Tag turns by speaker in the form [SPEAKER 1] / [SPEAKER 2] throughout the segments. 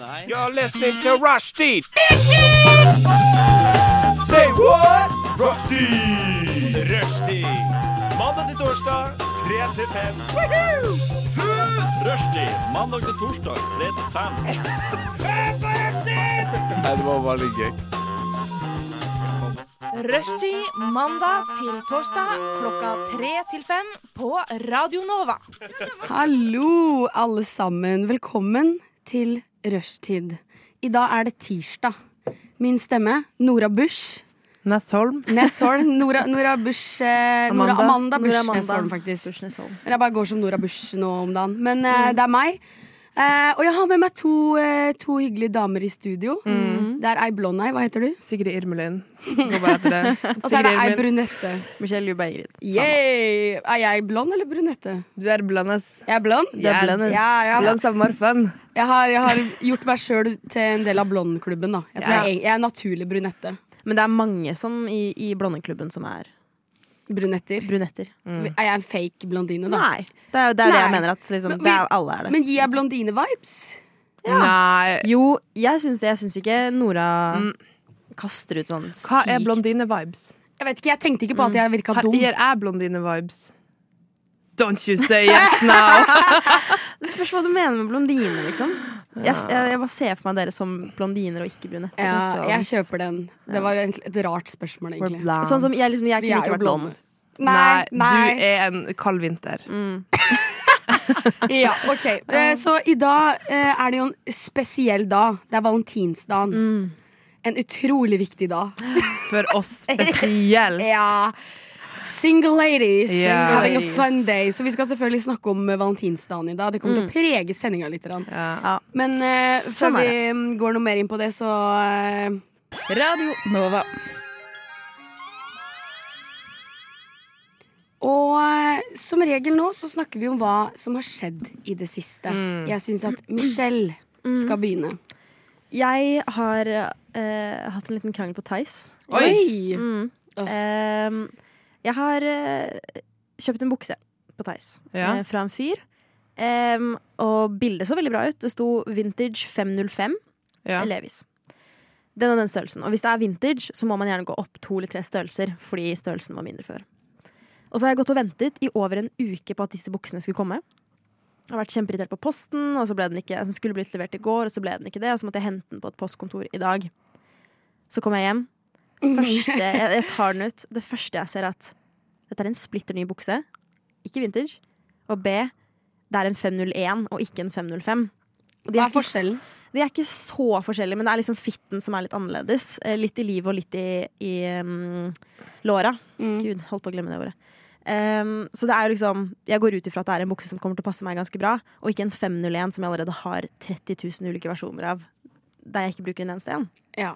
[SPEAKER 1] Nei.
[SPEAKER 2] You're listening to Rushdie. Say what? Rushdie. Rushdie. Mandag til torsdag, 3 til 5. Rushdie. Mandag til torsdag, 3 til 5.
[SPEAKER 3] Nei, det var veldig gøy.
[SPEAKER 4] Rushtid mandag til torsdag klokka tre til fem på Radio Nova.
[SPEAKER 5] Hallo, alle sammen. Velkommen til rushtid. I dag er det tirsdag. Min stemme, Nora Busch.
[SPEAKER 6] Nesholm.
[SPEAKER 5] Nesholm. Nora, Nora Busch eh, Nora Amanda Busch
[SPEAKER 6] Amanda
[SPEAKER 5] Nesholm, faktisk.
[SPEAKER 6] Busch Mm. Nesholm.
[SPEAKER 5] Men jeg bare går som Nora Busch nå om dagen. Men eh, det er meg. Eh, og jeg har med meg to, eh, to hyggelige damer i studio. Det er ei blond ei, hva heter du?
[SPEAKER 6] Mm. Sigrid Irmelin. Går bare etter det.
[SPEAKER 5] Og så er det ei
[SPEAKER 6] Irmelin.
[SPEAKER 5] brunette.
[SPEAKER 7] Michelle Juba Ingrid.
[SPEAKER 5] Yay! Er jeg blond eller brunette?
[SPEAKER 6] Du er blandes.
[SPEAKER 5] Jeg er blond.
[SPEAKER 6] Du er blandes.
[SPEAKER 5] Ja, ja.
[SPEAKER 6] Blandes av Marfen.
[SPEAKER 5] Jeg har, jeg har gjort meg sjøl til en del av blondklubben. da Jeg tror
[SPEAKER 7] Ja.
[SPEAKER 5] jeg, er- jeg er naturlig brunette.
[SPEAKER 7] Men det er mange som i, i Blondeklubben som er
[SPEAKER 5] Brunetter.
[SPEAKER 7] brunetter.
[SPEAKER 5] Er jeg en fake blondine, da?
[SPEAKER 7] Nei. Det er, jo- det, er det
[SPEAKER 5] Nei.
[SPEAKER 7] jeg mener. At
[SPEAKER 5] Men
[SPEAKER 7] liksom, det
[SPEAKER 5] vi-
[SPEAKER 7] er, alle er det.
[SPEAKER 5] Men gir jeg blondine-vibes?
[SPEAKER 6] Nei.
[SPEAKER 7] jo, jeg syns det. Jeg syns ikke Nora
[SPEAKER 5] Mm.
[SPEAKER 7] kaster ut sånn
[SPEAKER 6] Hva er
[SPEAKER 7] sykt-
[SPEAKER 6] blondine-vibes?
[SPEAKER 5] Jeg vet ikke, jeg tenkte ikke på at jeg virka
[SPEAKER 6] Hva
[SPEAKER 5] dum.
[SPEAKER 6] gir jeg blondine-vibes? Don't you say yes now!
[SPEAKER 7] Det spørs hva du mener med blondine, liksom. Jeg, jeg, jeg bare ser for meg dere som blondiner og ikke brunetter.
[SPEAKER 5] Ja,
[SPEAKER 6] sant.
[SPEAKER 5] jeg kjøper den. Det var egentlig et rart spørsmål, egentlig.
[SPEAKER 7] Sånn som jeg, liksom, jeg
[SPEAKER 5] Vi
[SPEAKER 7] kunne
[SPEAKER 5] er jo
[SPEAKER 7] ikke vært blond.
[SPEAKER 5] Nei,
[SPEAKER 6] Du
[SPEAKER 5] nei.
[SPEAKER 6] er en kald vinter.
[SPEAKER 5] Ja, ok Eh, Så i dag eh, er det jo en spesiell dag. Det er valentinsdagen. En utrolig viktig dag.
[SPEAKER 6] For oss spesielt.
[SPEAKER 5] Ja. Single ladies
[SPEAKER 6] Ja.
[SPEAKER 5] having
[SPEAKER 7] Ladies.
[SPEAKER 5] a fun day. Så vi skal selvfølgelig snakke om eh, valentinsdagen i dag. Det kommer til å prege sendinga litt. grann.
[SPEAKER 6] Ja.
[SPEAKER 5] Men eh, før
[SPEAKER 7] Sånn er
[SPEAKER 5] vi mm, går noe mer inn på det, så eh,
[SPEAKER 1] Radio Nova.
[SPEAKER 5] Og eh, som regel nå så snakker vi om hva som har skjedd i det siste. Jeg syns at Michelle
[SPEAKER 7] Mm.
[SPEAKER 5] skal begynne.
[SPEAKER 7] Jeg har eh, hatt en liten krangel på Theis.
[SPEAKER 5] Oi!
[SPEAKER 7] Mm.
[SPEAKER 5] Åh.
[SPEAKER 7] Ehm, jeg har eh, kjøpt en bukse på Theis
[SPEAKER 6] Ja.
[SPEAKER 7] eh, fra en fyr. Ehm, og bildet så veldig bra ut. Det sto vintage 505
[SPEAKER 6] Ja.
[SPEAKER 7] Levis. Den og den størrelsen. Og hvis det er vintage, så må man gjerne gå opp to eller tre størrelser, fordi størrelsen var mindre før. Og så har jeg gått og ventet i over en uke på at disse buksene skulle komme. Jeg har vært kjempeirritert på posten, og så ble den ikke, altså, den skulle blitt levert i går, og så ble den ikke det, og så måtte jeg hente den på et postkontor i dag. Så kom jeg hjem. Første, jeg, jeg tar den ut. Det første jeg ser er at dette er en splitter ny bukse, ikke vintage, og B, det er en 501 og ikke en 505. Og de
[SPEAKER 5] Hva er
[SPEAKER 7] er ikke s-
[SPEAKER 5] forskjellen?
[SPEAKER 7] de er ikke så forskjellige, men det er liksom fitten som er litt annerledes. Eh, Litt i livet og litt i, i um, låra.
[SPEAKER 5] Mm.
[SPEAKER 7] Gud, holdt på å glemme det ordet. Um, så det er jo liksom Jeg går ut ifra at det er en bukse som kommer til å passe meg ganske bra, og ikke en 501 som jeg allerede har 30 000 ulike versjoner av, der jeg ikke bruker en eneste en.
[SPEAKER 5] Ja.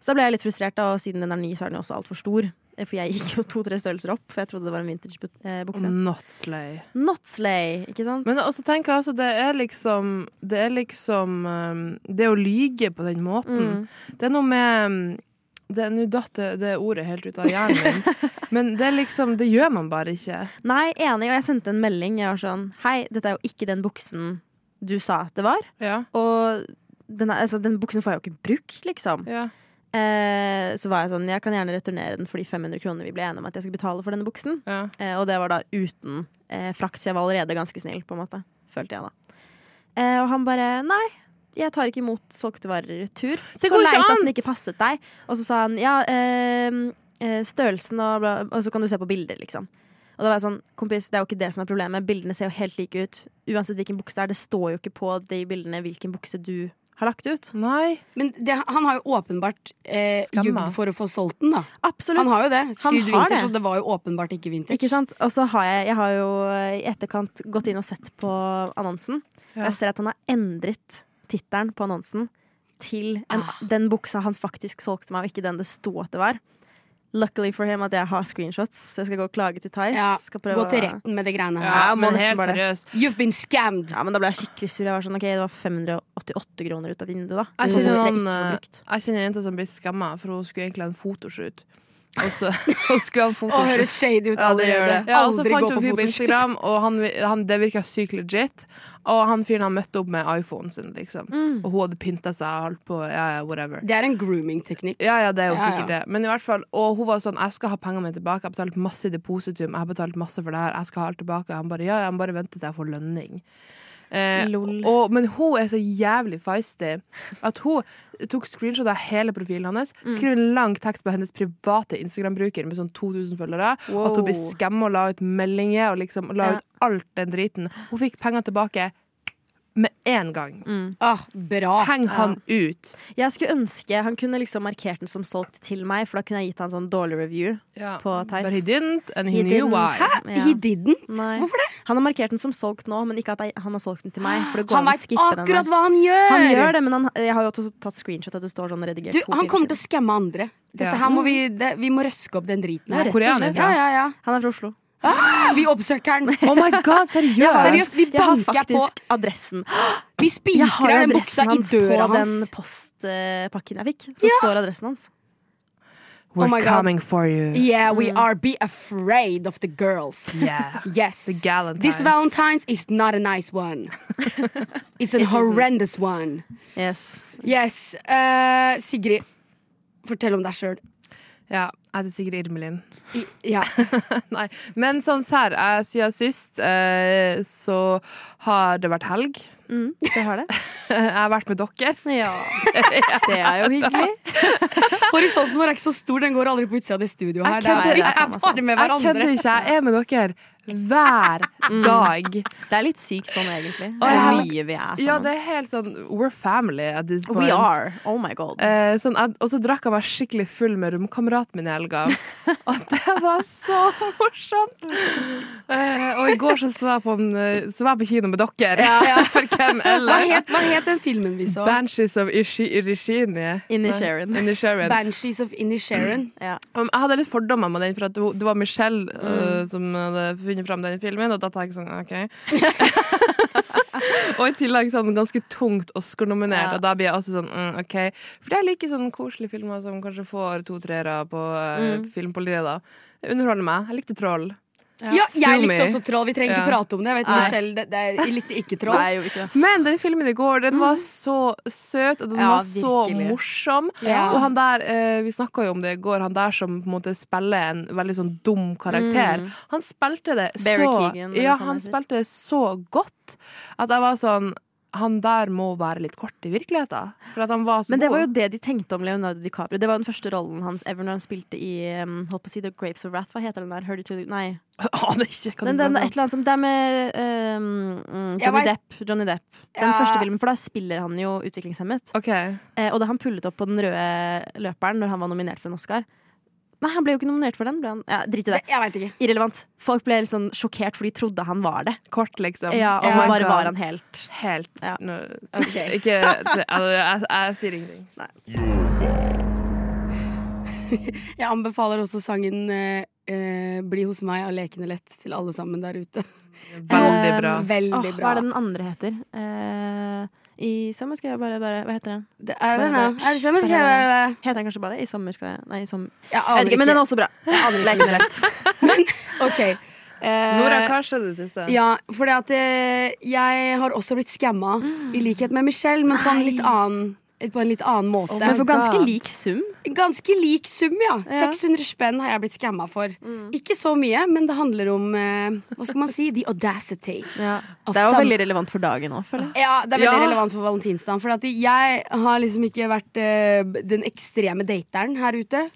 [SPEAKER 7] Så da ble jeg litt frustrert, da, og siden den er ny, så er den jo også altfor stor. Eh, For jeg gikk jo to-tre størrelser opp, for jeg trodde det var en vintage-bukse.
[SPEAKER 6] Not slay.
[SPEAKER 7] Not slay, ikke sant?
[SPEAKER 6] Mm. Men også tenker jeg altså, det er liksom Det er liksom um, Det å lyge på den måten
[SPEAKER 7] Mm.
[SPEAKER 6] Det er noe med um, det- Nå datt det, det ordet helt ut av hjernen min. Men det er liksom Det gjør man bare ikke.
[SPEAKER 7] Nei, enig, og jeg sendte en melding. Jeg var sånn Hei, dette er jo ikke den buksen du sa at det var.
[SPEAKER 6] Ja.
[SPEAKER 7] Og den, er, altså, den buksen får jeg jo ikke brukt, liksom.
[SPEAKER 6] ja.
[SPEAKER 7] Eh, så var jeg sånn Jeg kan gjerne returnere den for de 500 kronene vi ble enige om at jeg skal betale for denne buksen.
[SPEAKER 6] ja.
[SPEAKER 7] Eh, og det var da uten eh, frakt, så jeg var allerede ganske snill, på en måte. Følte jeg da. Eh, og han bare Nei. Jeg tar ikke imot solgte varer i retur.
[SPEAKER 6] Det
[SPEAKER 7] så
[SPEAKER 6] går ikke
[SPEAKER 7] leit at
[SPEAKER 6] an!»
[SPEAKER 7] den ikke passet deg. Og så sa han ja, eh, eh, størrelsen og bla, og så kan du se på bilder, liksom. Og da var jeg sånn, kompis, det er jo ikke det som er problemet. Bildene ser jo helt like ut. Uansett hvilken bukse det er. Det står jo ikke på de bildene hvilken bukse du har lagt ut.
[SPEAKER 6] Nei.
[SPEAKER 5] Men det, han har jo åpenbart eh,
[SPEAKER 6] Skamma.
[SPEAKER 5] jugd for å få solgt den, da.
[SPEAKER 7] Absolutt.
[SPEAKER 5] Han har jo det. Skrevet
[SPEAKER 7] har
[SPEAKER 5] vinter,
[SPEAKER 7] det.
[SPEAKER 5] så det var jo åpenbart ikke vinter.
[SPEAKER 7] Ikke sant? Og så har jeg, jeg har jo eh, i etterkant gått inn og sett på annonsen. Og
[SPEAKER 6] Ja.
[SPEAKER 7] jeg ser at han har endret tittelen på annonsen til en, den buksa han faktisk solgte meg, og ikke den det sto at det var. Luckily for him at jeg har screenshots, så jeg skal gå og klage til Theis.
[SPEAKER 5] Ja,
[SPEAKER 7] Skal prøve
[SPEAKER 5] Gå til
[SPEAKER 7] å-
[SPEAKER 5] retten med det greiene her.
[SPEAKER 6] Ja,
[SPEAKER 7] må
[SPEAKER 6] men
[SPEAKER 7] nesten
[SPEAKER 6] helt
[SPEAKER 7] bare-
[SPEAKER 6] seriøst.
[SPEAKER 5] You've been scammed!
[SPEAKER 7] Ja, men da ble jeg skikkelig sur. Jeg var sånn, ok, Det var 588 kroner ut av vinduet, da.
[SPEAKER 6] Jeg
[SPEAKER 7] Den
[SPEAKER 6] kjenner, eh,
[SPEAKER 7] buksen
[SPEAKER 6] noen,
[SPEAKER 7] ikke var brukt.
[SPEAKER 6] eh, jeg kjenner en jente som blir skamma, for hun skulle egentlig ha en fotoshoot. Og så og skulle han
[SPEAKER 5] Å,
[SPEAKER 6] Photoshop
[SPEAKER 5] høres shady ut.
[SPEAKER 1] Ja, det gjør det.
[SPEAKER 6] Ja, og så
[SPEAKER 5] Aldri
[SPEAKER 6] fant
[SPEAKER 5] gå
[SPEAKER 6] hun
[SPEAKER 5] på
[SPEAKER 6] en fyr på
[SPEAKER 5] fotoshoot.
[SPEAKER 6] Instagram, og han, han, det virka sykt legit. Og han fyren han møtte opp med iPhonen sin, liksom.
[SPEAKER 5] Mm.
[SPEAKER 6] Og hun hadde pynta seg og holdt på. Ja, ja, whatever.
[SPEAKER 5] Det er en grooming-teknikk.
[SPEAKER 6] Ja, ja, det er jo
[SPEAKER 5] Ja, ja.
[SPEAKER 6] sikkert det. Men i hvert fall, og hun var sånn Jeg skal ha pengene mine tilbake. Jeg har betalt masse i depositum. Jeg har betalt masse for det her. Jeg skal ha alt tilbake. Han bare ja, ja, han bare venter til jeg får lønning. Eh,
[SPEAKER 7] Lol.
[SPEAKER 6] og, men hun er så jævlig feisty at hun tok screenshot av hele profilen hans. Skrev en lang tekst på hennes private Instagram-bruker med sånn 2000 følgere. At hun ble skamma og la ut meldinger og liksom la
[SPEAKER 7] Ja.
[SPEAKER 6] ut alt den driten. Hun fikk penger tilbake med en gang.
[SPEAKER 5] Ah, bra.
[SPEAKER 6] Heng han ut.
[SPEAKER 7] Jeg skulle ønske han kunne liksom markert den som solgt til meg, for da kunne jeg gitt han sånn dårlig review. På Theis.
[SPEAKER 6] But he didn't, and he,
[SPEAKER 7] He
[SPEAKER 6] knew
[SPEAKER 7] didn't.
[SPEAKER 6] why.
[SPEAKER 7] Hæ? Ja.
[SPEAKER 5] He didn't?
[SPEAKER 7] Nei.
[SPEAKER 5] Hvorfor det?
[SPEAKER 7] Han har markert den som solgt nå, men ikke at jeg, han har solgt den til meg. For det går
[SPEAKER 5] Han
[SPEAKER 7] an å
[SPEAKER 5] veit
[SPEAKER 7] skippe den.
[SPEAKER 5] akkurat
[SPEAKER 7] der.
[SPEAKER 5] hva han gjør!
[SPEAKER 7] Han gjør det, men han, jeg har jo også tatt screenshot at det står sånn redigert.
[SPEAKER 5] Du,
[SPEAKER 7] to
[SPEAKER 5] han
[SPEAKER 7] timer
[SPEAKER 5] kommer til å
[SPEAKER 7] siden.
[SPEAKER 5] skamme andre. Dette
[SPEAKER 6] Ja.
[SPEAKER 5] her må vi, det, vi må røske opp den driten her.
[SPEAKER 6] Ja, koreaner.
[SPEAKER 5] Ja, ja, ja.
[SPEAKER 7] Han er fra Oslo.
[SPEAKER 5] Vi oppsøker den.
[SPEAKER 6] Oh my god, seriøst!
[SPEAKER 5] seriøst, vi
[SPEAKER 7] Jeg har
[SPEAKER 5] banker på.
[SPEAKER 7] faktisk adressen.
[SPEAKER 5] Vi
[SPEAKER 7] Jeg har
[SPEAKER 5] spikrer den buksa
[SPEAKER 7] adressen
[SPEAKER 5] i
[SPEAKER 7] hans på
[SPEAKER 5] døra
[SPEAKER 7] den
[SPEAKER 5] hans.
[SPEAKER 7] postpakken jeg fikk. Så står adressen hans.
[SPEAKER 5] Oh
[SPEAKER 6] We're
[SPEAKER 5] my God.
[SPEAKER 6] coming for you.
[SPEAKER 5] Yeah,
[SPEAKER 7] Mm.
[SPEAKER 5] we are be afraid of the girls.
[SPEAKER 6] Yeah.
[SPEAKER 5] Yes.
[SPEAKER 6] The galentines.
[SPEAKER 5] This Valentine's is not a nice one. It's a horrendous one.
[SPEAKER 7] Yes.
[SPEAKER 5] Yes. eh, Sigrid, fortell om deg sjøl.
[SPEAKER 6] Ja, jeg heter Sigrid Irmelin.
[SPEAKER 5] Ja.
[SPEAKER 6] Nei, men sånn sær, jeg, siden sist eh, så har det vært helg.
[SPEAKER 7] Mm, det har det.
[SPEAKER 6] Jeg har vært med dere.
[SPEAKER 7] Ja. Det er jo hyggelig.
[SPEAKER 5] Horisonten vår er ikke så stor, den går aldri på utsida av det studioet
[SPEAKER 6] Jeg
[SPEAKER 5] her.
[SPEAKER 6] kødder-
[SPEAKER 5] det er,
[SPEAKER 7] jeg-
[SPEAKER 5] vi er bare med
[SPEAKER 6] Jeg kødder
[SPEAKER 5] hverandre.
[SPEAKER 6] ikke, jeg er med dere hver dag.
[SPEAKER 7] Det er litt sykt sånn, egentlig.
[SPEAKER 6] Å,
[SPEAKER 7] Det er
[SPEAKER 6] ja.
[SPEAKER 7] mye vi er sammen.
[SPEAKER 6] Ja, det er helt sånn We're family at this point.
[SPEAKER 7] We are. Oh my god.
[SPEAKER 6] Eh, sånn, jeg- og så drakk jeg meg skikkelig full med romkameraten min i helga. Og det var så morsomt! Eh, og i går så, så, jeg på en, eh, så var jeg på kino med dere. For hvem
[SPEAKER 5] Hva
[SPEAKER 6] ellers?
[SPEAKER 5] het, hva het den filmen vi så?
[SPEAKER 6] Banshees of Ishi- Irishini.
[SPEAKER 7] Inni
[SPEAKER 6] Nei,
[SPEAKER 7] Sharon.
[SPEAKER 6] Inisherin.
[SPEAKER 5] Banshees of Inisherin.
[SPEAKER 7] Ja.
[SPEAKER 6] Um, Jeg hadde litt fordommer med den, for at det det var Michelle eh,
[SPEAKER 7] Mm.
[SPEAKER 6] som hadde funnet fram den filmen. Og da tenkte jeg sånn, ok Og i tillegg sånn ganske tungt Oscar-nominert,
[SPEAKER 7] Ja.
[SPEAKER 6] og da blir jeg også sånn mm, OK. For jeg liker sånn koselige filmer som kanskje får to treere på eh,
[SPEAKER 7] Mm.
[SPEAKER 6] film på linje, da. Det underholder meg. Jeg likte Troll.
[SPEAKER 5] Ja, jeg
[SPEAKER 6] Sue
[SPEAKER 5] likte
[SPEAKER 6] me.
[SPEAKER 5] også Troll. Vi trenger ikke
[SPEAKER 6] Ja.
[SPEAKER 5] prate om det. Jeg vet,
[SPEAKER 7] Nei.
[SPEAKER 5] Michelle, det, det er, jeg likte ikke Troll.
[SPEAKER 7] Nei, jo ikke det.
[SPEAKER 6] Men den filmen i går, den var så søt, og den
[SPEAKER 7] Mm. Ja,
[SPEAKER 6] var så
[SPEAKER 7] virkelig.
[SPEAKER 6] morsom.
[SPEAKER 5] Ja.
[SPEAKER 6] Og han der, eh, vi snakka jo om det i går, han der som på en måte spiller en veldig sånn dum
[SPEAKER 7] Mm.
[SPEAKER 6] karakter. Han spilte det
[SPEAKER 7] Barry
[SPEAKER 6] så
[SPEAKER 7] Keoghan,
[SPEAKER 6] Ja,
[SPEAKER 7] kan
[SPEAKER 6] han
[SPEAKER 7] jeg si.
[SPEAKER 6] spilte det så godt at jeg var sånn Han der må være litt kort i virkeligheten. For at han var så
[SPEAKER 7] Men det
[SPEAKER 6] god.
[SPEAKER 7] var jo det de tenkte om Leonardo DiCaprio. Det var jo den første rollen hans ever når han spilte i um, holdt på å si The Grapes of Wrath. Hva heter den der? Hør de to Nei.
[SPEAKER 6] Aner ikke hva du
[SPEAKER 7] Den, den,
[SPEAKER 6] snakker
[SPEAKER 7] et
[SPEAKER 6] om.
[SPEAKER 7] eller annet som Det er med um, mm,
[SPEAKER 5] Jeg
[SPEAKER 7] Johnny
[SPEAKER 5] vet-
[SPEAKER 7] Depp. Johnny Depp. Den
[SPEAKER 5] Ja.
[SPEAKER 7] første filmen, for der spiller han jo utviklingshemmet.
[SPEAKER 6] OK.
[SPEAKER 7] Eh, og da han pullet opp på den røde løperen når han var nominert for en Oscar Nei, han ble jo ikke nominert for den. Ble han? Ja, Drit i det.
[SPEAKER 5] Det, jeg veit ikke.
[SPEAKER 7] Irrelevant. Folk ble litt sånn sjokkert, for de trodde han var det.
[SPEAKER 6] Kort, liksom.
[SPEAKER 7] Ja, og
[SPEAKER 6] Oh
[SPEAKER 7] så
[SPEAKER 6] my
[SPEAKER 7] bare
[SPEAKER 6] God.
[SPEAKER 7] var han helt
[SPEAKER 6] Helt
[SPEAKER 7] Ja.
[SPEAKER 6] no, Ikke det, jeg, jeg, jeg sier ingenting.
[SPEAKER 5] Jeg anbefaler også sangen eh, eh, 'Bli hos meg' av Lekende lett til alle sammen der ute.
[SPEAKER 6] Veldig bra.
[SPEAKER 5] Eh, Veldig
[SPEAKER 7] Åh,
[SPEAKER 5] bra.
[SPEAKER 7] Hva er det den andre heter? Eh, I sommer skal jeg bare, bare Hva heter den?
[SPEAKER 5] Det er den, ja.
[SPEAKER 7] Bare-
[SPEAKER 5] Er det samme? Skal jeg være
[SPEAKER 7] Heter den kanskje bare det? I sommer skal jeg Nei, i som...
[SPEAKER 5] Jeg
[SPEAKER 7] Jeg vet
[SPEAKER 5] aner
[SPEAKER 7] ikke, men den
[SPEAKER 5] ikke.
[SPEAKER 7] er også bra. Lekende lett.
[SPEAKER 5] OK. Eh,
[SPEAKER 6] Nora, hva skjedde det siste?
[SPEAKER 5] ja, for det at eh, jeg har også blitt skamma,
[SPEAKER 7] Mm.
[SPEAKER 5] i likhet med Michelle, men på en litt annen, eh, på en litt annen måte.
[SPEAKER 6] my
[SPEAKER 7] Men for ganske
[SPEAKER 6] God.
[SPEAKER 7] lik sum.
[SPEAKER 5] Ganske lik sum, ja.
[SPEAKER 7] Ja. Mm.
[SPEAKER 5] 600 spenn har jeg blitt skamma for. Ikke så mye, men det handler om eh, Hva skal man si? The audacity. Av
[SPEAKER 7] Det er jo
[SPEAKER 5] sam-
[SPEAKER 7] veldig relevant for dagen òg, føler jeg.
[SPEAKER 5] Ja, det er veldig
[SPEAKER 6] Ja.
[SPEAKER 5] relevant for valentinsdagen. For at jeg har liksom ikke vært eh, den ekstreme dateren her ute.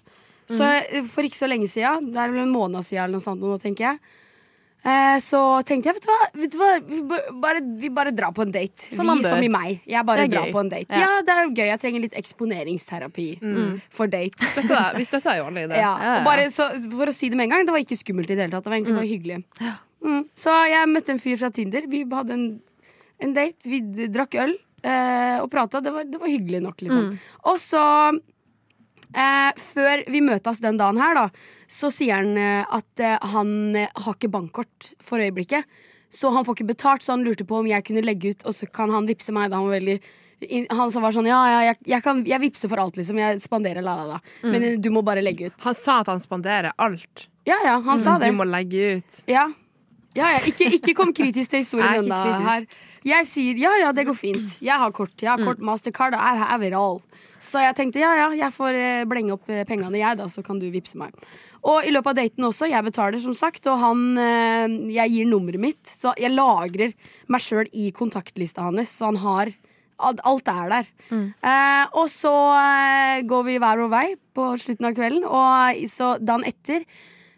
[SPEAKER 5] Så
[SPEAKER 7] Mhm.
[SPEAKER 5] eh, for ikke så lenge siden, det er vel en måned siden eller noe sånt nå, tenker jeg. eh, Så tenkte jeg, vet du hva, vet du hva? Vi, b- bare, vi bare drar på en date.
[SPEAKER 7] Som man
[SPEAKER 5] vi
[SPEAKER 7] bør.
[SPEAKER 5] som i meg. Jeg bare
[SPEAKER 7] Det er
[SPEAKER 5] drar
[SPEAKER 7] gøy.
[SPEAKER 5] på en date.
[SPEAKER 7] Ja. Mm.
[SPEAKER 5] Ja. det er gøy. Jeg trenger litt eksponeringsterapi for date.
[SPEAKER 6] Støtter deg. Vi støtter deg jo alle i det.
[SPEAKER 5] Ja.
[SPEAKER 7] ja, ja.
[SPEAKER 5] Og bare så, for å si det med en gang, det var ikke skummelt i det hele tatt. Det var egentlig bare hyggelig. Mm. Så jeg møtte en fyr fra Tinder. Vi hadde en, en date. Vi d- drakk øl eh, og prata. Det, var- det var hyggelig nok, liksom. Og så eh, før vi møtes den dagen her, da, så sier han eh, at eh, han eh, har ikke bankkort for øyeblikket. Så han får ikke betalt, så han lurte på om jeg kunne legge ut, og så kan han vippse meg. Da han var veldig i- han som var sånn Ja, ja, jeg, jeg, kan, jeg vipser for alt, liksom. Jeg spanderer la, la, la. Men eh, du må bare legge ut.
[SPEAKER 6] Han sa at han spanderer alt.
[SPEAKER 5] Ja, ja, han sa
[SPEAKER 6] Mm. Du
[SPEAKER 5] det.
[SPEAKER 6] må legge ut.
[SPEAKER 5] Ja. Ja, ja. Ikke, ikke kom kritisk til
[SPEAKER 6] Jeg er
[SPEAKER 5] historien
[SPEAKER 6] ikke
[SPEAKER 5] ennå. Her.
[SPEAKER 6] kritisk.
[SPEAKER 5] Jeg sier ja, ja, det går fint. Jeg har kort. Jeg har
[SPEAKER 6] Mm.
[SPEAKER 5] kort Mastercard. I have it all. Så jeg tenkte ja, ja, jeg får eh, blenge opp eh, pengene, jeg, da, så kan du vippse meg. Og i løpet av daten også. Jeg betaler, som sagt, og han eh, Jeg gir nummeret mitt. Så jeg lagrer meg sjøl i kontaktlista hans, så han har Alt alt er der.
[SPEAKER 6] Mm.
[SPEAKER 5] Eh, og så eh, går vi hver vår vei på slutten av kvelden, og så dagen etter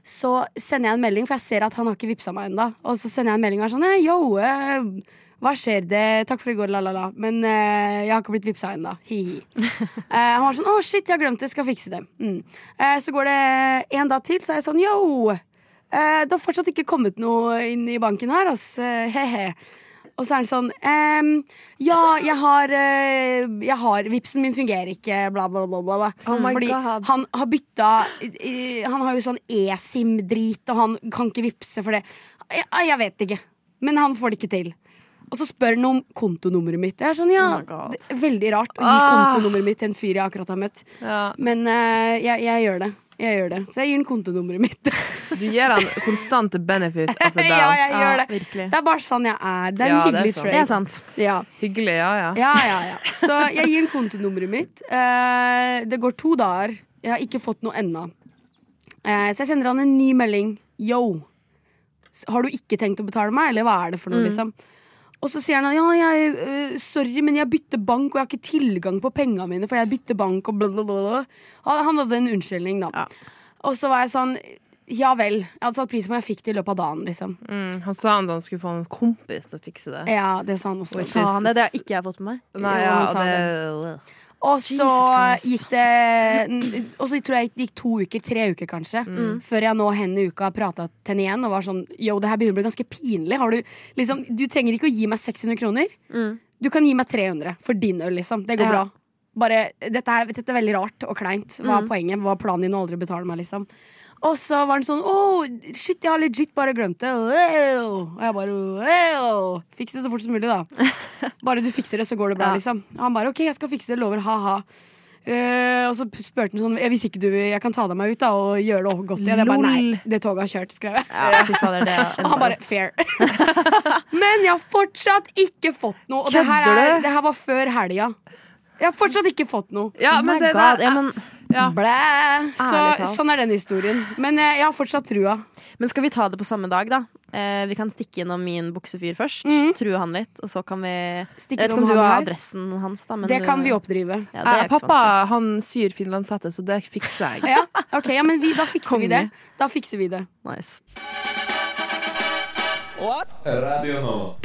[SPEAKER 5] så sender jeg en melding, for jeg ser at han har ikke vippsa meg ennå. Og så sender jeg en melding og er sånn «Eh, Yo, eh, hva skjer det? Takk for i går, la, la, la. Men eh, jeg har ikke blitt vippsa ennå. Hi-hi. Eh, han var sånn Å, shit, jeg har glemt det. Skal fikse det. Mm. Eh, så går det en dag til, så er jeg sånn Yo! eh, det har fortsatt ikke kommet noe inn i banken her, ass. Eh, he-he. Og så er han sånn ehm, Ja, jeg har, eh, jeg har Vipsen min fungerer ikke, bla, bla, bla. bla. bla.
[SPEAKER 6] Oh my
[SPEAKER 5] Fordi
[SPEAKER 6] God.
[SPEAKER 5] han har bytta eh, Han har jo sånn eSIM-drit, og han kan ikke vippse for det. Jeg, jeg vet ikke. Men han får det ikke til. Og så spør han om kontonummeret mitt. Jeg er sånn, ja,
[SPEAKER 7] Oh my God.
[SPEAKER 5] det er veldig rart å gi
[SPEAKER 6] Ah.
[SPEAKER 5] kontonummeret mitt til en fyr jeg akkurat har møtt.
[SPEAKER 6] Ja.
[SPEAKER 5] Men eh, jeg, jeg gjør det. Jeg gjør det. Så jeg gir ham kontonummeret mitt.
[SPEAKER 6] Du gir han konstant benefit of the doubt.
[SPEAKER 5] ja, jeg gjør det.
[SPEAKER 7] Virkelig.
[SPEAKER 5] Det er bare sånn jeg er. Det er en
[SPEAKER 6] Ja, det er sånn.
[SPEAKER 5] hyggelig
[SPEAKER 6] sant.
[SPEAKER 5] trait.
[SPEAKER 7] Det er sånn. sant.
[SPEAKER 5] Ja.
[SPEAKER 6] Hyggelig, ja, ja.
[SPEAKER 5] Ja, ja, ja. Så jeg gir ham kontonummeret mitt. Eh, det går to dager. Jeg har ikke fått noe ennå. Eh, så jeg sender han en ny melding. Yo, s- har du ikke tenkt å betale meg, eller hva er det for
[SPEAKER 6] Mm.
[SPEAKER 5] noe, liksom? Og så sier han ja, jeg, eh, sorry, men jeg bytter bank, og jeg har ikke tilgang på pengene mine, for jeg bytter bank, og bla, bla, bla. bla. Han, han hadde en unnskyldning, da. Og så var jeg sånn ja vel. Jeg hadde satt pris på om jeg fikk det i løpet av dagen, liksom.
[SPEAKER 6] Mm, han sa han da han skulle få en kompis til å fikse det.
[SPEAKER 5] Ja, det sa han også.
[SPEAKER 6] Oi.
[SPEAKER 7] Sa han det? Det har ikke jeg fått med meg.
[SPEAKER 6] Nei,
[SPEAKER 5] Jo,
[SPEAKER 6] ja,
[SPEAKER 5] han
[SPEAKER 6] og
[SPEAKER 5] sa
[SPEAKER 6] det,
[SPEAKER 5] Og så
[SPEAKER 7] Jesus Christ.
[SPEAKER 5] gikk det Og så tror jeg det gikk to uker, tre uker kanskje,
[SPEAKER 7] Mm.
[SPEAKER 5] før jeg nå hen i uka prata til henne igjen og var sånn Yo, det her begynner å bli ganske pinlig. Har du, liksom, du trenger ikke å gi meg 600 kroner.
[SPEAKER 7] Mm.
[SPEAKER 5] Du kan gi meg 300 for din øl, liksom. Det går
[SPEAKER 7] Ja.
[SPEAKER 5] bra. Bare, dette, er, dette er veldig rart og kleint. Hva er
[SPEAKER 7] Mm.
[SPEAKER 5] poenget? Hva er planen din å aldri betale meg, liksom? Og så var han sånn Å, shit, jeg har legit bare glemt det. Wow. Og jeg bare wow. Fiks det så fort som mulig, da. Bare du fikser det, så går det bra,
[SPEAKER 7] Ja.
[SPEAKER 5] liksom. Og han bare OK, jeg skal fikse det, lover, ha-ha. Eh, og så p- spurte han sånn «Jeg- Hvis ikke du Jeg kan ta deg med ut da og gjøre det godt igjen. Jeg bare nei, det toget har kjørt, skrev jeg.
[SPEAKER 7] Ja, fy fader, det
[SPEAKER 5] Og
[SPEAKER 7] er
[SPEAKER 5] han bare fair. Men jeg har fortsatt ikke fått noe. Og det her,
[SPEAKER 6] Kødder
[SPEAKER 5] er,
[SPEAKER 6] du?
[SPEAKER 5] det her var før helga. Jeg har fortsatt ikke fått noe.
[SPEAKER 6] ja,
[SPEAKER 7] Oh my
[SPEAKER 6] men det,
[SPEAKER 7] God.
[SPEAKER 6] det,
[SPEAKER 7] Ja, men,
[SPEAKER 6] ja.
[SPEAKER 5] Blæ. Så,
[SPEAKER 7] Ærlig talt.
[SPEAKER 5] sånn er den historien. Men eh, jeg har fortsatt trua.
[SPEAKER 7] men skal vi ta det på samme dag, da? Eh, vi kan stikke innom min buksefyr først.
[SPEAKER 5] Mhm.
[SPEAKER 7] True han litt, og så kan vi Jeg
[SPEAKER 5] Stikker
[SPEAKER 7] vet ikke om
[SPEAKER 5] om
[SPEAKER 7] du
[SPEAKER 5] han
[SPEAKER 7] har
[SPEAKER 5] her.
[SPEAKER 7] adressen hans, da. Men
[SPEAKER 5] Det
[SPEAKER 7] du-
[SPEAKER 5] kan vi oppdrive.
[SPEAKER 7] Ja, det er
[SPEAKER 6] Eh,
[SPEAKER 7] ikke så
[SPEAKER 6] Pappa
[SPEAKER 7] vanskelig.
[SPEAKER 6] han syr finlandshette, så det fikser jeg.
[SPEAKER 5] Ja, ok, ja, men vi, da fikser vi det.
[SPEAKER 7] Konge.
[SPEAKER 5] Da fikser vi det.
[SPEAKER 7] Nice.
[SPEAKER 2] Radio Nova.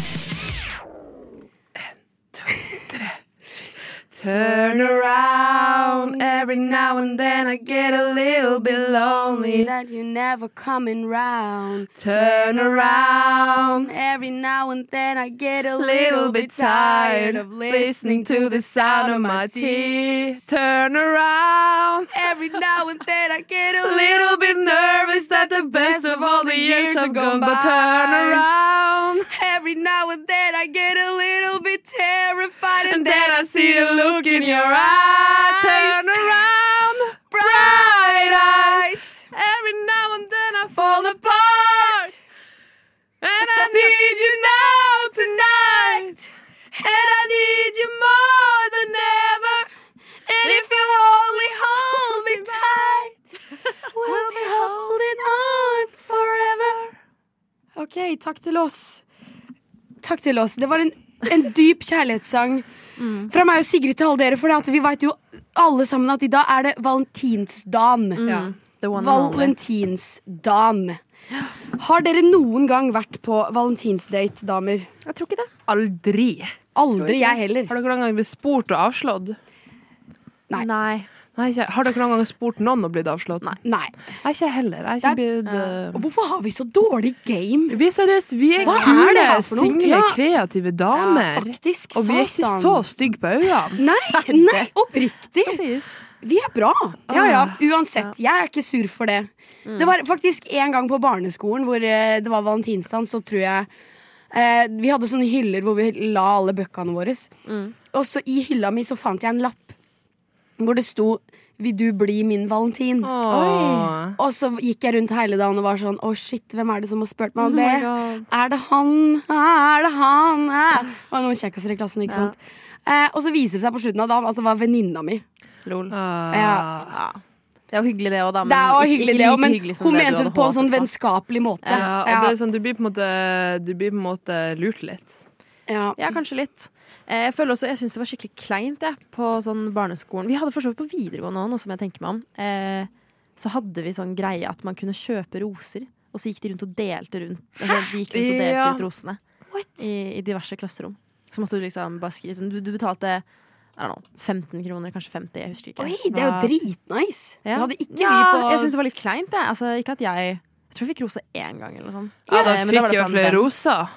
[SPEAKER 6] Turn around every now and then I get a little bit lonely.
[SPEAKER 5] That you never coming round.
[SPEAKER 6] Turn around
[SPEAKER 5] Every now and then I get a
[SPEAKER 6] little bit tired of listening to the sound of my tears. Turn around.
[SPEAKER 5] Every now and then I get a
[SPEAKER 6] A little bit nervous that the best of all the years have gone, but turn around.
[SPEAKER 5] Every now and then I get a little bit terrified
[SPEAKER 6] And then I see the look in your eye. Turn around. Bright eyes. Every now and then I fall apart. And I need you now tonight. And I need you more than ever. And if you only hold me tight, we'll be holding on forever.
[SPEAKER 5] Ok, takk til oss. Takk til oss. Det var en, en dyp kjærlighetssang
[SPEAKER 6] Mm.
[SPEAKER 5] fra meg og Sigrid til alle dere, for det at vi veit jo alle sammen at i dag er det valentinsdagen. Mm.
[SPEAKER 7] The one and only.
[SPEAKER 5] Valentinsdagen. Har dere noen gang vært på valentinsdate, damer?
[SPEAKER 7] Jeg tror ikke det.
[SPEAKER 6] Aldri.
[SPEAKER 5] Aldri jeg heller.
[SPEAKER 6] Har dere noen gang blitt spurt og avslått?
[SPEAKER 5] Nei.
[SPEAKER 6] Nei, ikke. Har dere noen gang spurt noen og blitt avslått? Nei.
[SPEAKER 5] Nei.
[SPEAKER 6] Jeg er ikke heller. Jeg er ikke blitt eh,
[SPEAKER 5] Og hvorfor har vi så dårlig game?
[SPEAKER 6] Vi er seriøst, vi er
[SPEAKER 5] Hva er
[SPEAKER 6] kule,
[SPEAKER 5] det her for noe?
[SPEAKER 6] single,
[SPEAKER 5] Ja.
[SPEAKER 6] kreative damer.
[SPEAKER 5] Faktisk.
[SPEAKER 6] og vi er ikke så
[SPEAKER 5] satan.
[SPEAKER 6] stygge på øynene.
[SPEAKER 5] Nei, nei, oppriktig.
[SPEAKER 7] sies.
[SPEAKER 5] Vi er bra. Ja, ja. Uansett, jeg er ikke sur for det. Det var faktisk en gang på barneskolen hvor eh, det var valentinsdag, så tror jeg Eh, vi hadde sånne hyller hvor vi la alle bøkkene våre.
[SPEAKER 7] Mm.
[SPEAKER 5] Og så i hylla mi så fant jeg en lapp hvor det sto 'Vil du bli min Valentin'?
[SPEAKER 6] Åh.
[SPEAKER 5] Og så gikk jeg rundt hele dagen og var sånn 'Å, shit, hvem er det som har spurt meg om det?'
[SPEAKER 6] God.
[SPEAKER 5] Er det han? Er det han? Eh, Det var noen kjekkaser i klassen, ikke
[SPEAKER 7] Ja.
[SPEAKER 5] sant? Eh, og så viser det seg på slutten av dagen at det var venninna mi.
[SPEAKER 7] Lol.
[SPEAKER 6] Ah.
[SPEAKER 5] Ja.
[SPEAKER 7] Det er jo hyggelig, det òg, da.
[SPEAKER 5] Det er jo hyggelig, det
[SPEAKER 7] like
[SPEAKER 5] òg, men
[SPEAKER 7] hyggelig som
[SPEAKER 5] hun
[SPEAKER 7] det du
[SPEAKER 5] mente det
[SPEAKER 7] hadde
[SPEAKER 5] på en sånn
[SPEAKER 7] håpet på.
[SPEAKER 5] vennskapelig måte.
[SPEAKER 6] Ja, og det er sånn, du blir på en måte, du blir på en måte lurt litt.
[SPEAKER 5] Ja.
[SPEAKER 7] Ja, kanskje litt. Eh, Jeg føler også, jeg syns det var skikkelig kleint jeg, på sånn barneskolen. Vi hadde for så vidt på videregående òg, nå som jeg tenker meg om. Eh, så hadde vi sånn greie at man kunne kjøpe roser, og så gikk de rundt og delte rundt. Altså, de gikk rundt og delte
[SPEAKER 6] Ja.
[SPEAKER 7] ut rosene i, i diverse klasserom. Så måtte du liksom bare skrive sånn. Du, du betalte I don't know, 15 kroner, kanskje 50, jeg husker ikke.
[SPEAKER 5] Oi, det er jo
[SPEAKER 7] Hva-
[SPEAKER 5] dritnice!
[SPEAKER 7] Ja.
[SPEAKER 5] Det hadde ikke
[SPEAKER 7] ja,
[SPEAKER 5] vi på
[SPEAKER 7] Jeg syns det var litt kleint, jeg. Altså, ikke at jeg Jeg tror jeg fikk rose én gang eller noe sånt.
[SPEAKER 6] Ja, da
[SPEAKER 7] Eh, men
[SPEAKER 6] fikk
[SPEAKER 7] var det
[SPEAKER 6] jeg
[SPEAKER 7] fra en
[SPEAKER 6] flere
[SPEAKER 7] venn.
[SPEAKER 6] roser.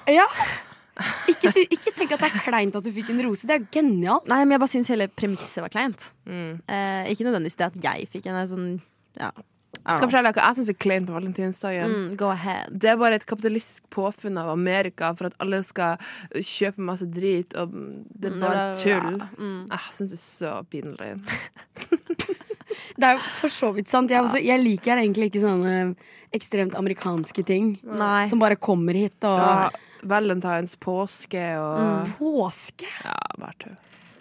[SPEAKER 5] ikke, sy ikke tenk at det er kleint at du fikk en rose. Det er genialt.
[SPEAKER 7] Nei, men jeg bare syns hele premisset var kleint.
[SPEAKER 6] Mm.
[SPEAKER 7] Eh, ikke nødvendigvis det at jeg fikk en sånn ja. I
[SPEAKER 6] Skal
[SPEAKER 7] don't know.
[SPEAKER 6] fortelle dere hva jeg syns er kleint på valentinsdagen.
[SPEAKER 7] Mm, go ahead.
[SPEAKER 6] Det er bare et kapitalistisk påfunn av Amerika for at alle skal kjøpe masse drit, og det er bare tull. Ah,
[SPEAKER 7] Mm.
[SPEAKER 6] Jeg syns det er så pinlig.
[SPEAKER 5] Det er jo for så vidt sant. Jeg, er også, jeg liker egentlig ikke sånne eh, ekstremt amerikanske ting
[SPEAKER 7] Nei.
[SPEAKER 5] som bare kommer hit og
[SPEAKER 6] Ja, Mm. Valentines, påske og
[SPEAKER 5] Påske!
[SPEAKER 6] Ja, bare tull.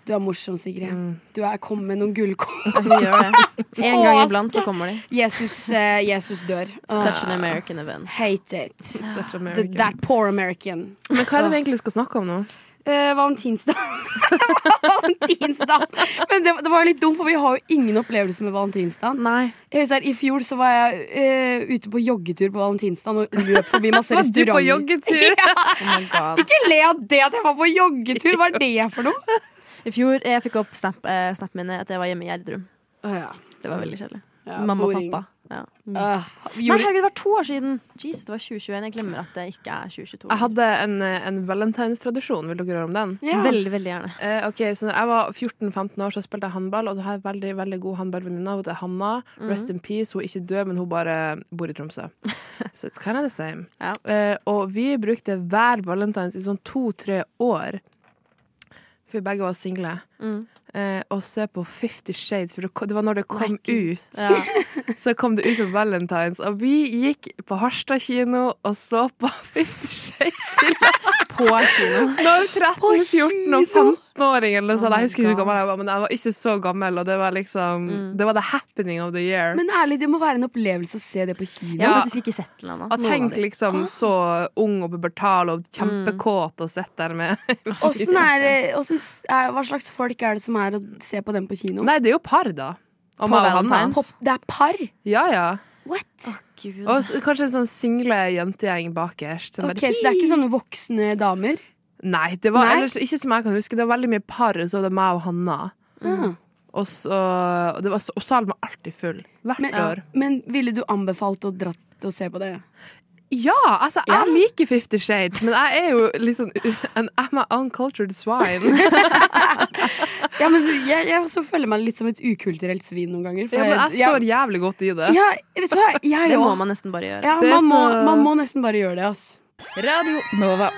[SPEAKER 5] Du er morsom, Sigrid.
[SPEAKER 7] Mm.
[SPEAKER 5] Du er kommet med noen gullkorn.
[SPEAKER 7] Vi gjør det. En gang iblant så kommer de.
[SPEAKER 5] Jesus, eh, Jesus dør. Ah.
[SPEAKER 7] Such an American event.
[SPEAKER 5] Hate it.
[SPEAKER 6] Such
[SPEAKER 5] The,
[SPEAKER 6] American.
[SPEAKER 5] that poor American.
[SPEAKER 6] Men hva er det vi egentlig skal snakke om nå?
[SPEAKER 5] Eh, valentinsdag. valentinsdag! Men det, det var litt dumt, for vi har jo ingen opplevelse med valentinsdagen.
[SPEAKER 7] Nei.
[SPEAKER 5] Jeg husker I fjor så var jeg eh, ute på joggetur på valentinsdagen og løp forbi masse
[SPEAKER 6] Var du på
[SPEAKER 5] restauranter.
[SPEAKER 6] joggetur?
[SPEAKER 7] Oh my god.
[SPEAKER 5] Ikke le av det at jeg var på joggetur! Hva er det for noe?
[SPEAKER 7] I fjor jeg fikk opp snap, eh, snappen min at jeg var hjemme i Gjerdrum. Det var veldig kjedelig. Mamma og pappa. Mm. Ja.
[SPEAKER 5] Uh,
[SPEAKER 7] Nei, herregud, det var to år siden! Jesus, det var 2021. Jeg glemmer at det ikke er 2022.
[SPEAKER 6] Jeg hadde en, en valentinstradisjon. Vil dere høre om den?
[SPEAKER 5] ja.
[SPEAKER 7] Veldig, veldig gjerne.
[SPEAKER 6] Eh, ok, så når jeg var 14-15 år, så spilte jeg handball, og så har jeg en veldig, veldig god håndballvenninne. Hun heter Hanna.
[SPEAKER 7] Mhm.
[SPEAKER 6] Rest in peace. Hun er ikke død, men hun bare bor i Tromsø. Så it's kind of the same.
[SPEAKER 7] Ja.
[SPEAKER 6] Eh, og vi brukte hver valentines i sånn to-tre år, for vi begge var single,
[SPEAKER 7] Mm.
[SPEAKER 6] eh, og se på Fifty Shades, for det ko- det var når det kom ut.
[SPEAKER 7] Ja.
[SPEAKER 6] Så kom det ut på valentines, og vi gikk på Harstad kino og så på Fifty Shades.
[SPEAKER 7] På kino.
[SPEAKER 6] Når 13, 14 og 15-åringer eller noe sånt.
[SPEAKER 7] Oh my
[SPEAKER 6] Jeg husker ikke hvor
[SPEAKER 7] God.
[SPEAKER 6] gammel jeg var, men jeg var ikke så gammel, og det var liksom
[SPEAKER 7] Mm.
[SPEAKER 6] Det var the happening of the year.
[SPEAKER 5] Men ærlig, det må være en opplevelse å se det på kino.
[SPEAKER 7] Jeg har
[SPEAKER 6] Ja.
[SPEAKER 7] faktisk ikke sett den ennå.
[SPEAKER 6] og tenk liksom så ung og pubertal og kjempekåt og sitt der med
[SPEAKER 5] Åssen er, åssen s- er, hva slags folk er det som er å se på den på kino?
[SPEAKER 6] Nei, det er jo par, da. Og
[SPEAKER 7] På
[SPEAKER 6] meg og Hanna.
[SPEAKER 7] Valentine's.
[SPEAKER 5] Det er par?
[SPEAKER 6] Ja, ja.
[SPEAKER 5] What?
[SPEAKER 7] Gud.
[SPEAKER 6] Og s- kanskje en sånn single jentegjeng bakerst. Den
[SPEAKER 5] Ok,
[SPEAKER 6] bare-
[SPEAKER 5] Så det er ikke sånne voksne damer?
[SPEAKER 6] Nei, det var
[SPEAKER 5] Nei?
[SPEAKER 6] ellers ikke som jeg kan huske. Det var veldig mye par, og så var det meg og Hanna.
[SPEAKER 5] Ah.
[SPEAKER 6] Og, så, og, det var, så- og salen var alltid full. Hvert
[SPEAKER 5] Men,
[SPEAKER 6] år.
[SPEAKER 5] men ville du anbefalt å dratt og se på det?
[SPEAKER 6] Ja, altså, jeg liker Fifty Shades, men jeg er jo litt sånn an, I'm an uncultured swine.
[SPEAKER 5] Ja, men Jeg, jeg også føler meg litt som et ukulturelt svin noen ganger. for
[SPEAKER 6] Ja, men jeg står jævlig godt i det.
[SPEAKER 5] ja, vet du hva? Jeg
[SPEAKER 7] Det må
[SPEAKER 5] òg.
[SPEAKER 7] man nesten bare gjøre.
[SPEAKER 5] Ja,
[SPEAKER 6] Det er
[SPEAKER 5] man, må-
[SPEAKER 6] så-
[SPEAKER 5] man må nesten bare gjøre det, ass.
[SPEAKER 1] Radio Nova.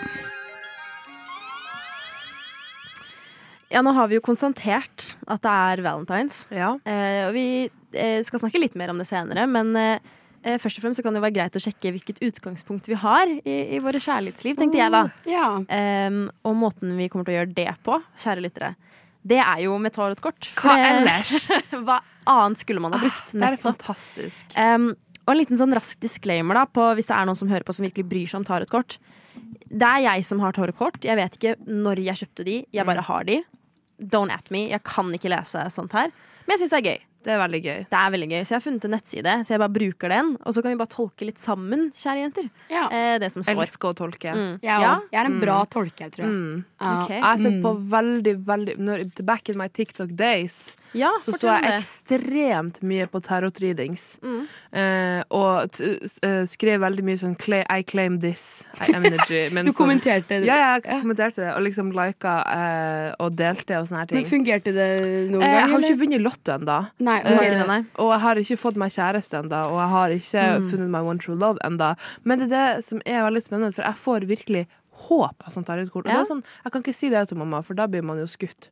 [SPEAKER 7] Ja, nå har vi jo konstatert at det er valentines.
[SPEAKER 6] Ja.
[SPEAKER 7] Eh, og vi eh, skal snakke litt mer om det senere, men eh, eh, først og fremst så kan det være greit å sjekke hvilket utgangspunkt vi har i, i våre kjærlighetsliv, tenkte jeg da.
[SPEAKER 6] Mm.
[SPEAKER 5] Ja.
[SPEAKER 7] Em, og måten vi kommer til å gjøre det på, kjære lyttere, det er jo med tarotkort.
[SPEAKER 6] Hva ellers?
[SPEAKER 7] Hva annet skulle man ha brukt?
[SPEAKER 6] Det er fantastisk.
[SPEAKER 7] Um, og en liten sånn rask disclaimer da, på hvis det er noen som hører på som virkelig bryr seg om tarotkort. Det er jeg som har tarotkort. Jeg vet ikke når jeg kjøpte de.
[SPEAKER 6] Mm.
[SPEAKER 7] Jeg bare har de. Don't at me. Jeg kan ikke lese sånt her. Men jeg syns det er gøy.
[SPEAKER 6] Det er veldig gøy.
[SPEAKER 7] Det er veldig gøy. Så jeg har funnet en nettside, så jeg bare bruker den. Og så kan vi bare tolke litt sammen, kjære jenter,
[SPEAKER 5] ja.
[SPEAKER 7] eh, det som står.
[SPEAKER 6] Elsker å tolke.
[SPEAKER 7] Mm.
[SPEAKER 5] Jeg,
[SPEAKER 7] Ja?
[SPEAKER 5] også. jeg er en bra tolker, tror jeg.
[SPEAKER 6] Mm.
[SPEAKER 5] Ja.
[SPEAKER 7] Ok.
[SPEAKER 6] Jeg har sett på
[SPEAKER 7] Mm.
[SPEAKER 6] veldig, veldig når, Back in my TikTok days
[SPEAKER 7] Ja,
[SPEAKER 6] så så
[SPEAKER 7] fortell om
[SPEAKER 6] jeg
[SPEAKER 7] det.
[SPEAKER 6] ekstremt mye på tarot readings.
[SPEAKER 7] Mm.
[SPEAKER 6] Eh, og t eh, skrev veldig mye sånn cla- I claim this. I energy. men
[SPEAKER 5] Du
[SPEAKER 6] sånn-
[SPEAKER 5] kommenterte det.
[SPEAKER 6] Ja, jeg kommenterte det, og liksom lika eh, og delte og sånne her ting.
[SPEAKER 5] Men fungerte det noen
[SPEAKER 6] Eh, Jeg
[SPEAKER 5] gang?
[SPEAKER 6] har jo ikke
[SPEAKER 5] eller?
[SPEAKER 6] vunnet Lotto ennå.
[SPEAKER 5] Nei,
[SPEAKER 7] Ok,
[SPEAKER 5] ok.
[SPEAKER 7] nei, nei. Mm.
[SPEAKER 6] Og jeg har ikke fått meg kjæreste ennå, og jeg har ikke funnet my one true love enda Men det er det som er veldig spennende, for jeg får virkelig håp av sånt arbeidskort. Og
[SPEAKER 7] Ja.
[SPEAKER 6] det er sånn, jeg kan ikke si det til mamma, for da blir man jo skutt.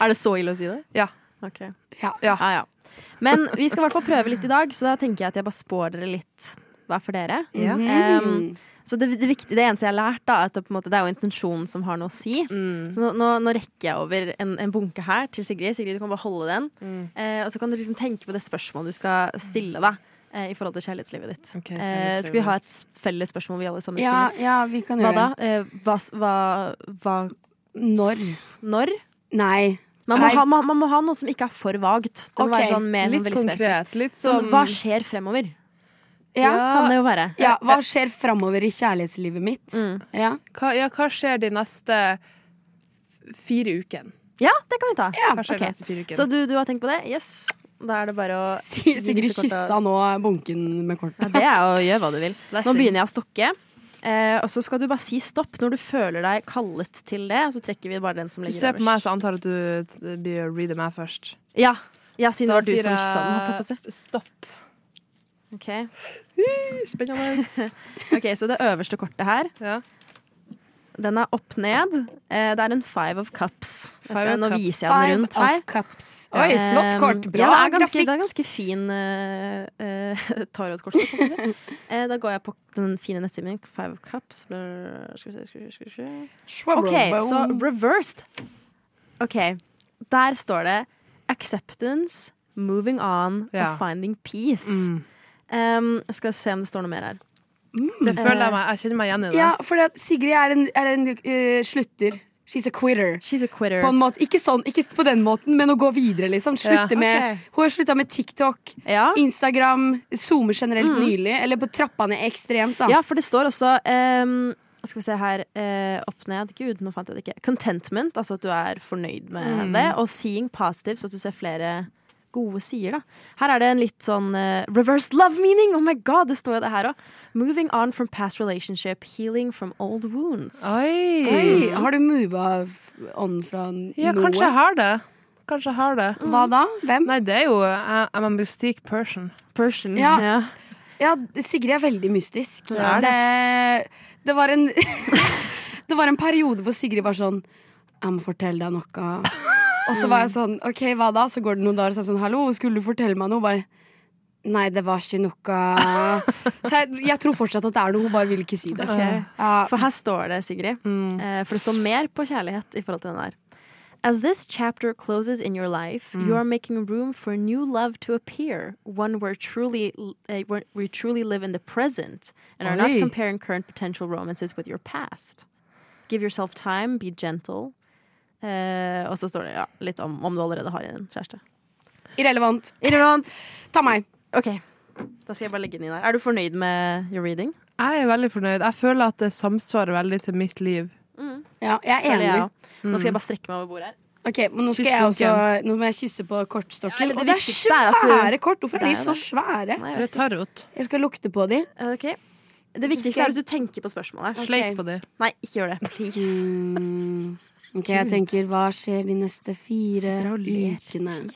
[SPEAKER 7] Er det så ille å si det?
[SPEAKER 6] Ja.
[SPEAKER 7] Ok.
[SPEAKER 5] Ja.
[SPEAKER 6] Ja.
[SPEAKER 7] Ja, ja. Men vi skal i hvert fall prøve litt i dag, så da tenker jeg at jeg bare spår dere litt hver for dere.
[SPEAKER 6] Ja.
[SPEAKER 5] Mm.
[SPEAKER 7] Em, så det, det, viktige, det eneste jeg har lært, da, er at det, på en måte, det er jo intensjonen som har noe å si.
[SPEAKER 5] Mm.
[SPEAKER 7] Så nå, nå, nå rekker jeg over en, en bunke her til Sigrid. Sigrid, du kan bare holde den.
[SPEAKER 5] Mm.
[SPEAKER 7] Eh, og så kan du liksom tenke på det spørsmålet du skal stille deg eh, i forhold til kjærlighetslivet ditt.
[SPEAKER 6] Ok,
[SPEAKER 7] eh,
[SPEAKER 6] kjærlighetslivet.
[SPEAKER 7] skal vi ha et s- felles spørsmål vi alle sammen
[SPEAKER 5] ja,
[SPEAKER 7] stiller?
[SPEAKER 5] ja, vi kan
[SPEAKER 7] Hva
[SPEAKER 5] gjøre
[SPEAKER 7] da?
[SPEAKER 5] det.
[SPEAKER 7] Eh, hva, s- hva, hva
[SPEAKER 5] Når?
[SPEAKER 7] Når?
[SPEAKER 5] Nei.
[SPEAKER 7] Man må,
[SPEAKER 5] Nei.
[SPEAKER 7] ha, man, man må ha noe som ikke er for vagt. Det må
[SPEAKER 5] Ok,
[SPEAKER 7] være sånn mer sånn
[SPEAKER 6] Litt
[SPEAKER 7] veldig spesifikt.
[SPEAKER 6] konkret. Litt
[SPEAKER 7] Sånn,
[SPEAKER 6] sånn
[SPEAKER 7] hva skjer fremover?
[SPEAKER 5] Ja.
[SPEAKER 7] Kan det jo være.
[SPEAKER 5] ja. Hva skjer framover i kjærlighetslivet mitt?
[SPEAKER 6] Mm.
[SPEAKER 5] Ja.
[SPEAKER 6] hva, ja, hva skjer de neste fire ukene?
[SPEAKER 7] Ja, det kan vi ta.
[SPEAKER 5] Ja,
[SPEAKER 6] Hva skjer
[SPEAKER 7] ok.
[SPEAKER 6] de neste fire ukene?
[SPEAKER 7] Så du, du har tenkt på det? Yes. Da er det bare å
[SPEAKER 5] Si- Sigrid
[SPEAKER 7] Disse korta-
[SPEAKER 5] kyssa nå bunken med kort.
[SPEAKER 7] ja, Det er å gjøre hva du vil. Nå
[SPEAKER 6] Blessing.
[SPEAKER 7] begynner jeg å stokke. Eh, og så skal du bare si stopp når du føler deg kallet til det. Så trekker vi bare den som
[SPEAKER 6] Du
[SPEAKER 7] ligger
[SPEAKER 6] ser på meg, så antar jeg at du eh, blir å reade meg først.
[SPEAKER 7] Ja. ja, siden det
[SPEAKER 6] Da
[SPEAKER 7] var du
[SPEAKER 6] sier
[SPEAKER 7] som kyssa den. holdt jeg på å si.
[SPEAKER 6] jeg stopp.
[SPEAKER 7] Ok.
[SPEAKER 6] Spennende.
[SPEAKER 7] ok, så det øverste kortet her,
[SPEAKER 6] Ja.
[SPEAKER 7] den er opp ned. Eh, det er en five of cups. Jeg
[SPEAKER 6] Five
[SPEAKER 7] skal,
[SPEAKER 6] of
[SPEAKER 7] nå
[SPEAKER 6] cups.
[SPEAKER 7] viser jeg den rundt her.
[SPEAKER 5] of cups. Oi, flott
[SPEAKER 7] Eh,
[SPEAKER 5] kort. Bra
[SPEAKER 7] ja, det er ganske,
[SPEAKER 5] grafikk.
[SPEAKER 7] Det er ganske fin uh, tarotkort. skal jeg si. Eh, da går jeg på den fine nettsiden min, Five of Cups. Blør, Skal vi se, skal vi se, skal vi se. OK, så reversed. OK. Der står det 'Acceptance, moving on
[SPEAKER 6] Ja.
[SPEAKER 7] and finding peace'.
[SPEAKER 6] Mm.
[SPEAKER 7] Um, jeg skal se om det står noe mer her.
[SPEAKER 6] Det føler jeg meg Jeg kjenner meg igjen i det.
[SPEAKER 5] Eh, Ja, for at Sigrid er en, er en eh, slutter. She's a quitter.
[SPEAKER 7] She's a quitter.
[SPEAKER 5] På en måte, ikke, sånn, ikke på den måten, men å gå videre, liksom.
[SPEAKER 6] Ja.
[SPEAKER 5] Slutte med,
[SPEAKER 7] Ok.
[SPEAKER 5] hun har slutta med TikTok,
[SPEAKER 7] Ja.
[SPEAKER 5] Instagram, zoomer generelt nylig. Eller på trappa ned ekstremt, da.
[SPEAKER 7] Ja, for det står også ehm, Skal vi se her eh, Opp ned, gud, nå fant jeg det ikke Contentment, altså at du er fornøyd med det Og seeing positive, så at du ser flere gode sider da Her er det en litt sånn eh, Reversed love meaning, oh my god, det står jo det her også Moving on from past relationship Healing from old wounds
[SPEAKER 6] Oi.
[SPEAKER 5] Oi, Mm. har du mova on fra
[SPEAKER 6] Ja,
[SPEAKER 5] noe?
[SPEAKER 6] kanskje jeg har det. Kanskje jeg har det.
[SPEAKER 5] Hva da? Hvem?
[SPEAKER 6] Nei, det er jo uh, I'm a mystique person.
[SPEAKER 7] Person
[SPEAKER 5] Ja. Ja, Sigrid er veldig mystisk.
[SPEAKER 7] Ja.
[SPEAKER 5] Det, det var en Det var en periode hvor Sigrid var sånn Jeg må fortelle deg noe. Og så var jeg sånn OK, hva da? Så går det noen dager og så er jeg sånn Hallo, skulle du fortelle meg noe? Bare Nei, det var ikke noe. Så jeg, jeg tror fortsatt at det er noe, hun bare vil ikke si det.
[SPEAKER 7] Ok.
[SPEAKER 5] Ja. Mm.
[SPEAKER 7] For her står det, Sigrid. Eh, For det står mer på kjærlighet i forhold til den der. As this chapter closes in your life,
[SPEAKER 5] Mm.
[SPEAKER 7] you are making room for new love to appear, one where truly eh, where we truly live in the present and are not
[SPEAKER 6] Oi.
[SPEAKER 7] comparing current potential romances with your past. Give yourself time, be gentle. Eh, og så står det ja, litt om om du allerede har en kjæreste.
[SPEAKER 5] Irrelevant. Irrelevant. Ta meg.
[SPEAKER 7] Ok, Da skal jeg bare legge den inn her. Er du fornøyd med your reading?
[SPEAKER 6] Jeg er veldig fornøyd. Jeg føler at det samsvarer veldig til mitt liv.
[SPEAKER 5] Ja, jeg er
[SPEAKER 7] Føler jeg
[SPEAKER 5] enig. Mm.
[SPEAKER 7] også. Nå skal jeg bare strekke meg over bordet her.
[SPEAKER 5] Ok, men Nå skal
[SPEAKER 6] Kyss
[SPEAKER 5] jeg også
[SPEAKER 6] bunken.
[SPEAKER 5] Nå må jeg kysse på kortstokken.
[SPEAKER 7] Ja, det
[SPEAKER 5] og det er
[SPEAKER 7] viktigste er at du-
[SPEAKER 5] svære kort! Hvorfor
[SPEAKER 7] Det
[SPEAKER 5] er de
[SPEAKER 7] er
[SPEAKER 5] så
[SPEAKER 7] det.
[SPEAKER 5] svære?
[SPEAKER 7] Nei,
[SPEAKER 6] For det er tarot.
[SPEAKER 5] Jeg skal lukte på de.
[SPEAKER 7] Ok Det viktigste
[SPEAKER 5] skal-
[SPEAKER 7] er at du tenker på spørsmålet.
[SPEAKER 6] Sleik på det.
[SPEAKER 7] Nei, ikke gjør det. Please.
[SPEAKER 5] Mm. Ok, jeg tenker, hva skjer de neste fire
[SPEAKER 7] Sitter og ler.
[SPEAKER 5] ukene?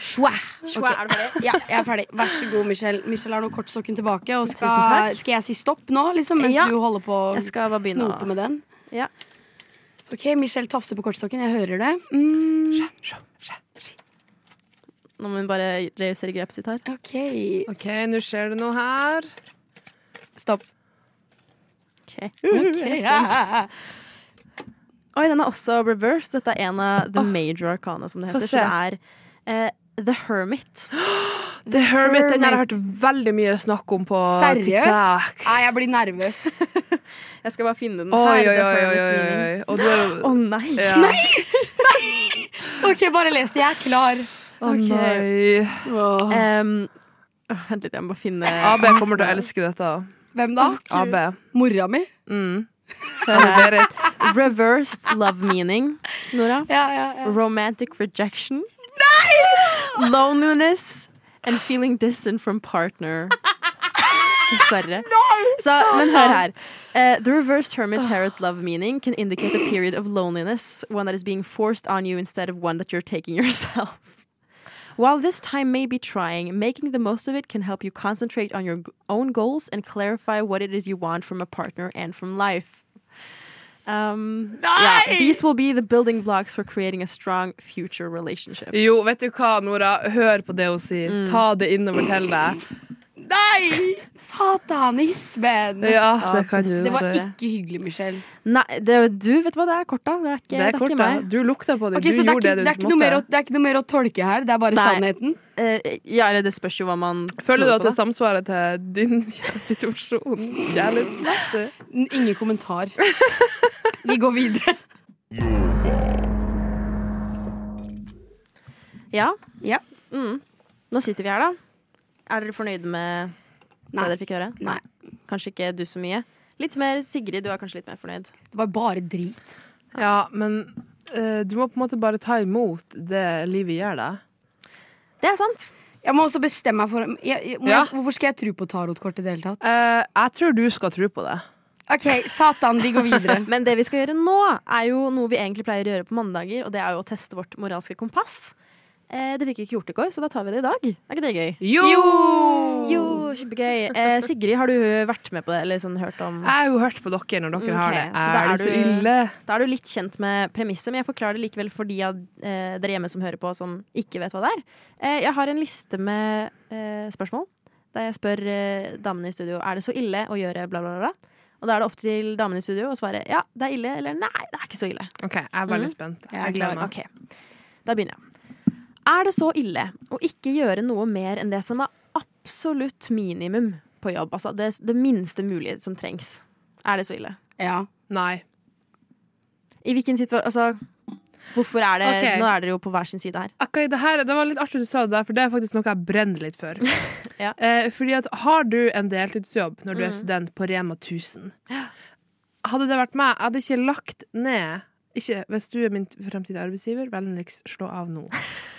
[SPEAKER 5] Sjua!
[SPEAKER 7] Sjua, er du ferdig?
[SPEAKER 5] Ja, jeg er ferdig. Vær så god, Michelle. Michelle har nå kortstokken tilbake. Og
[SPEAKER 7] Tusen
[SPEAKER 5] skal,
[SPEAKER 7] takk.
[SPEAKER 5] skal jeg si stopp nå, liksom, mens
[SPEAKER 7] Ja.
[SPEAKER 5] du holder på å
[SPEAKER 7] Jeg skal bare begynne
[SPEAKER 5] knote med den?
[SPEAKER 7] Ja.
[SPEAKER 5] Ok, Michelle tafser på kortstokken. Jeg hører det. Mm.
[SPEAKER 7] Nå må hun bare reusere grepet sitt her.
[SPEAKER 5] Ok.
[SPEAKER 6] OK, nå skjer det noe her.
[SPEAKER 5] Stopp.
[SPEAKER 7] Ok.
[SPEAKER 5] Ok, ja.
[SPEAKER 7] Oi, den er også reverse. Dette er en av the major arcana, som det
[SPEAKER 6] Få
[SPEAKER 7] heter.
[SPEAKER 6] se.
[SPEAKER 7] Så det er eh, The Hermit.
[SPEAKER 6] The Hermit, den har jeg
[SPEAKER 5] Hermit.
[SPEAKER 6] hørt veldig mye snakk om på
[SPEAKER 5] Seriøst?
[SPEAKER 6] TikTok.
[SPEAKER 5] Nei, jeg blir nervøs.
[SPEAKER 7] Jeg skal bare finne den
[SPEAKER 6] Oi,
[SPEAKER 7] her.
[SPEAKER 6] oi,
[SPEAKER 7] The
[SPEAKER 6] oi, oi,
[SPEAKER 7] Hermit
[SPEAKER 6] oi,
[SPEAKER 7] meaning.
[SPEAKER 6] oi. Og du er jo
[SPEAKER 7] Å nei!
[SPEAKER 6] ja. Nei!
[SPEAKER 5] Ok, bare les det. Jeg er klar.
[SPEAKER 6] Å
[SPEAKER 7] Ok.
[SPEAKER 6] nei.
[SPEAKER 7] Em, åh, vent litt, jeg må bare finne
[SPEAKER 6] AB kommer til å elske dette.
[SPEAKER 5] Hvem da?
[SPEAKER 6] AB.
[SPEAKER 5] Mora mi?
[SPEAKER 6] Mm. Anne Berit.
[SPEAKER 7] Reversed love meaning, Nora.
[SPEAKER 5] Ja, ja, ja.
[SPEAKER 7] Romantic rejection. Loneliness and feeling distant from partner. Dessverre. Så, men hør her. Eh, the reversed hermit tarot love meaning can indicate a period of loneliness, one that is being forced on you instead of one that you're taking yourself. While this time may be trying, making the most of it can help you concentrate on your g- own goals and clarify what it is you want from a partner and from life. Um, yeah, these will be the building blocks for creating a strong future relationship.
[SPEAKER 6] Jo, vet du hva, Nora? Hør på det hun sier. Ta det innover til deg.
[SPEAKER 5] Nei! Satan, hispen!
[SPEAKER 6] Ja, det kan du
[SPEAKER 5] Det var
[SPEAKER 6] si.
[SPEAKER 5] ikke hyggelig, Michelle.
[SPEAKER 7] Nei, det, du, vet du hva, det er korta. Det er ikke,
[SPEAKER 6] Det er kort,
[SPEAKER 7] ikke
[SPEAKER 6] da.
[SPEAKER 7] meg.
[SPEAKER 6] Du lukta på det.
[SPEAKER 5] Ok,
[SPEAKER 6] du
[SPEAKER 5] så det er,
[SPEAKER 6] gjorde
[SPEAKER 5] ikke,
[SPEAKER 6] det du
[SPEAKER 5] det, er ikke noe mer å,
[SPEAKER 6] måtte.
[SPEAKER 5] det er ikke noe mer å tolke her, det er bare
[SPEAKER 7] Nei.
[SPEAKER 5] sannheten?
[SPEAKER 7] Eh, ja, eller det spørs jo hva man
[SPEAKER 6] Føler du
[SPEAKER 7] tror
[SPEAKER 6] at
[SPEAKER 7] på,
[SPEAKER 6] det samsvarer til din kjæ- situasjon? Kjærlighetsmessig?
[SPEAKER 5] N- Ingen kommentar. Vi går videre.
[SPEAKER 7] da. Ja.
[SPEAKER 5] Ja.
[SPEAKER 7] Mm. Nå sitter vi her, da. Er dere fornøyde med
[SPEAKER 5] Nei.
[SPEAKER 7] det dere fikk høre?
[SPEAKER 5] Nei.
[SPEAKER 7] Kanskje ikke du så mye. Litt mer Sigrid, du er kanskje litt mer fornøyd.
[SPEAKER 5] Det var bare drit.
[SPEAKER 6] Ja, men eh, du må på en måte bare ta imot det livet gjør deg.
[SPEAKER 7] Det er sant.
[SPEAKER 5] Jeg må også bestemme meg for jeg, jeg, må,
[SPEAKER 6] Ja.
[SPEAKER 5] Hvorfor skal jeg tro på tarotkort i det hele tatt?
[SPEAKER 6] Eh, jeg tror du skal tro på det.
[SPEAKER 5] OK, satan, vi går videre.
[SPEAKER 7] Men det vi skal gjøre nå, er jo noe vi egentlig pleier å gjøre på mandager, og det er jo å teste vårt moralske kompass. Eh, det fikk vi ikke gjort i går, så da tar vi det i dag. Er ikke det gøy?
[SPEAKER 6] Jo!
[SPEAKER 7] Jo, kjempegøy. Eh, Sigrid, har du vært med på det, eller sånn hørt om
[SPEAKER 6] Jeg har jo hørt på dere når dere
[SPEAKER 7] Mm,
[SPEAKER 6] har
[SPEAKER 7] ok,
[SPEAKER 6] det.
[SPEAKER 7] så
[SPEAKER 6] Er,
[SPEAKER 7] da er
[SPEAKER 6] det så
[SPEAKER 7] du-
[SPEAKER 6] ille?
[SPEAKER 7] Da er du litt kjent med premisset, men jeg forklarer det likevel for de av eh, dere hjemme som hører på, som ikke vet hva det er. Eh, jeg har en liste med eh, spørsmål der jeg spør eh, damene i studio er det så ille å gjøre bla, bla, bla. Og da er det opp til damene i studio å svare ja, det er ille, eller nei, det er ikke så ille.
[SPEAKER 6] OK, jeg er veldig spent.
[SPEAKER 5] Jeg er
[SPEAKER 6] Mm. Jeg gleder
[SPEAKER 5] klar.
[SPEAKER 6] meg.
[SPEAKER 7] Ok, da begynner jeg. Er det så ille å ikke gjøre noe mer enn det som er absolutt minimum på jobb? Altså det, det minste mulige som trengs. Er det så ille?
[SPEAKER 5] Ja.
[SPEAKER 6] Nei.
[SPEAKER 7] I hvilken situasjon Altså, hvorfor er det
[SPEAKER 6] Ok.
[SPEAKER 7] Nå er dere jo på hver sin side her.
[SPEAKER 6] Akkurat det, her, det var litt artig du sa det der, for det er faktisk noe jeg brenner litt for.
[SPEAKER 7] Ja.
[SPEAKER 6] eh, fordi at har du en deltidsjobb når du er student på Rema 1000 Hadde det vært meg, jeg hadde ikke lagt ned ikke, Hvis du er min fremtidige arbeidsgiver, vennligst slå av nå.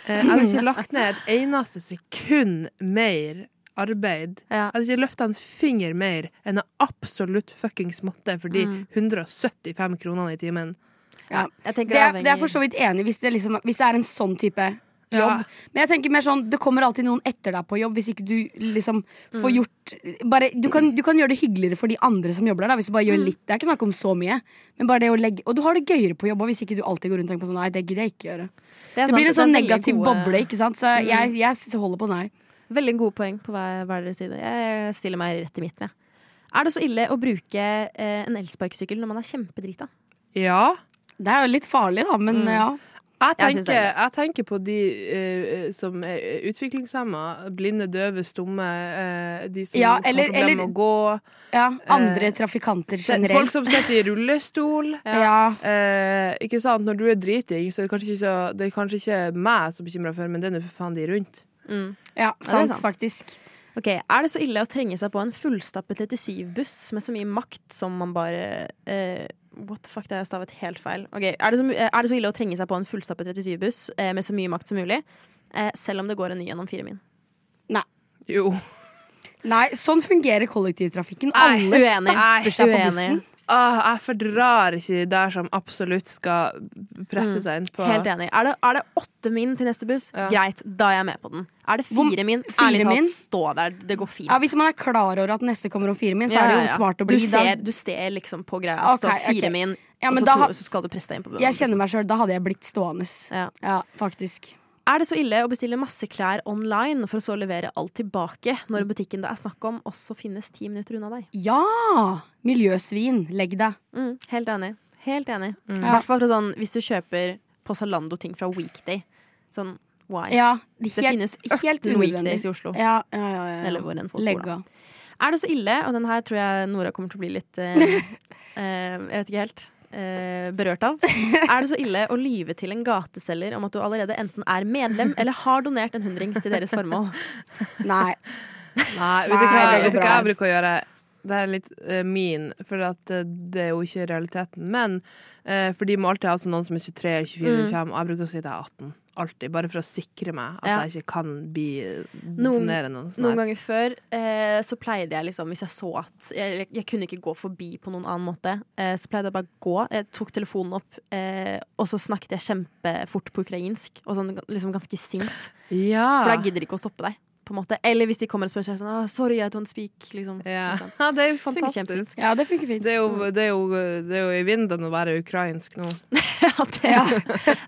[SPEAKER 6] Eh, jeg hadde ikke lagt ned et eneste sekund mer arbeid.
[SPEAKER 7] Ja.
[SPEAKER 6] Jeg hadde ikke løfta en finger mer enn jeg absolutt fuckings måtte for de 175 kronene i timen.
[SPEAKER 5] Ja.
[SPEAKER 7] Jeg tenker
[SPEAKER 5] Det er, det er
[SPEAKER 7] avhenger-
[SPEAKER 5] for så vidt enig hvis det, liksom, hvis det er en sånn type
[SPEAKER 6] Ja.
[SPEAKER 5] jobb. Men jeg tenker mer sånn, det kommer alltid noen etter deg på jobb hvis ikke du liksom får gjort bare, du, kan, du kan gjøre det hyggeligere for de andre som jobber der, da, hvis du bare gjør litt. Det er ikke snakk om så mye. Men bare det å legge, og du har det gøyere på jobb også, hvis ikke du alltid går rundt og tenker på sånn Nei, det gidder jeg ikke gjøre. Det
[SPEAKER 7] er sant,
[SPEAKER 5] blir en sånn
[SPEAKER 7] er veldig
[SPEAKER 5] negativ
[SPEAKER 7] gode- Mm.
[SPEAKER 5] boble, ikke sant. Så jeg, jeg holder på nei.
[SPEAKER 7] Veldig gode poeng på hver, hver deres side. Jeg stiller meg rett i midten, jeg. Er det så ille å bruke eh, en elsparkesykkel når man er kjempedrita?
[SPEAKER 6] ja.
[SPEAKER 5] Det er jo litt farlig, da,
[SPEAKER 7] Mm.
[SPEAKER 5] men ja.
[SPEAKER 6] Jeg
[SPEAKER 7] Jeg synes
[SPEAKER 6] tenker,
[SPEAKER 7] det er
[SPEAKER 6] jeg, tenker på de eh, som er utviklingshemma. Blinde, døve, stumme. eh, de som
[SPEAKER 5] Ja, eller-
[SPEAKER 6] har problemer
[SPEAKER 5] eller-
[SPEAKER 6] med å gå.
[SPEAKER 5] ja. Andre
[SPEAKER 6] Eh,
[SPEAKER 5] trafikanter
[SPEAKER 6] Se- Folk
[SPEAKER 5] generelt.
[SPEAKER 6] som sitter i rullestol.
[SPEAKER 5] Ja.
[SPEAKER 6] Eh, ikke sant? Når du er driting, så er det kanskje ikke, så, det er kanskje ikke meg som bekymrer for, men det er nå for faen de rundt.
[SPEAKER 5] ja,
[SPEAKER 7] er
[SPEAKER 5] sant,
[SPEAKER 7] sant.
[SPEAKER 5] faktisk.
[SPEAKER 7] Ok, Er det så ille å trenge seg på en fullstappet 37-buss med så mye makt som man bare eh, What the fuck, det har jeg stavet helt feil. Ok, Er det så, mu- eh, er det så ille å trenge seg på en fullstappet 37-buss eh, med så mye makt som mulig, eh, selv om det går en ny gjennom fire min?
[SPEAKER 6] Jo.
[SPEAKER 5] Nei, sånn fungerer kollektivtrafikken.
[SPEAKER 6] Nei,
[SPEAKER 5] Alle
[SPEAKER 7] uenig. Nei,
[SPEAKER 5] stapper seg på
[SPEAKER 7] uenig.
[SPEAKER 5] bussen.
[SPEAKER 6] Ah, jeg fordrar ikke de der som absolutt skal presse seg inn på
[SPEAKER 7] Helt enig. Er det, er det åtte min til neste buss,
[SPEAKER 6] Ja.
[SPEAKER 7] greit, da er jeg med på den. Er det
[SPEAKER 5] Hvor-
[SPEAKER 7] fire min,
[SPEAKER 5] fire
[SPEAKER 7] ærlig
[SPEAKER 5] min?
[SPEAKER 7] talt, stå der, det går fint.
[SPEAKER 5] Ja, Hvis man er klar over at neste kommer om fire min, så er det jo
[SPEAKER 7] Ja, ja, ja.
[SPEAKER 5] smart å bli
[SPEAKER 7] Du
[SPEAKER 5] da-
[SPEAKER 7] ser, du ser liksom på greia at det
[SPEAKER 5] Ok,
[SPEAKER 7] står fire
[SPEAKER 5] ok.
[SPEAKER 7] min,
[SPEAKER 5] Ja,
[SPEAKER 7] og
[SPEAKER 5] men
[SPEAKER 7] så,
[SPEAKER 5] da
[SPEAKER 7] tror,
[SPEAKER 5] ha-
[SPEAKER 7] så skal du presse deg inn på den.
[SPEAKER 5] Jeg kjenner meg sjøl. Da hadde jeg blitt stående.
[SPEAKER 7] Ja.
[SPEAKER 5] Ja, faktisk.
[SPEAKER 7] Er det så ille å bestille masse klær online for å så levere alt tilbake
[SPEAKER 5] Mm.
[SPEAKER 7] når butikken det er snakk om, også finnes ti minutter unna deg?
[SPEAKER 5] Ja! Miljøsvin. Legg deg.
[SPEAKER 7] Mm, helt enig. Helt enig. I
[SPEAKER 5] Ja.
[SPEAKER 7] hvert fall fra sånn, hvis du kjøper på Zalando ting fra Weekday. Sånn why?
[SPEAKER 5] Ja, det
[SPEAKER 7] det
[SPEAKER 5] helt,
[SPEAKER 7] finnes
[SPEAKER 5] helt
[SPEAKER 7] 18
[SPEAKER 5] unødvendig.
[SPEAKER 7] Weekdays i Oslo.
[SPEAKER 5] Ja, ja, ja, ja, ja.
[SPEAKER 7] Eller hvor enn folk bor,
[SPEAKER 5] Legg
[SPEAKER 7] da.
[SPEAKER 5] av.
[SPEAKER 7] Er det så ille, og den her tror jeg Nora kommer til å bli litt eh, eh, Jeg vet ikke helt. eh, berørt av. Er det så ille å lyve til en gateselger om at du allerede enten er medlem eller har donert en hundrings til deres formål?
[SPEAKER 5] Nei.
[SPEAKER 6] Nei, vet du hva,
[SPEAKER 5] Nei, det er
[SPEAKER 6] vet du hva
[SPEAKER 5] bra.
[SPEAKER 6] jeg bruker å gjøre? Det er litt eh, min, for at, eh, det er jo altså
[SPEAKER 7] Mm.
[SPEAKER 6] ikke realiteten. Men eh, for de må alltid ha sånn noen som er 23, 24, 25. Jeg bruker å si det er 18. alltid, bare for å sikre meg at
[SPEAKER 7] Ja.
[SPEAKER 6] jeg ikke kan bli eh,
[SPEAKER 7] Noen-
[SPEAKER 6] dominerende. og sånn
[SPEAKER 7] Noen
[SPEAKER 6] her.
[SPEAKER 7] ganger før eh, så pleide jeg liksom, hvis jeg så at jeg, jeg kunne ikke gå forbi på noen annen måte, eh, så pleide jeg bare å gå. Jeg tok telefonen opp, eh, og så snakket jeg kjempefort på ukrainsk, og sånn liksom ganske sint.
[SPEAKER 6] ja.
[SPEAKER 7] For da gidder de ikke å stoppe deg, på en måte. Eller hvis de kommer og spør seg sånn «Ah, 'Sorry, I don't speak', liksom.
[SPEAKER 6] Ja.
[SPEAKER 7] Ikke sant? Mm.
[SPEAKER 6] ja, det er jo
[SPEAKER 7] Funker
[SPEAKER 6] fantastisk.
[SPEAKER 5] Ja, det funker fint.
[SPEAKER 6] Det er, jo, det, er jo, det er jo i vinden å være ukrainsk nå.
[SPEAKER 7] Ja, det,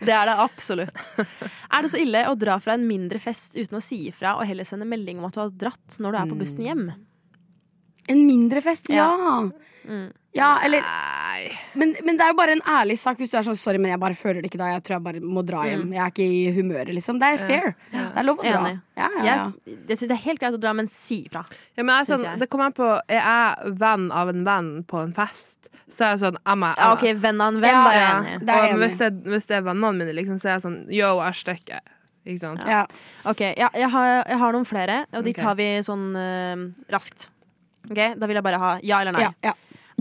[SPEAKER 7] det er det absolutt. Er det så ille å dra fra en mindre fest uten å si ifra, og heller sende melding om at du har dratt, når du er på bussen hjem?
[SPEAKER 5] En mindre fest, ja.
[SPEAKER 7] Mm.
[SPEAKER 5] Ja, eller men, men det er jo bare en ærlig sak hvis du er sånn 'sorry, men jeg bare føler det ikke da', jeg tror jeg bare må dra hjem. Jeg er ikke i humøret, liksom. Det er fair. Det er lov å dra.
[SPEAKER 7] Enig.
[SPEAKER 5] Ja, ja, ja.
[SPEAKER 7] Jeg, jeg synes det er helt greit å dra, men si ifra.
[SPEAKER 6] Ja, men jeg er
[SPEAKER 7] Synes
[SPEAKER 6] sånn,
[SPEAKER 7] jeg.
[SPEAKER 6] det kommer an på Er jeg venn av en venn på en fest, så er jeg sånn jeg må- jeg
[SPEAKER 7] Ja,
[SPEAKER 6] må-
[SPEAKER 7] OK, venn av en venn,
[SPEAKER 5] Ja,
[SPEAKER 7] da er jeg
[SPEAKER 6] Ja,
[SPEAKER 7] enig.
[SPEAKER 5] Det er jeg
[SPEAKER 6] og
[SPEAKER 5] enig i.
[SPEAKER 6] hvis, det, hvis det er vennene mine, liksom, så er jeg sånn Yo, jeg stikker. Ikke sant?
[SPEAKER 5] Ja.
[SPEAKER 7] Ok, ja, jeg, har, jeg har noen flere, og de
[SPEAKER 6] Ok.
[SPEAKER 7] tar vi sånn eh, raskt. Ok, Da vil jeg bare ha ja eller nei.
[SPEAKER 5] Ja, ja.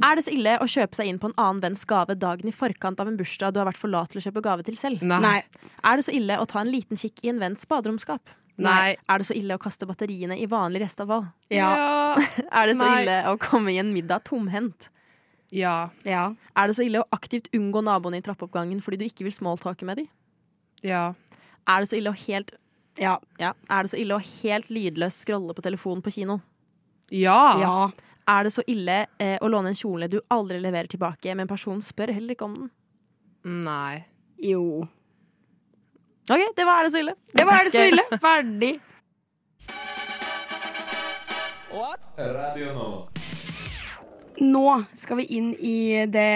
[SPEAKER 7] Er det så ille å kjøpe seg inn på en annen venns gave dagen i forkant av en bursdag du har vært for lat til å kjøpe gave til selv?
[SPEAKER 6] Nei.
[SPEAKER 5] Nei.
[SPEAKER 7] Er det så ille å ta en liten kikk i en venns baderomsskap?
[SPEAKER 6] Nei.
[SPEAKER 7] Er det så ille å kaste batteriene i vanlig restavfall?
[SPEAKER 5] Ja.
[SPEAKER 7] Er det så
[SPEAKER 6] Nei.
[SPEAKER 7] ille å komme i en middag tomhendt?
[SPEAKER 6] Ja.
[SPEAKER 5] ja.
[SPEAKER 7] Er det så ille å aktivt unngå naboene i trappeoppgangen fordi du ikke vil smalltalke med dem?
[SPEAKER 6] Ja.
[SPEAKER 7] Er det så ille å helt,
[SPEAKER 5] Ja.
[SPEAKER 7] ja, er det så ille å helt lydløst scrolle på telefonen på kino?
[SPEAKER 6] Ja. ja.
[SPEAKER 5] ja.
[SPEAKER 7] Er det så ille eh, å låne en kjole du aldri leverer tilbake, men personen spør heller ikke om den?
[SPEAKER 6] Nei.
[SPEAKER 5] Jo.
[SPEAKER 7] Ok, det var er det så ille.
[SPEAKER 5] Det var er det så
[SPEAKER 7] Ok.
[SPEAKER 5] ille. Ferdig.
[SPEAKER 2] Radio nå.
[SPEAKER 5] Nå skal vi inn i det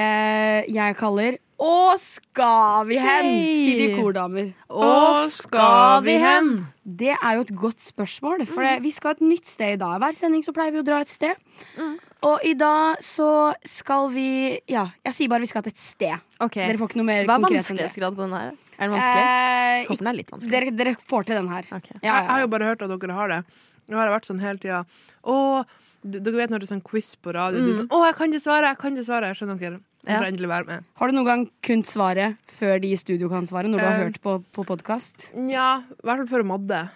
[SPEAKER 5] jeg kaller Å, skal vi hen?
[SPEAKER 7] Hei!
[SPEAKER 5] Sier de kordamer.
[SPEAKER 7] Å, skal Mm. vi hen?
[SPEAKER 5] Det er jo et godt spørsmål, for det, vi skal et nytt sted i dag. Hver sending så pleier vi å dra et sted.
[SPEAKER 7] Mm.
[SPEAKER 5] Og i dag så skal vi Ja, jeg sier bare vi skal til et sted.
[SPEAKER 7] Ok,
[SPEAKER 5] Dere får ikke noe mer
[SPEAKER 7] Hva er
[SPEAKER 5] konkret enn det.
[SPEAKER 7] vanskelighetsgrad på den her? Er den vanskelig? Jeg
[SPEAKER 5] Eh,
[SPEAKER 7] Håper den er litt
[SPEAKER 5] ikke-
[SPEAKER 7] vanskelig.
[SPEAKER 5] dere, dere får til den her.
[SPEAKER 7] Ok.
[SPEAKER 5] Ja,
[SPEAKER 6] Jeg, jeg har
[SPEAKER 5] ja,
[SPEAKER 6] jo bare hørt at dere har det. Nå har jeg vært sånn hele tida. Å, d- dere vet når det er sånn quiz på radio. Du er sånn, å, jeg kan ikke svare! Jeg kan ikke svare! Skjønner dere? Jeg får
[SPEAKER 7] Mm. Ja.
[SPEAKER 6] endelig være med.
[SPEAKER 5] Har du noen gang kunnet svaret før de i studio kan svare, når du har
[SPEAKER 6] Eh.
[SPEAKER 5] hørt på, på podkast?
[SPEAKER 6] Nja, i hvert fall for Madde.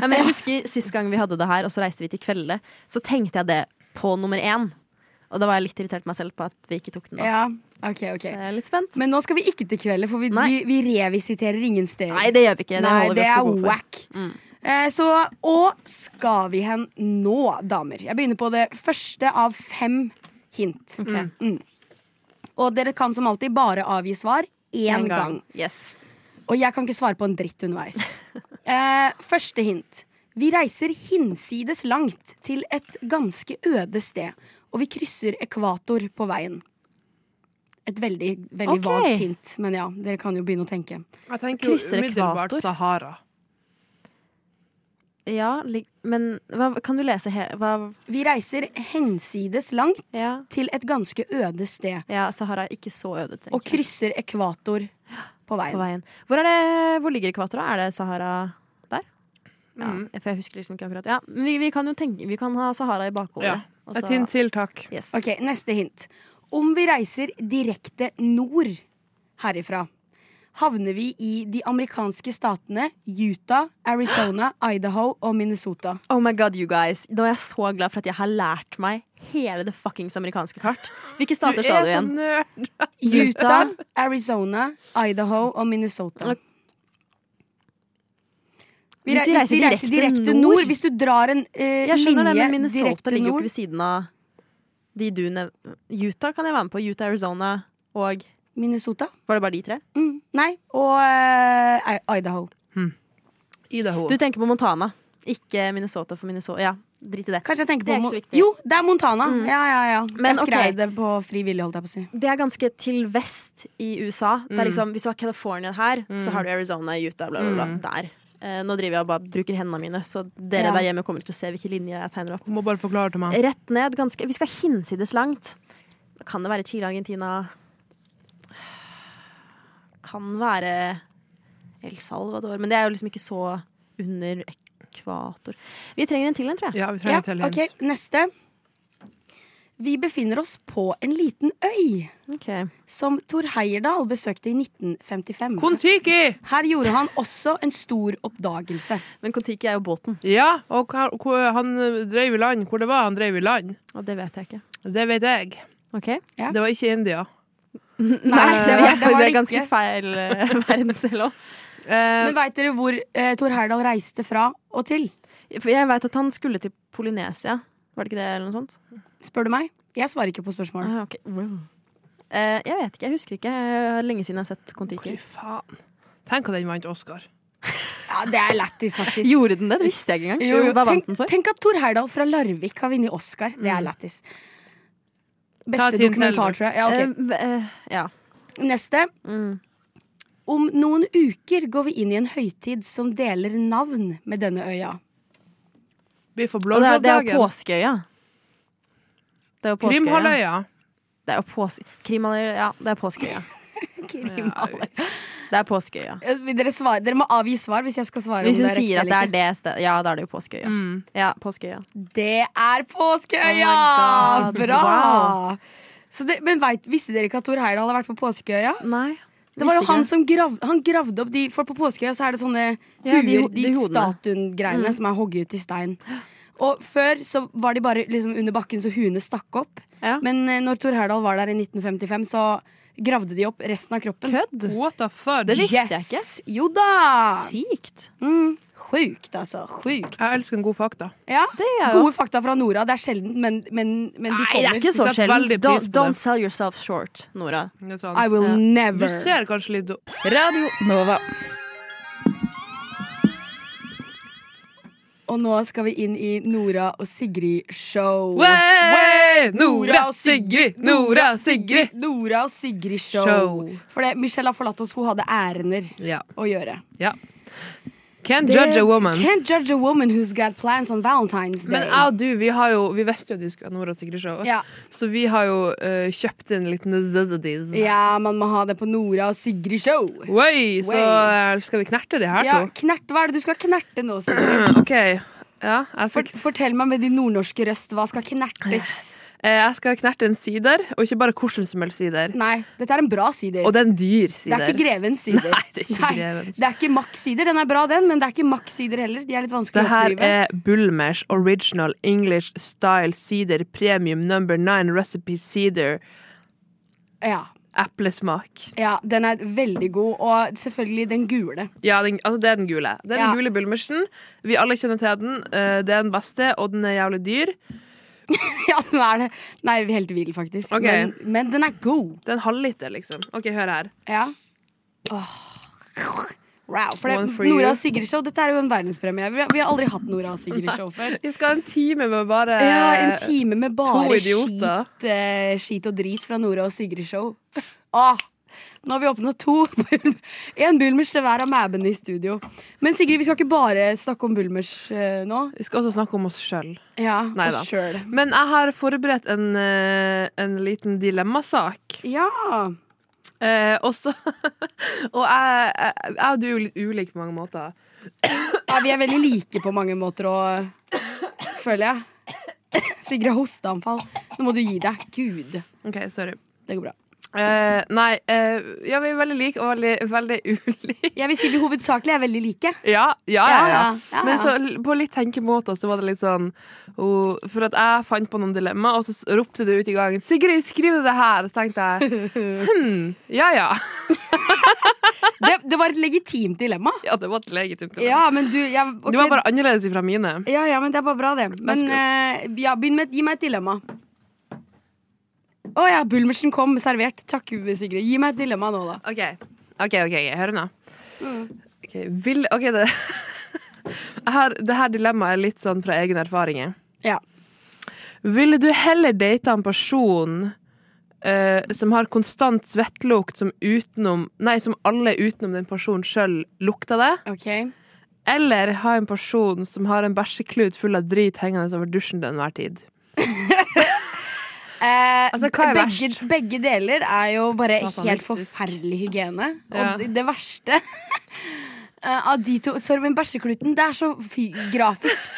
[SPEAKER 7] Ja, men jeg husker sist gang vi hadde det her, og så reiste vi til Kvelde, så tenkte jeg det på nummer én. Og da var jeg litt irritert på meg selv på at vi ikke tok den opp.
[SPEAKER 5] Ja. OK, OK.
[SPEAKER 7] Så jeg er litt spent.
[SPEAKER 5] Men nå skal vi ikke til kvelden, for vi, vi,
[SPEAKER 7] Nei.
[SPEAKER 5] vi revisiterer ingen steder.
[SPEAKER 7] Nei, det gjør vi ikke. Det
[SPEAKER 5] Nei,
[SPEAKER 7] holder
[SPEAKER 5] det
[SPEAKER 7] vi oss
[SPEAKER 5] er
[SPEAKER 7] for Mm. gode for.
[SPEAKER 5] whack. Eh, Så og skal vi hen nå, damer? Jeg begynner på det første av fem hint.
[SPEAKER 7] Ok.
[SPEAKER 5] Mm. Og dere kan som alltid bare avgi svar én gang.
[SPEAKER 7] Yes.
[SPEAKER 5] Og jeg kan ikke svare på en dritt underveis. eh, første hint. Vi reiser hinsides langt til et ganske øde sted, og vi krysser ekvator på veien. Et veldig, veldig
[SPEAKER 7] Ok.
[SPEAKER 5] vagt hint, men ja, dere kan jo begynne å tenke.
[SPEAKER 6] Jeg tenker jo
[SPEAKER 7] Krysser
[SPEAKER 6] umiddelbart
[SPEAKER 7] ekvator.
[SPEAKER 6] Sahara.
[SPEAKER 7] Ja, lik- men hva, kan du lese he... Hva,
[SPEAKER 5] Vi reiser hensides langt
[SPEAKER 7] Ja.
[SPEAKER 5] til et ganske øde sted,
[SPEAKER 7] ja, Sahara er ikke så øde, tenker
[SPEAKER 5] og krysser ekvator på veien.
[SPEAKER 7] på veien. Hvor, er det, hvor ligger ekvator, da? Er det Sahara der? Ja, For jeg husker liksom ikke akkurat. Ja, men vi, vi kan jo tenke Vi kan ha Sahara i bakhodet.
[SPEAKER 6] Ja.
[SPEAKER 7] og så-
[SPEAKER 6] Et hint til, takk.
[SPEAKER 7] Yes.
[SPEAKER 5] Ok, neste hint. Om vi reiser direkte nord herifra, havner vi i de amerikanske statene Utah, Arizona, Idaho og Minnesota.
[SPEAKER 7] Oh my god, you guys. Da er jeg så glad for at jeg har lært meg hele det fuckings amerikanske kart. Hvilke stater sa du igjen?
[SPEAKER 6] nerd!
[SPEAKER 5] Utah, Arizona, Idaho og Minnesota. Vi,
[SPEAKER 7] Hvis
[SPEAKER 5] rei-
[SPEAKER 7] vi
[SPEAKER 5] hvis vi
[SPEAKER 7] reiser
[SPEAKER 5] reiser
[SPEAKER 7] direkte
[SPEAKER 5] direkte
[SPEAKER 7] nord-
[SPEAKER 5] nord, hvis du drar en eh,
[SPEAKER 7] Jeg skjønner det, men
[SPEAKER 5] linje
[SPEAKER 7] Minnesota
[SPEAKER 5] direkte
[SPEAKER 7] ligger jo
[SPEAKER 5] nord
[SPEAKER 7] ikke ved siden av de du nev... Utah kan jeg være med på. Utah, Arizona og
[SPEAKER 5] Minnesota?
[SPEAKER 7] Var det bare de tre?
[SPEAKER 5] Mm, nei. Og eh, I- Idaho.
[SPEAKER 6] Idaho.
[SPEAKER 7] Du tenker på Montana, ikke Minnesota for Minnesota. Ja, drit i det.
[SPEAKER 5] Kanskje jeg tenker
[SPEAKER 7] Det er
[SPEAKER 5] på
[SPEAKER 7] ikke
[SPEAKER 5] Mo-
[SPEAKER 7] så viktig. Mm.
[SPEAKER 5] Jo, det er Montana. Ja, ja, ja.
[SPEAKER 7] Men,
[SPEAKER 5] jeg skrev
[SPEAKER 7] ok.
[SPEAKER 5] det på frivillig, holdt jeg på å si.
[SPEAKER 7] Det er ganske til vest i USA. Det er liksom, hvis du har California her, så har du Arizona, Utah, bla, bla, bla. Der. Eh, nå driver jeg og bare bruker hendene mine, så dere
[SPEAKER 5] Ja.
[SPEAKER 7] der hjemme kommer ikke til å se hvilke linjer jeg tegner opp.
[SPEAKER 6] Må bare forklare til meg.
[SPEAKER 7] Rett ned, ganske Vi skal hinsides langt. Kan det være Chile, Argentina Kan være El Salvador. Men det er jo liksom ikke så under ekvator. Vi trenger en til en, tror jeg.
[SPEAKER 6] Ja, vi trenger et til hint.
[SPEAKER 5] ok, Neste. Vi befinner oss på en liten øy
[SPEAKER 7] Ok.
[SPEAKER 5] som Thor Heyerdahl besøkte i 1955.
[SPEAKER 6] Kon-Tiki!
[SPEAKER 5] Her gjorde han også en stor oppdagelse.
[SPEAKER 7] Men Kon-Tiki er jo båten,
[SPEAKER 6] Ja, og hva- hvor- han eh, drev i land. Hvor det var han drev i land?
[SPEAKER 7] og det vet jeg ikke.
[SPEAKER 6] Det vet jeg.
[SPEAKER 7] Ok? eh,
[SPEAKER 5] Ja.
[SPEAKER 6] Det var ikke India.
[SPEAKER 5] Nei, det var det, var det
[SPEAKER 7] ganske
[SPEAKER 5] ikke.
[SPEAKER 7] feil eh, verdensdel òg.
[SPEAKER 6] Eh,
[SPEAKER 5] Men veit dere hvor eh, Thor Heyerdahl reiste fra og til?
[SPEAKER 7] For jeg veit at han skulle til Polynesia. Var det ikke det, eller noe sånt?
[SPEAKER 5] Spør du meg? Jeg svarer ikke på spørsmål.
[SPEAKER 7] Ah, ok. wow. Eh, jeg vet ikke, jeg husker ikke. Det er Lenge siden jeg har sett Kon-Tiki.
[SPEAKER 6] Fy faen. Tenk at den vant Oscar.
[SPEAKER 5] Ja, Det er lættis, faktisk.
[SPEAKER 7] Gjorde den det? Det visste jeg ikke engang.
[SPEAKER 5] Jo, jo.
[SPEAKER 7] Hva vant
[SPEAKER 5] Tenk,
[SPEAKER 7] den for? Mm.
[SPEAKER 5] tenk at Thor Heyerdahl fra Larvik har vunnet Oscar. Det er lættis. Beste
[SPEAKER 6] til den
[SPEAKER 5] dokumentar,
[SPEAKER 6] selv.
[SPEAKER 5] tror jeg. Ja, ok.
[SPEAKER 7] Eh, b- eh, ja.
[SPEAKER 5] Neste.
[SPEAKER 7] Mm.
[SPEAKER 5] Om noen uker går vi inn i en høytid som deler navn med denne øya.
[SPEAKER 6] Vi får
[SPEAKER 7] Og det er, det er jo
[SPEAKER 6] blowjob-dagen.
[SPEAKER 7] påskeøya. Det er jo påskeøya.
[SPEAKER 6] Krimhalvøya.
[SPEAKER 7] Det er jo påske... Krimhalvøya. Ja, det er påskeøya.
[SPEAKER 5] Kriminal.
[SPEAKER 7] Det er påskeøya.
[SPEAKER 5] Eh, Vil dere, svare? dere må avgi svar hvis jeg skal svare.
[SPEAKER 7] Hvis
[SPEAKER 5] om
[SPEAKER 7] hun
[SPEAKER 5] det er
[SPEAKER 7] sier
[SPEAKER 5] riktig
[SPEAKER 7] at det
[SPEAKER 5] eller
[SPEAKER 7] er det stedet Ja, da er det jo påskeøya.
[SPEAKER 6] Mm.
[SPEAKER 7] Ja, påskeøya.
[SPEAKER 5] ikke. Det er Påskeøya!
[SPEAKER 7] Oh my God,
[SPEAKER 5] Bra!
[SPEAKER 7] wow.
[SPEAKER 5] Så det, men vet, Visste dere ikke at Thor Heyerdahl har vært på Påskeøya?
[SPEAKER 7] Nei.
[SPEAKER 5] Det var jo
[SPEAKER 7] visste
[SPEAKER 5] han
[SPEAKER 7] ikke.
[SPEAKER 5] som grav, han gravde opp de For på Påskeøya så er det sånne
[SPEAKER 7] Ja, de
[SPEAKER 5] huer,
[SPEAKER 7] ho-
[SPEAKER 5] de,
[SPEAKER 7] de hodene. Mm.
[SPEAKER 5] statuengreiene som er hogget ut i stein. Og før så var de bare liksom under bakken så huene stakk opp.
[SPEAKER 7] Ja.
[SPEAKER 5] Men eh, når Thor Heyerdahl var der i 1955, så gravde de opp resten av kroppen.
[SPEAKER 7] Kødd?
[SPEAKER 6] What the fuck?
[SPEAKER 7] Det visste jeg
[SPEAKER 5] yes.
[SPEAKER 7] ikke.
[SPEAKER 5] Jo da!
[SPEAKER 7] Sykt.
[SPEAKER 5] Mm. Sjukt, altså. Sjukt.
[SPEAKER 6] Jeg elsker en god fakta.
[SPEAKER 5] Ja.
[SPEAKER 7] Det er jo
[SPEAKER 5] Gode fakta fra Nora. Det er sjeldent, men, men, men de
[SPEAKER 7] Nei, det er
[SPEAKER 5] kommer.
[SPEAKER 7] ikke så
[SPEAKER 6] Vi setter
[SPEAKER 7] sjeldent.
[SPEAKER 6] veldig pris
[SPEAKER 7] Don't,
[SPEAKER 6] på det.
[SPEAKER 7] don't sell yourself short, Nora.
[SPEAKER 6] Det er sånn.
[SPEAKER 5] I will
[SPEAKER 7] Ja.
[SPEAKER 5] never.
[SPEAKER 6] Du ser kanskje litt do-
[SPEAKER 1] Radio Nova.
[SPEAKER 5] Og nå skal vi inn i Nora og Sigrid-show.
[SPEAKER 6] Wey! Nora og Sigrid! Nora og Sigrid!
[SPEAKER 5] Nora og Sigrid show.
[SPEAKER 6] Show.
[SPEAKER 5] For det, Michelle har forlatt oss, hun hadde ærender
[SPEAKER 6] Ja.
[SPEAKER 5] å gjøre.
[SPEAKER 6] Can't judge a woman.
[SPEAKER 5] Can't judge a woman who's got plans on Valentine's Day.
[SPEAKER 6] Men jeg og du, vi, har jo, vi visste jo at vi skulle ha Nora og Sigrid Show,
[SPEAKER 5] ja.
[SPEAKER 6] så vi har jo eh, kjøpt inn litt necessities.
[SPEAKER 5] ja, man må ha det på Nora og Sigrid show.
[SPEAKER 6] Wey, så
[SPEAKER 5] Wey.
[SPEAKER 6] eh, skal vi knerte de her
[SPEAKER 5] Ja,
[SPEAKER 6] to?
[SPEAKER 5] knert, hva er det du skal knerte nå, Sigrid?
[SPEAKER 6] OK. Ja, jeg skal,
[SPEAKER 5] For, fortell meg med din nordnorske røst, hva skal knertes?
[SPEAKER 6] eh, jeg skal knerte en sider, og ikke bare hvordan som helst sider.
[SPEAKER 5] Nei, dette er en bra sider.
[SPEAKER 6] Og det er en dyr
[SPEAKER 5] Det
[SPEAKER 6] sider.
[SPEAKER 5] er ikke grevens sider.
[SPEAKER 6] Nei, det er ikke grevens.
[SPEAKER 5] det er ikke Max sider. Den er bra, den, men det er ikke Max sider heller. De er litt vanskelig
[SPEAKER 6] Det
[SPEAKER 5] å
[SPEAKER 6] her
[SPEAKER 5] oppdrive.
[SPEAKER 6] er Bulmers Original English Style Cider Premium Number 9 Recipe Cider
[SPEAKER 5] Ja,
[SPEAKER 6] Eplesmak.
[SPEAKER 5] ja, den er veldig god. Og selvfølgelig den gule.
[SPEAKER 6] Ja, den, altså det er den gule. Det er den
[SPEAKER 5] Ja.
[SPEAKER 6] gule Bulmersen. Vi alle kjenner til den. Eh, Det er den beste, og den er jævlig dyr.
[SPEAKER 5] Ja, den er det. Nei, vi er helt vill, faktisk.
[SPEAKER 6] Ok.
[SPEAKER 5] Men, men den er god.
[SPEAKER 6] Det er en halvliter, liksom. OK, hør her.
[SPEAKER 5] Ja. Åh. Wow, for det,
[SPEAKER 6] One for you.
[SPEAKER 5] Nora og Sigrid Show, dette er jo en verdenspremie. Vi har, vi har aldri hatt Nora og Sigrid Show før.
[SPEAKER 6] Vi skal ha en time med bare
[SPEAKER 5] Ja, en time med
[SPEAKER 6] Eh, to
[SPEAKER 5] bare skit,
[SPEAKER 6] idioter.
[SPEAKER 5] eh, skit og drit fra Nora og Sigrid Show. Ah, nå har vi åpna to. Bulm- En Bulmers til hver av mæbene i studio. Men Sigrid, vi skal ikke bare snakke om Bulmers eh, nå.
[SPEAKER 6] Vi skal også snakke om oss sjøl.
[SPEAKER 5] Ja,
[SPEAKER 6] Neida.
[SPEAKER 5] oss sjøl.
[SPEAKER 6] Men jeg har forberedt en, eh, en liten dilemmasak.
[SPEAKER 5] Ja.
[SPEAKER 6] Eh, også Og jeg, jeg, jeg og du er jo litt ulike på mange måter.
[SPEAKER 5] ja, vi er veldig like på mange måter òg, føler jeg. Sigrid har hosteanfall. Nå må du gi deg. Gud.
[SPEAKER 6] OK, sorry.
[SPEAKER 5] Det går bra.
[SPEAKER 6] Eh, nei, eh, ja, vi er veldig like og veldig, veldig ulike.
[SPEAKER 5] Jeg vil si vi hovedsakelig er veldig like.
[SPEAKER 6] Ja, ja, ja. ja,
[SPEAKER 5] Ja, ja, ja.
[SPEAKER 6] Men så, l- på litt tenkemåter så var det litt sånn oh, For at jeg fant på noen dilemma, og så s- ropte du ut i gangen 'Sigrid, skriv det her!' Og så tenkte jeg hm, ja ja.
[SPEAKER 5] Det, det var et legitimt dilemma.
[SPEAKER 6] Ja, det var et legitimt dilemma.
[SPEAKER 5] Ja, men du ja, ok.
[SPEAKER 6] Det var bare annerledes ifra mine.
[SPEAKER 5] ja, ja, men det er bare bra, det. Men eh, ja, begynn med, gi meg et dilemma. Å ja, Bulmersen kom servert. Takk, Sigrid. Gi meg et dilemma nå, da.
[SPEAKER 6] OK, ok, ok, ok, hør nå.
[SPEAKER 5] Mm.
[SPEAKER 6] Ok, vil, ok, det Jeg har- det her dilemmaet er litt sånn fra egne erfaringer.
[SPEAKER 5] Ja.
[SPEAKER 6] Ville du heller date en person eh, som har konstant svettlukt som utenom Nei, som alle utenom den personen sjøl lukter det?
[SPEAKER 5] Ok
[SPEAKER 6] Eller ha en person som har en bæsjeklut full av drit hengende over dusjen til enhver tid?
[SPEAKER 5] Eh,
[SPEAKER 6] Altså, hva er
[SPEAKER 5] begge,
[SPEAKER 6] verst?
[SPEAKER 5] begge deler er jo bare helt
[SPEAKER 6] Satanistisk.
[SPEAKER 5] forferdelig hygiene.
[SPEAKER 6] Ja.
[SPEAKER 5] Og det, det verste eh, av de to Sorry, men bæsjekluten, det er så fy, grafisk.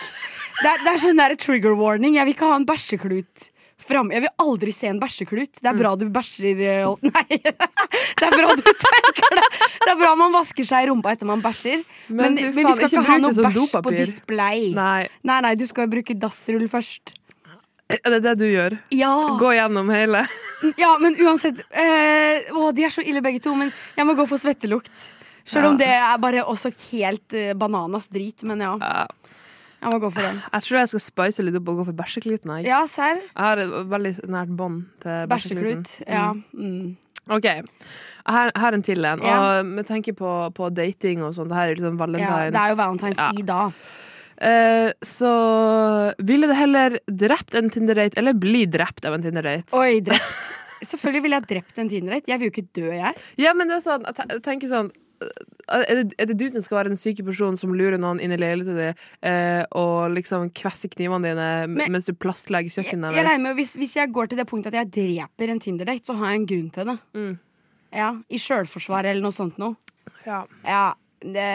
[SPEAKER 5] Det er, det er sånn der trigger warning. Jeg vil ikke ha en bæsjeklut fram. Jeg vil aldri se en bæsjeklut. Det er bra du bæsjer eh, og- Nei! Det er bra du tørker det. Det er bra man vasker seg i rumpa etter man bæsjer. Men,
[SPEAKER 6] Men
[SPEAKER 5] men,
[SPEAKER 6] fy
[SPEAKER 5] vi
[SPEAKER 6] faen,
[SPEAKER 5] skal
[SPEAKER 6] ikke
[SPEAKER 5] ikke ha
[SPEAKER 6] bruk det
[SPEAKER 5] noe
[SPEAKER 6] som
[SPEAKER 5] bæsj på
[SPEAKER 6] dopapir.
[SPEAKER 5] display. Nei.
[SPEAKER 6] Nei,
[SPEAKER 5] nei, du skal jo bruke dassrull først.
[SPEAKER 6] det er det du gjør.
[SPEAKER 5] Ja,
[SPEAKER 6] Gå gjennom hele.
[SPEAKER 5] ja men uansett. Eh, å, de er så ille begge to, men jeg må gå for svettelukt. Selv om
[SPEAKER 6] Ja.
[SPEAKER 5] det er bare også helt eh, bananas drit, men ja. Jeg må gå for den.
[SPEAKER 6] Jeg tror jeg skal spice litt opp og gå for bæsjekluten. Jeg.
[SPEAKER 5] Ja, serr.
[SPEAKER 6] jeg har et veldig nært bånd til bæsjekluten.
[SPEAKER 5] Bæsjeklut. Ja. Mm.
[SPEAKER 6] Ok, her, her en til en.
[SPEAKER 5] Ja.
[SPEAKER 6] Og med tanke på, på dating og sånn, det her er liksom
[SPEAKER 5] ja.
[SPEAKER 6] valentines.
[SPEAKER 5] Det er jo valentines
[SPEAKER 6] Ja.
[SPEAKER 5] i dag.
[SPEAKER 6] Eh, så ville du heller drept en Tinder-date, eller bli drept av en Tinder-date?
[SPEAKER 5] Oi, drept. Selvfølgelig ville jeg drept en tinderate. Jeg vil jo ikke dø, jeg.
[SPEAKER 6] Ja, men det er sånn, jeg te- jeg tenker sånn eh, er det, er det du som skal være den syke personen som lurer noen inn i leiligheten din eh, og liksom kvesser knivene dine m-
[SPEAKER 5] Men-
[SPEAKER 6] mens du plastlegger
[SPEAKER 5] Jeg, jeg
[SPEAKER 6] kjøkkenet
[SPEAKER 5] regner med hvis, hvis jeg går til det punktet at jeg dreper en Tinder-date, så har jeg en grunn til det.
[SPEAKER 6] Mm.
[SPEAKER 5] Ja, I sjølforsvar eller noe sånt noe.
[SPEAKER 6] Ja.
[SPEAKER 5] Ja, det,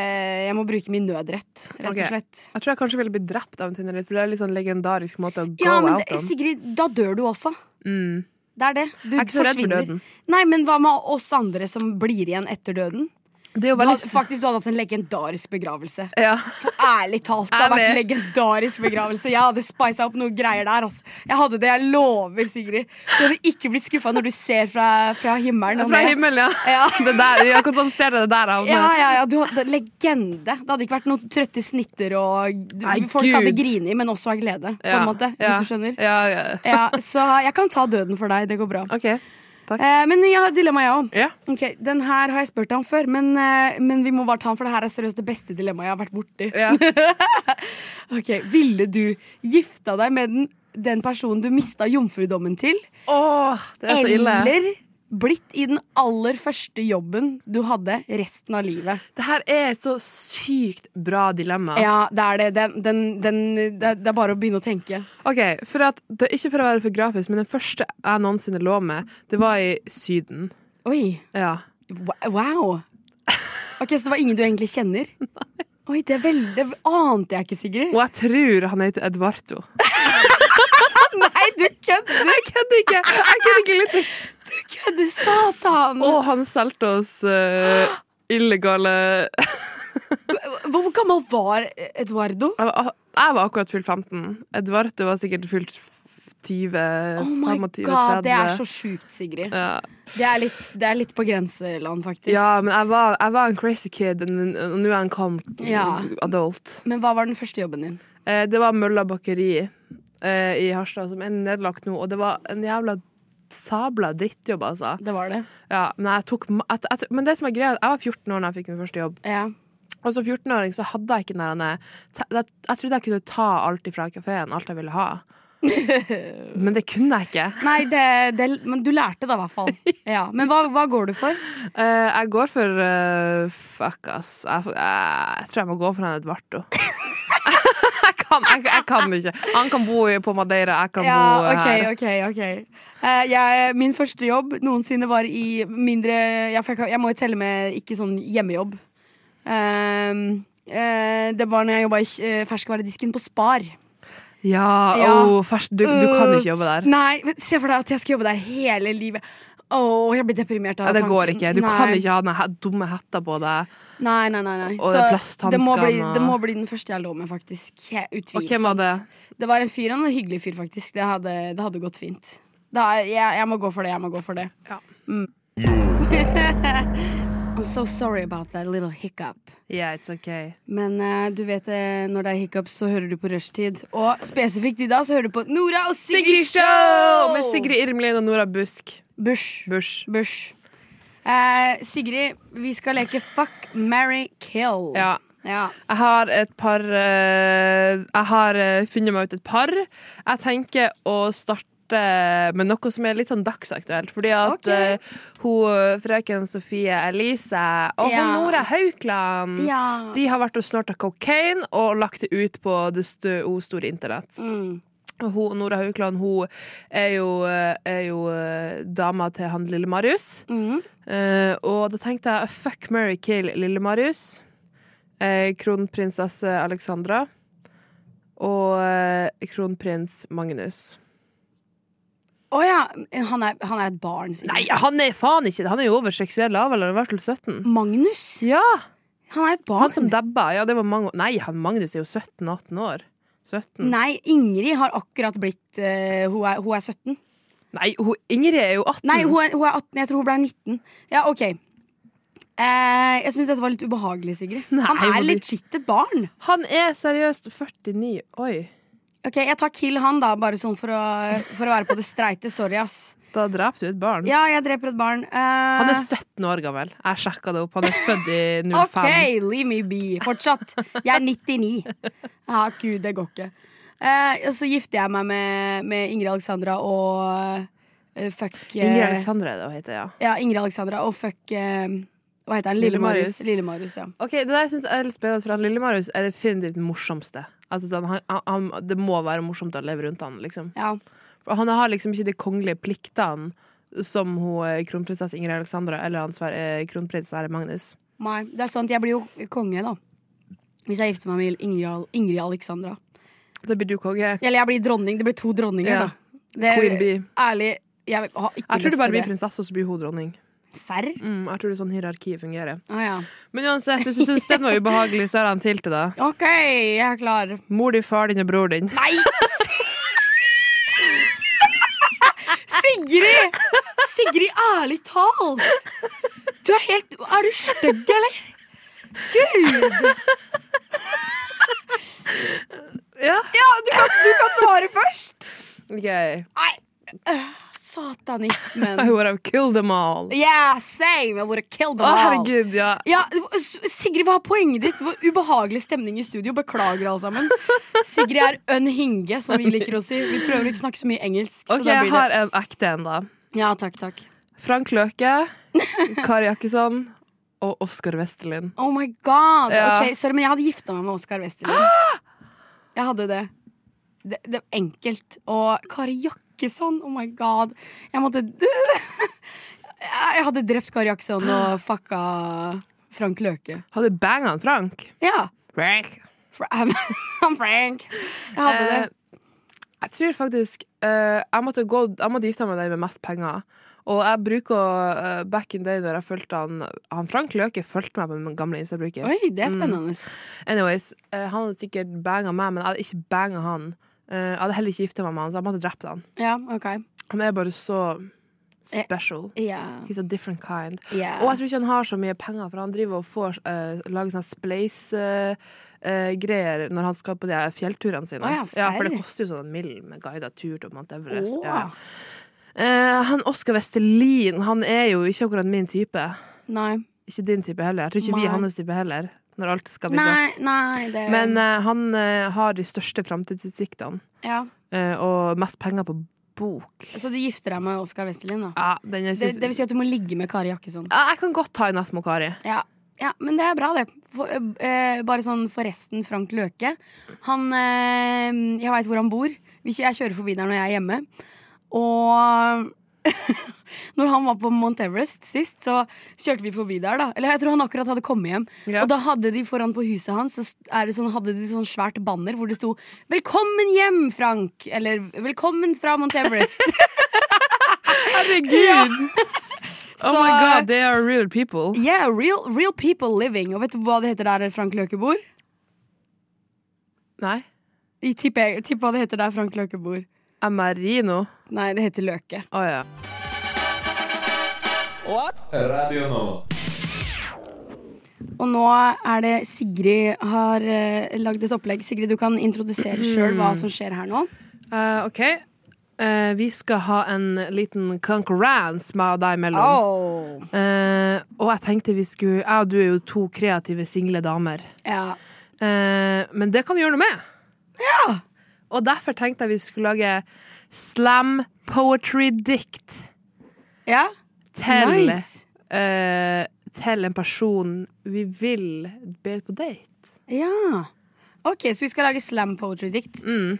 [SPEAKER 5] jeg må bruke min nødrett, rett og
[SPEAKER 6] Ok.
[SPEAKER 5] slett.
[SPEAKER 6] Jeg tror jeg kanskje ville blitt drept av en Tinder-date, for det er litt sånn legendarisk måte å go
[SPEAKER 5] Ja, men
[SPEAKER 6] out
[SPEAKER 5] det,
[SPEAKER 6] on.
[SPEAKER 5] Sigrid, da dør du også.
[SPEAKER 6] Mm.
[SPEAKER 5] Det er det. Du
[SPEAKER 6] Jeg er ikke så redd for
[SPEAKER 5] forsvinner.
[SPEAKER 6] døden.
[SPEAKER 5] Nei, men hva med oss andre som blir igjen etter døden?
[SPEAKER 6] Det er jo
[SPEAKER 5] Du
[SPEAKER 6] veldig
[SPEAKER 5] hadde, faktisk, du hadde hatt en legendarisk begravelse.
[SPEAKER 6] ja.
[SPEAKER 5] For ærlig talt, det hadde vært en
[SPEAKER 6] Ærlig.
[SPEAKER 5] legendarisk begravelse. Jeg hadde spisa opp noen greier der. Altså. Jeg hadde det, jeg lover, Sigrid. Du hadde ikke blitt skuffa når du ser fra, fra himmelen. og
[SPEAKER 6] Fra
[SPEAKER 5] ned.
[SPEAKER 6] himmelen, ja.
[SPEAKER 5] Ja.
[SPEAKER 6] Det der, jeg kan konstatere det der av meg.
[SPEAKER 5] Ja, ja, ja, du hadde legende. Det hadde ikke vært noen trøtte snitter og
[SPEAKER 6] Nei,
[SPEAKER 5] Folk
[SPEAKER 6] Gud.
[SPEAKER 5] hadde grini, men også av glede, på
[SPEAKER 6] Ja,
[SPEAKER 5] en måte.
[SPEAKER 6] ja.
[SPEAKER 5] Hvis du skjønner.
[SPEAKER 6] Ja, ja.
[SPEAKER 5] Ja, så jeg kan ta døden for deg. Det går bra.
[SPEAKER 6] OK.
[SPEAKER 5] Eh, men jeg har et dilemma, jeg òg.
[SPEAKER 6] Ja.
[SPEAKER 5] Ok, Den her har jeg spurt deg om før, men, eh, men vi må bare ta den, for det her er seriøst det beste dilemmaet jeg har vært borti.
[SPEAKER 6] ja.
[SPEAKER 5] Ok, Ville du gifta deg med den, den personen du mista jomfrudommen til,
[SPEAKER 6] Åh, det er så ille.
[SPEAKER 5] eller blitt i den aller første jobben du hadde resten av livet?
[SPEAKER 6] Det her er et så sykt bra dilemma.
[SPEAKER 5] Ja, det er det. Den, den, den, det er- det er bare å begynne å tenke.
[SPEAKER 6] Ok, for at, det er Ikke for å være for grafisk, men den første jeg noensinne lå med, det var i Syden.
[SPEAKER 5] Oi.
[SPEAKER 6] Ja.
[SPEAKER 5] wa- Wow. Ok, Så det var ingen du egentlig kjenner? Oi, det, er veldig, det ante jeg ikke, Sigrid.
[SPEAKER 6] Og jeg tror han heter Edvardo.
[SPEAKER 5] Nei, du kødder!
[SPEAKER 6] Jeg kødder ikke! Jeg kødder ikke litt.
[SPEAKER 5] kødder, Satan!
[SPEAKER 6] Og han solgte oss eh, illegale
[SPEAKER 5] Hvor hvor gammel var Eduardo?
[SPEAKER 6] Jeg var ah, jeg var akkurat fylt 15. Eduardo var sikkert fylt 20,
[SPEAKER 5] Oh my
[SPEAKER 6] 25,
[SPEAKER 5] god,
[SPEAKER 6] 30.
[SPEAKER 5] det er så sjukt, Sigrid.
[SPEAKER 6] ja.
[SPEAKER 5] Det er litt, det er litt på grenseland, faktisk.
[SPEAKER 6] ja, men jeg var, jeg var en crazy kid, men- og nå er jeg en calm
[SPEAKER 5] Ja.
[SPEAKER 6] adult.
[SPEAKER 5] Men hva var den første jobben din?
[SPEAKER 6] Eh, det var Mølla bakeri eh, i Harstad, som er nedlagt nå, og det var en jævla sabla drittjobb, altså.
[SPEAKER 5] Det var det.
[SPEAKER 6] Ja, men, jeg tok, ma- jeg, jeg, men det som er greia, jeg var 14 år da jeg fikk min første jobb,
[SPEAKER 5] Ja.
[SPEAKER 6] og som 14-åring så hadde jeg ikke den der te- jeg, jeg trodde jeg kunne ta alt ifra kafeen, alt jeg ville ha. Men det kunne jeg ikke.
[SPEAKER 5] Nei, det, det, men du lærte da, i hvert fall. Ja. Men hva, hva går du for?
[SPEAKER 6] Eh, jeg går for eh, Fuck, ass. Jeg, jeg, jeg tror jeg må gå for han Edvardo. jeg, kan, jeg, jeg kan ikke. Han kan bo i- på Madeira, jeg kan bo
[SPEAKER 5] Ja, ok,
[SPEAKER 6] her.
[SPEAKER 5] ok, ok Eh, jeg, Min første jobb noensinne var i mindre Jeg, fikk, jeg må jo telle med ikke sånn hjemmejobb Ehm, eh, Det var når jeg jobbet i kj- eh, ferskvaredisken på Spar
[SPEAKER 6] Ja,
[SPEAKER 5] Ja.
[SPEAKER 6] åh, fersk- du, du kan
[SPEAKER 5] Øh,
[SPEAKER 6] ikke jobbe der.
[SPEAKER 5] Nei, men se for deg at jeg skal jobbe der hele livet Åh, jeg blir deprimert av
[SPEAKER 6] Nei, det
[SPEAKER 5] tanken.
[SPEAKER 6] går ikke. Du
[SPEAKER 5] nei.
[SPEAKER 6] kan ikke ha den he- dumme hetta på deg.
[SPEAKER 5] Nei, nei, nei, nei.
[SPEAKER 6] Og det er plasthansker
[SPEAKER 5] det må, bli,
[SPEAKER 6] og-
[SPEAKER 5] det må bli den første jeg lå med faktisk He-
[SPEAKER 6] Og
[SPEAKER 5] Utvilsomt
[SPEAKER 6] hvem var det?
[SPEAKER 5] Det var en fyr, han var en hyggelig fyr faktisk Det hadde, det hadde gått fint da, jeg, jeg må gå for det, jeg må gå for det
[SPEAKER 6] Ja.
[SPEAKER 5] Mm. I'm so sorry about that little hiccup
[SPEAKER 6] Yeah, it's okay.
[SPEAKER 5] Men eh, du vet eh, når det er hiccups så hører du på rushtid Og spesifikt i dag så hører du på Nora og Sigrid Show
[SPEAKER 6] Med Sigrid Irmelin og Nora Busk.
[SPEAKER 5] Bush,
[SPEAKER 6] Bush.
[SPEAKER 5] Bush. Eh, Sigrid, vi skal leke Fuck, Marry, Kill
[SPEAKER 6] Ja.
[SPEAKER 5] Ja.
[SPEAKER 6] Jeg har et par eh, Jeg har eh, funnet meg ut et par. Jeg tenker å starte med noe som er litt sånn dagsaktuelt. Fordi at
[SPEAKER 5] Ok.
[SPEAKER 6] eh, hun frøken Sofie Elise og hun
[SPEAKER 5] Ja.
[SPEAKER 6] Nora Haukland
[SPEAKER 5] Ja.
[SPEAKER 6] Mm. De har vært og snorta kokain og lagt det ut på det stø, o store internett.
[SPEAKER 5] Mm.
[SPEAKER 6] Og Hun, Nora Haukland hun er jo, er jo eh, dama til han lille Marius.
[SPEAKER 5] Mm.
[SPEAKER 6] Eh, og da tenkte jeg fuck Mary Kill lille Marius. eh, kronprinsesse Alexandra. Og eh, kronprins Magnus.
[SPEAKER 5] Å ja. Han er, han er et barn, sikkert.
[SPEAKER 6] Nei, han er faen ikke det! Han er jo over seksuell lavalder, i hvert fall 17.
[SPEAKER 5] Magnus?
[SPEAKER 6] Ja,
[SPEAKER 5] Han er et barn.
[SPEAKER 6] Han som dabba. Ja, det var mange år. Nei, han Magnus er jo 17-18 år. 17. Nei.
[SPEAKER 5] Nei, Ingrid har akkurat blitt eh, hun, er, hun er 17.
[SPEAKER 6] hun, Ingrid er jo 18.
[SPEAKER 5] Nei, hun er, hun er 18. Jeg tror hun ble 19. Ja, OK. Eh, jeg syns dette var litt ubehagelig, Sigrid.
[SPEAKER 6] Nei,
[SPEAKER 5] han
[SPEAKER 6] hvor
[SPEAKER 5] er
[SPEAKER 6] du-
[SPEAKER 5] legit et barn.
[SPEAKER 6] Han er seriøst 49. Oi.
[SPEAKER 5] Ok, Jeg tar kill han, da, bare sånn for å, for å være på det streite. Sorry, ass.
[SPEAKER 6] Da drap du et barn.
[SPEAKER 5] Ja, jeg dreper et barn. Eh,
[SPEAKER 6] Han er 17 år gammel. Jeg sjekka det opp. Han er født i 05.
[SPEAKER 5] OK, leave me be. Fortsatt. Jeg er 99. Ja, gud, det går ikke. Eh, og så gifter jeg meg med, med Ingrid Alexandra og eh, fuck eh,
[SPEAKER 6] Ingrid Alexandra er det hun heter, ja.
[SPEAKER 5] Ja, Ingrid Alexandra og fuck eh, Hva heter han?
[SPEAKER 6] Lille
[SPEAKER 5] Lille Marius.
[SPEAKER 6] Marius.
[SPEAKER 5] Lille Marius, ja.
[SPEAKER 6] Ok, Det der synes jeg er litt spennende, for han Lille-Marius er definitivt den morsomste. Altså, sånn, han, han, det må være morsomt å leve rundt han, liksom.
[SPEAKER 5] ja.
[SPEAKER 6] For han har liksom ikke de kongelige pliktene som hun, eh, kronprinsesse Ingrid Alexandra eller han sver- eh, kronprins Sverre Magnus.
[SPEAKER 5] Nei, det er sant. Jeg blir jo konge, da. Hvis jeg gifter meg med Ingrid, Al- Ingrid Alexandra.
[SPEAKER 6] Da blir du konge.
[SPEAKER 5] Eller jeg blir dronning. Det blir to dronninger,
[SPEAKER 6] Ja.
[SPEAKER 5] da. Det,
[SPEAKER 6] Queen bee.
[SPEAKER 5] Ærlig, jeg har ikke
[SPEAKER 6] Jeg tror
[SPEAKER 5] lyst
[SPEAKER 6] du bare
[SPEAKER 5] til
[SPEAKER 6] blir
[SPEAKER 5] det.
[SPEAKER 6] prinsesse, og så blir hun dronning.
[SPEAKER 5] Serr?
[SPEAKER 6] Mm, jeg tror det er sånn hierarkiet fungerer.
[SPEAKER 5] Å ja.
[SPEAKER 6] Men uansett, hvis du syns den var ubehagelig, så er han til til deg.
[SPEAKER 5] OK, jeg er klar.
[SPEAKER 6] Mor di, far din og bror din.
[SPEAKER 5] Nei! Sigrid! Sigrid, ærlig talt! Du er helt Er du stygg, eller? Gud!
[SPEAKER 6] Ja.
[SPEAKER 5] Ja, du kan, du kan svare først!
[SPEAKER 6] Ok. I
[SPEAKER 5] Satanismen.
[SPEAKER 6] would have killed them all. Å,
[SPEAKER 5] Yeah, same! I would've killed them all.
[SPEAKER 6] herregud, ja.
[SPEAKER 5] Ja, S- Sigrid, hva er poenget ditt? Det var ubehagelig stemning i studio. Beklager, alle sammen. Sigrid er unhinge, som vi liker å si. Vi prøver å ikke snakke så mye engelsk.
[SPEAKER 6] Ok,
[SPEAKER 5] så da
[SPEAKER 6] jeg
[SPEAKER 5] blir det.
[SPEAKER 6] har en ekte en, da.
[SPEAKER 5] Ja, takk, takk.
[SPEAKER 6] Frank Løke, Kari Jakkesson og Oskar Westerlin.
[SPEAKER 5] Oh my god!
[SPEAKER 6] Ja.
[SPEAKER 5] Ok, sorry, men jeg hadde gifta meg med Oskar Westerlin. Jeg hadde det. det. Det var enkelt. Og Kari Jakkesson, oh my god. Jeg måtte Jeg hadde drept Kari Jakkesson og fucka Frank Løke.
[SPEAKER 6] Hadde banga han Frank?
[SPEAKER 5] Ja.
[SPEAKER 6] Frank.
[SPEAKER 5] Fra- I'm Frank. Jeg hadde det.
[SPEAKER 6] Eh, jeg tror faktisk eh, jeg, måtte gå, jeg måtte gifte meg med den med mest penger. Og jeg bruker å eh, Back in day når jeg fulgte han Han Frank Løke fulgte meg på min gamle Insta-bruker.
[SPEAKER 5] Eh, Oi, det er spennende.
[SPEAKER 6] Anyways, eh, Han hadde sikkert banga meg, men jeg hadde ikke banga han. Eh, jeg hadde heller ikke gifta meg med han, så jeg måtte drept han.
[SPEAKER 5] Ja, OK.
[SPEAKER 6] Han er bare så
[SPEAKER 5] Eh.
[SPEAKER 6] special.
[SPEAKER 5] Ja.
[SPEAKER 6] He's a different kind.
[SPEAKER 5] ja.
[SPEAKER 6] Og jeg tror ikke han har så mye penger, for han driver og får eh, lager sånne spleis-greier når han skal på de her fjellturene sine.
[SPEAKER 5] Å ja, serr.
[SPEAKER 6] for det koster jo sånn en mill med guida tur til Mount Everest.
[SPEAKER 5] Å.
[SPEAKER 6] Ja. Eh, han Oskar Vestelin, han er jo ikke akkurat min type.
[SPEAKER 5] Nei.
[SPEAKER 6] Ikke din type heller. Jeg tror ikke vi
[SPEAKER 5] Nei.
[SPEAKER 6] er hans type heller, når alt skal bli
[SPEAKER 5] Nei,
[SPEAKER 6] sagt.
[SPEAKER 5] nei, det
[SPEAKER 6] Men eh, han eh, har de største framtidsutsiktene,
[SPEAKER 5] ja.
[SPEAKER 6] eh, og mest penger på bok.
[SPEAKER 5] Så du gifter deg med Oskar Westerlin, da?
[SPEAKER 6] Ja, den er
[SPEAKER 5] Det,
[SPEAKER 6] ikke-
[SPEAKER 5] det vil si at du må ligge med Kari Jakkesson?
[SPEAKER 6] Ja, Jeg kan godt ta en natt med Kari.
[SPEAKER 5] Ja, ja men det er bra, det. For, eh, bare sånn forresten, Frank Løke. Han eh, Jeg veit hvor han bor. Vi kjø- Jeg kjører forbi der når jeg er hjemme. Og når han var på Mount Everest sist, så kjørte vi forbi der, da. Eller jeg tror han akkurat hadde kommet hjem.
[SPEAKER 6] Ja.
[SPEAKER 5] Og da hadde de foran på huset hans Så er det sånn, hadde de sånn svært banner hvor det sto 'Velkommen hjem, Frank'. Eller 'Velkommen fra Mount Everest'.
[SPEAKER 6] Herregud! Oh my
[SPEAKER 5] Så- eh,
[SPEAKER 6] god, they are real people.
[SPEAKER 5] Yeah, real, real people living. Og vet du hva det heter der Frank Løke bor?
[SPEAKER 6] Nei.
[SPEAKER 5] Jeg tipper, jeg tipper hva det heter der Frank Løke bor.
[SPEAKER 6] Amarino.
[SPEAKER 5] Nei, det heter Løke.
[SPEAKER 6] Å ja.
[SPEAKER 2] Radio nå.
[SPEAKER 5] Og nå er det Sigrid har uh, lagd et opplegg. Sigrid, du kan introdusere sjøl hva som skjer her nå.
[SPEAKER 6] Eh, OK. Eh, vi skal ha en liten konkurranse med deg imellom. Eh, og jeg tenkte vi skulle Jeg og du er jo to kreative single damer.
[SPEAKER 5] Ja.
[SPEAKER 6] Eh, men det kan vi gjøre noe med.
[SPEAKER 5] Ja!
[SPEAKER 6] Og derfor tenkte jeg vi skulle lage slam poetry dikt
[SPEAKER 5] ja.
[SPEAKER 6] til
[SPEAKER 5] Nice.
[SPEAKER 6] eh, Til en person vi vil be på date.
[SPEAKER 5] Ja. OK, så vi skal lage slam poetry-dikt
[SPEAKER 6] Mm.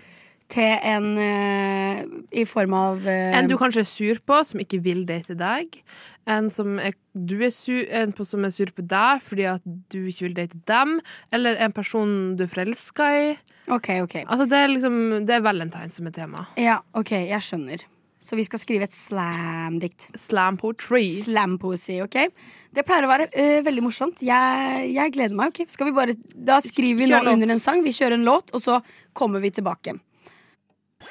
[SPEAKER 5] til en eh, I form av eh,
[SPEAKER 6] En du kanskje er sur på, som ikke vil date deg. En, som er, du er sur, en på, som er sur på deg fordi at du ikke vil date dem. Eller en person du er forelska i.
[SPEAKER 5] OK, OK.
[SPEAKER 6] Altså, det er liksom Det er valentine som er tema.
[SPEAKER 5] Ja, OK, jeg skjønner. Så vi skal skrive et slam-dikt.
[SPEAKER 6] Slam poetry.
[SPEAKER 5] Slam-poesi, OK? Det pleier å være eh, veldig morsomt. Jeg, jeg gleder meg. ok? Skal vi bare, Da skriver vi nå
[SPEAKER 6] Kjør låt.
[SPEAKER 5] under en sang. Vi kjører en låt, og så kommer vi tilbake.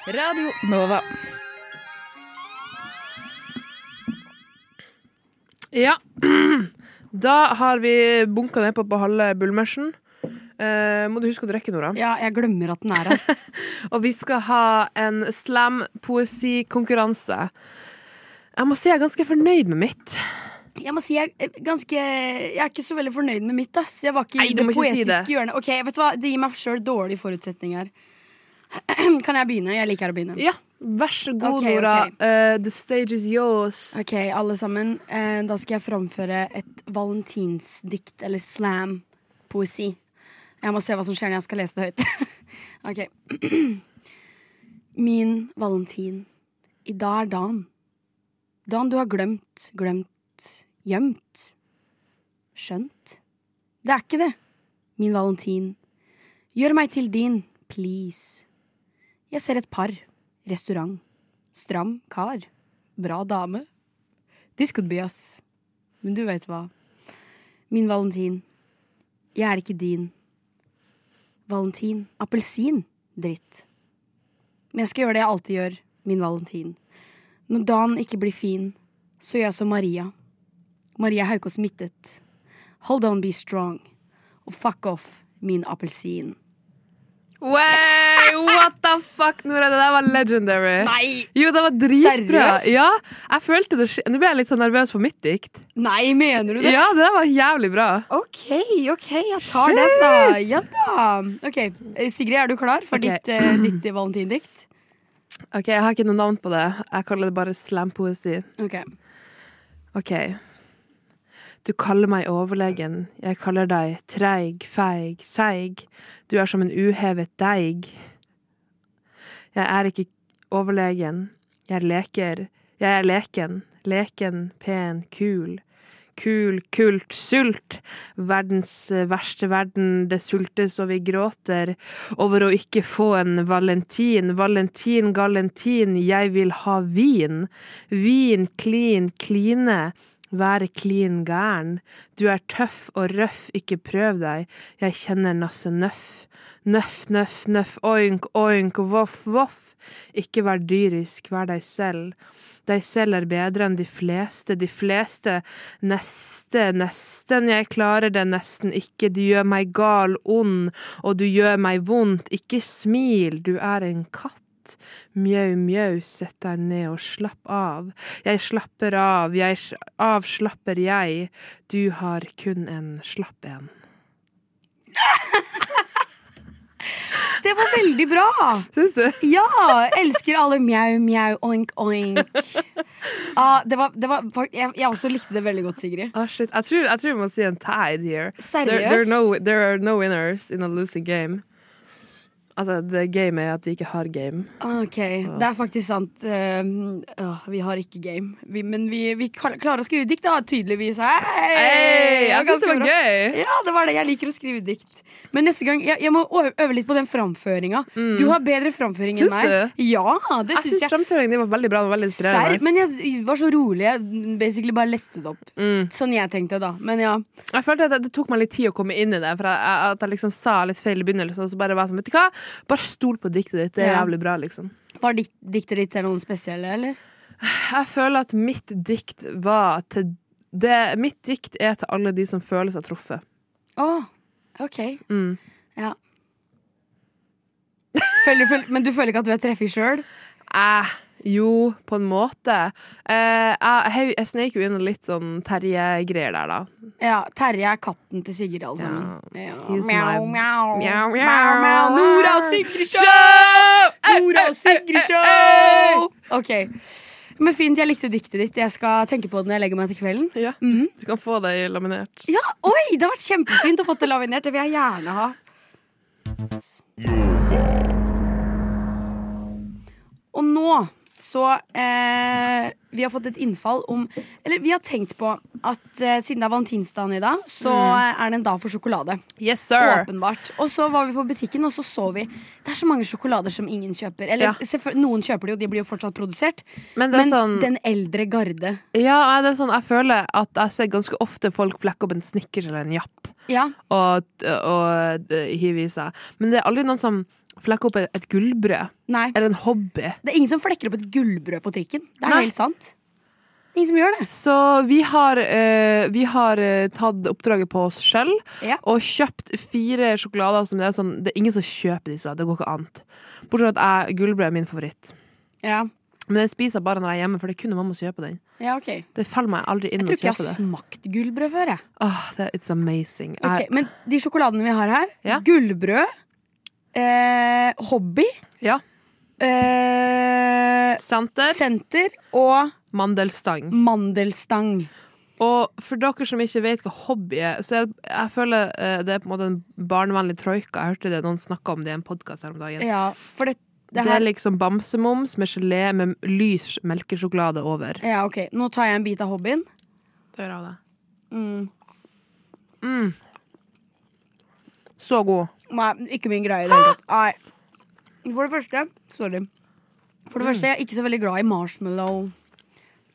[SPEAKER 1] Radio Nova.
[SPEAKER 6] Ja. Da har vi bunka nedpå på halve bullmersen. Eh, må du huske å drikke, Nora.
[SPEAKER 5] Ja, jeg glemmer at den er her.
[SPEAKER 6] Og vi skal ha en slam-poesikonkurranse. Jeg må si jeg er ganske fornøyd med mitt.
[SPEAKER 5] Jeg må si jeg er ganske Jeg er ikke så veldig fornøyd med mitt, ass. Jeg var ikke i
[SPEAKER 6] Nei, du
[SPEAKER 5] det
[SPEAKER 6] må ikke si
[SPEAKER 5] poetiske
[SPEAKER 6] det.
[SPEAKER 5] hjørnet. Ok, vet du hva? Det gir meg sjøl dårlige forutsetninger. Kan jeg begynne? Jeg liker å begynne.
[SPEAKER 6] Ja, Vær så god,
[SPEAKER 5] Ok,
[SPEAKER 6] Nora.
[SPEAKER 5] ok.
[SPEAKER 6] Eh, the stage is yours.
[SPEAKER 5] Ok, alle sammen. Eh, da skal jeg framføre et valentinsdikt, eller slam-poesi. Jeg må se hva som skjer når jeg skal lese det høyt. ok. Min valentin, i dag er dagen. Dagen du har glemt, glemt, gjemt. Skjønt. Det er ikke det, min valentin. Gjør meg til din, please. Jeg ser et par. Restaurant. Stram kar. Bra dame. This could be us. Men du vet hva. Min valentin. Jeg er ikke din. Valentin. Appelsin. Dritt. Men jeg skal gjøre det jeg alltid gjør. Min valentin. Når dagen ikke blir fin, så gjør jeg som Maria. Maria Haukås Mittet. Hold on, be strong. Og fuck off, min appelsin.
[SPEAKER 6] Way, what the fuck, Nora? Det der var legendary.
[SPEAKER 5] Nei!
[SPEAKER 6] Jo, det var dritbra.
[SPEAKER 5] Seriøst?
[SPEAKER 6] Ja, jeg følte det skje- Nå ble jeg litt sånn nervøs for mitt dikt.
[SPEAKER 5] Nei, mener du det?
[SPEAKER 6] Ja, det der var jævlig bra.
[SPEAKER 5] OK, ok, jeg tar den, da. Ja da. Ok, eh, Sigrid, er du klar for
[SPEAKER 6] Ok.
[SPEAKER 5] ditt, eh, ditt valentindikt?
[SPEAKER 6] Ok, Jeg har ikke noe navn på det. Jeg kaller det bare slampoesi.
[SPEAKER 5] Ok.
[SPEAKER 6] Ok. Du kaller meg overlegen, jeg kaller deg treig, feig, seig. Du er som en uhevet deig. Jeg er ikke overlegen, jeg leker, jeg er leken, leken, pen, kul. Kul, kult, sult, verdens eh, verste verden, det sultes og vi gråter over å ikke få en valentin, valentin, galentin, jeg vil ha vin. Vin, klin, kline. Være klin gæren. Du er tøff og røff, ikke prøv deg. Jeg kjenner nasse nøff. Nøff, nøff, nøff, oink, oink, voff, voff. Ikke vær dyrisk, vær deg selv. Deg selv er bedre enn de fleste, de fleste. Neste, nesten, jeg klarer det nesten ikke. Du gjør meg gal, ond, og du gjør meg vondt. Ikke smil, du er en katt. Mjau, mjau, sett deg ned og slapp av. Jeg slapper av, jeg s- avslapper jeg. Du har kun en slapp en.
[SPEAKER 5] Det var veldig bra!
[SPEAKER 6] Syns du?
[SPEAKER 5] Ja! Elsker alle mjau, mjau, oink, oink. Ah, det var, det var, fak- jeg, jeg også likte det veldig godt, Sigrid.
[SPEAKER 6] Ah, shit. Jeg tror, jeg tror vi må si en tide here. There,
[SPEAKER 5] Seriøst.
[SPEAKER 6] there, are no, there are no winners in a losing game. Altså, det game er at vi ikke har game.
[SPEAKER 5] Ok, det er faktisk sant. Um, åh, vi har ikke game. Vi, men vi, vi kal- klarer å skrive dikt, da, tydeligvis. Hei!
[SPEAKER 6] Hey, jeg syns det
[SPEAKER 5] Ganske
[SPEAKER 6] var
[SPEAKER 5] bra.
[SPEAKER 6] gøy!
[SPEAKER 5] Ja, det var det. Jeg liker å skrive dikt. Men neste gang, jeg, jeg må ø- øve litt på den framføringa. Du har bedre framføring
[SPEAKER 6] Syns
[SPEAKER 5] enn meg. Ja, det
[SPEAKER 6] Mm. Jeg
[SPEAKER 5] syns
[SPEAKER 6] syns
[SPEAKER 5] jeg.
[SPEAKER 6] framføringen din var veldig bra. Den var veldig
[SPEAKER 5] Serr, men
[SPEAKER 6] inspirerende.
[SPEAKER 5] jeg var så rolig. Jeg basically bare leste det opp.
[SPEAKER 6] Mm.
[SPEAKER 5] Sånn jeg tenkte da. Men ja.
[SPEAKER 6] Jeg følte at det, det tok meg litt tid å komme inn i det, for jeg, jeg- at jeg liksom sa litt feil i begynnelsen. Og så bare var jeg sånn, vet du hva, bare stol på diktet ditt. Det er
[SPEAKER 5] Ja.
[SPEAKER 6] jævlig bra, liksom.
[SPEAKER 5] Var dikt, diktet ditt til noen spesielle, eller?
[SPEAKER 6] Jeg føler at mitt dikt var til det, Mitt dikt er til alle de som føler seg truffet.
[SPEAKER 5] Å, OK.
[SPEAKER 6] Mm.
[SPEAKER 5] Ja. Føler, føler, men du føler ikke at du er treffig sjøl?
[SPEAKER 6] Eh, jo, på en måte. Eh, jeg, jeg, jeg snek jo inn og litt sånn Terje-greier der, da.
[SPEAKER 5] Ja, Terje er katten til Sigrid, alle sammen. Ja.
[SPEAKER 6] He's
[SPEAKER 5] Mjau,
[SPEAKER 6] my-
[SPEAKER 5] mjau.
[SPEAKER 6] Mjau, mjau.
[SPEAKER 5] Mjau, mjau. Nora og Sigrid Show!
[SPEAKER 6] Eh,
[SPEAKER 5] Nora og Sigrid Show! eh, OK. Men fint, jeg likte diktet ditt. Jeg skal tenke på det når jeg legger meg til kvelden.
[SPEAKER 6] eh. Ja.
[SPEAKER 5] Mhm.
[SPEAKER 6] Du kan få det i laminert.
[SPEAKER 5] Ja, oi, Det har vært kjempefint å få det laminert. Det vil jeg gjerne ha. Og nå så eh, Vi har fått et innfall om Eller vi har tenkt på at eh, siden det er valentinsdagen i dag, så eh, er det en dag for sjokolade.
[SPEAKER 6] Yes, sir!
[SPEAKER 5] Åpenbart. Og så var vi på butikken, og så så vi Det er så mange sjokolader som ingen kjøper. Eller
[SPEAKER 6] Ja.
[SPEAKER 5] selvfø- noen kjøper det jo, de blir jo fortsatt produsert.
[SPEAKER 6] Men det er
[SPEAKER 5] Men
[SPEAKER 6] sånn
[SPEAKER 5] den eldre garde.
[SPEAKER 6] Ja, nei, det er sånn, jeg føler at jeg ser ganske ofte folk flekke opp en Snickers eller en Japp
[SPEAKER 5] Ja.
[SPEAKER 6] og, og eh, hive i seg. Men det er aldri noen som flekker opp et, et gullbrød
[SPEAKER 5] Nei.
[SPEAKER 6] eller en hobby.
[SPEAKER 5] Det er ingen som flekker opp et gullbrød på trikken. Det er
[SPEAKER 6] Nei.
[SPEAKER 5] helt sant. Ingen som gjør det.
[SPEAKER 6] Så vi har, eh, vi har eh, tatt oppdraget på oss sjøl
[SPEAKER 5] Ja.
[SPEAKER 6] og kjøpt fire sjokolader som det er sånn Det er ingen som kjøper disse, det går ikke an. Bortsett fra at jeg, gullbrød er min favoritt.
[SPEAKER 5] Ja,
[SPEAKER 6] Men jeg spiser bare når jeg er hjemme, for det er kun mamma som kjøper den.
[SPEAKER 5] ja ok. Jeg
[SPEAKER 6] Det faller meg aldri inn å
[SPEAKER 5] tror ikke jeg
[SPEAKER 6] kjøpe
[SPEAKER 5] har
[SPEAKER 6] det.
[SPEAKER 5] smakt gullbrød før, jeg.
[SPEAKER 6] Åh, det it's amazing.
[SPEAKER 5] Ok, men de sjokoladene vi har her,
[SPEAKER 6] Ja.
[SPEAKER 5] gullbrød, eh, hobby,
[SPEAKER 6] Jeg, ja.
[SPEAKER 5] eh,
[SPEAKER 6] Senter.
[SPEAKER 5] senter og
[SPEAKER 6] Mandelstang.
[SPEAKER 5] mandelstang.
[SPEAKER 6] Og for dere som ikke vet hva hobby er, så jeg, jeg føler eh, det er på en måte en barnevennlig troika. Jeg hørte det noen snakke om det i en podkast her om dagen.
[SPEAKER 5] Ja, for det,
[SPEAKER 6] det,
[SPEAKER 5] det her
[SPEAKER 6] er liksom bamsemums med gelé med lys melkesjokolade over.
[SPEAKER 5] Ja, ok. Nå tar jeg en bit av hobbyen.
[SPEAKER 6] Det gjør jeg det.
[SPEAKER 5] Mm.
[SPEAKER 6] Så god.
[SPEAKER 5] Nei, ikke min greie i det hele tatt. Nei. For det første Sorry. For det første, jeg er ikke så veldig glad i marshmallow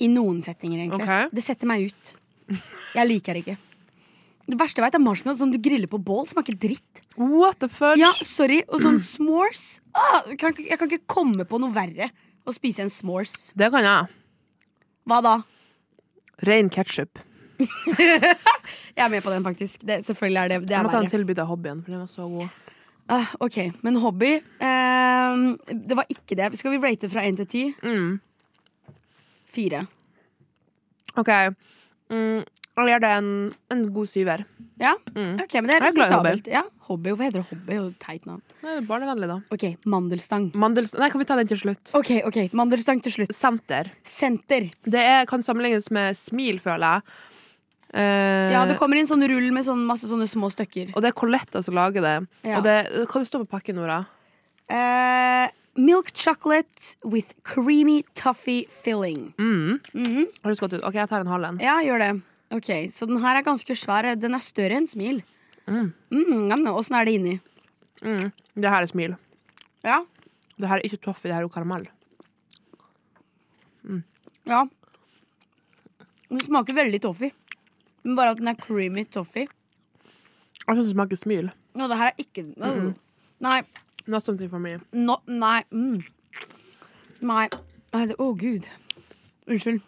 [SPEAKER 5] i noen settinger, egentlig.
[SPEAKER 6] Ok.
[SPEAKER 5] Det setter meg ut. Jeg liker det ikke. Det verste jeg vet, er marshmallow som du griller på bål. Smaker dritt.
[SPEAKER 6] What the fudge?
[SPEAKER 5] Ja, sorry. Og sånn s'mores. Ah, jeg, kan, ikke- jeg kan ikke komme på noe verre. Å spise en s'mores.
[SPEAKER 6] Det kan jeg.
[SPEAKER 5] Hva da?
[SPEAKER 6] Ren ketsjup.
[SPEAKER 5] Jeg er med på den, faktisk. Det, selvfølgelig er det det er
[SPEAKER 6] Jeg må ta
[SPEAKER 5] verre.
[SPEAKER 6] en tilbud av hobbyen, for den var så god.
[SPEAKER 5] Ah, ok, men hobby ehm, Det var ikke det. Skal vi rate fra 1 til 10?
[SPEAKER 6] Mm.
[SPEAKER 5] Fire.
[SPEAKER 6] OK. Mm, jeg gjør det en, en god syver.
[SPEAKER 5] Ja?
[SPEAKER 6] Mm.
[SPEAKER 5] Ok, men det er
[SPEAKER 6] Jeg er glad i hobby.
[SPEAKER 5] respektabelt. Ja, hobby, Hvorfor heter det hobby? Det er jo et Teit navn.
[SPEAKER 6] Nei, det er barnevennlig, da.
[SPEAKER 5] Ok, mandelstang.
[SPEAKER 6] Mandelstang Nei, kan vi ta den til slutt?
[SPEAKER 5] Ok, ok, mandelstang til slutt.
[SPEAKER 6] Senter.
[SPEAKER 5] Senter.
[SPEAKER 6] Det er, kan sammenlignes med smil, føler jeg. Eh,
[SPEAKER 5] Ja, det kommer inn sånn rull med sånn, masse sånne små stykker.
[SPEAKER 6] Og det er Coletta som lager det.
[SPEAKER 5] Ja.
[SPEAKER 6] Og det hva det står på pakken, Nora?
[SPEAKER 5] Eh, milk chocolate with creamy toffee filling.
[SPEAKER 6] Mm.
[SPEAKER 5] Mhm.
[SPEAKER 6] Har du skvatt ut? OK, jeg tar en halv en.
[SPEAKER 5] Ja, gjør det. Ok, Så den her er ganske svær. Den er større enn smil.
[SPEAKER 6] Mm.
[SPEAKER 5] Mm, nam, nam. Åssen er det inni?
[SPEAKER 6] Mm. Det her er smil.
[SPEAKER 5] Ja,
[SPEAKER 6] Det her er ikke toffee, det her er jo karamell.
[SPEAKER 5] Ja. Den smaker veldig toffee. Men bare at den er creamy toffee.
[SPEAKER 6] Jeg syns det smaker smil.
[SPEAKER 5] Og det her er ikke
[SPEAKER 6] Mm.
[SPEAKER 5] Mm. Nei.
[SPEAKER 6] Not something for me.
[SPEAKER 5] No, nei. Mm. Nei. Nei, det- Å, gud. Unnskyld.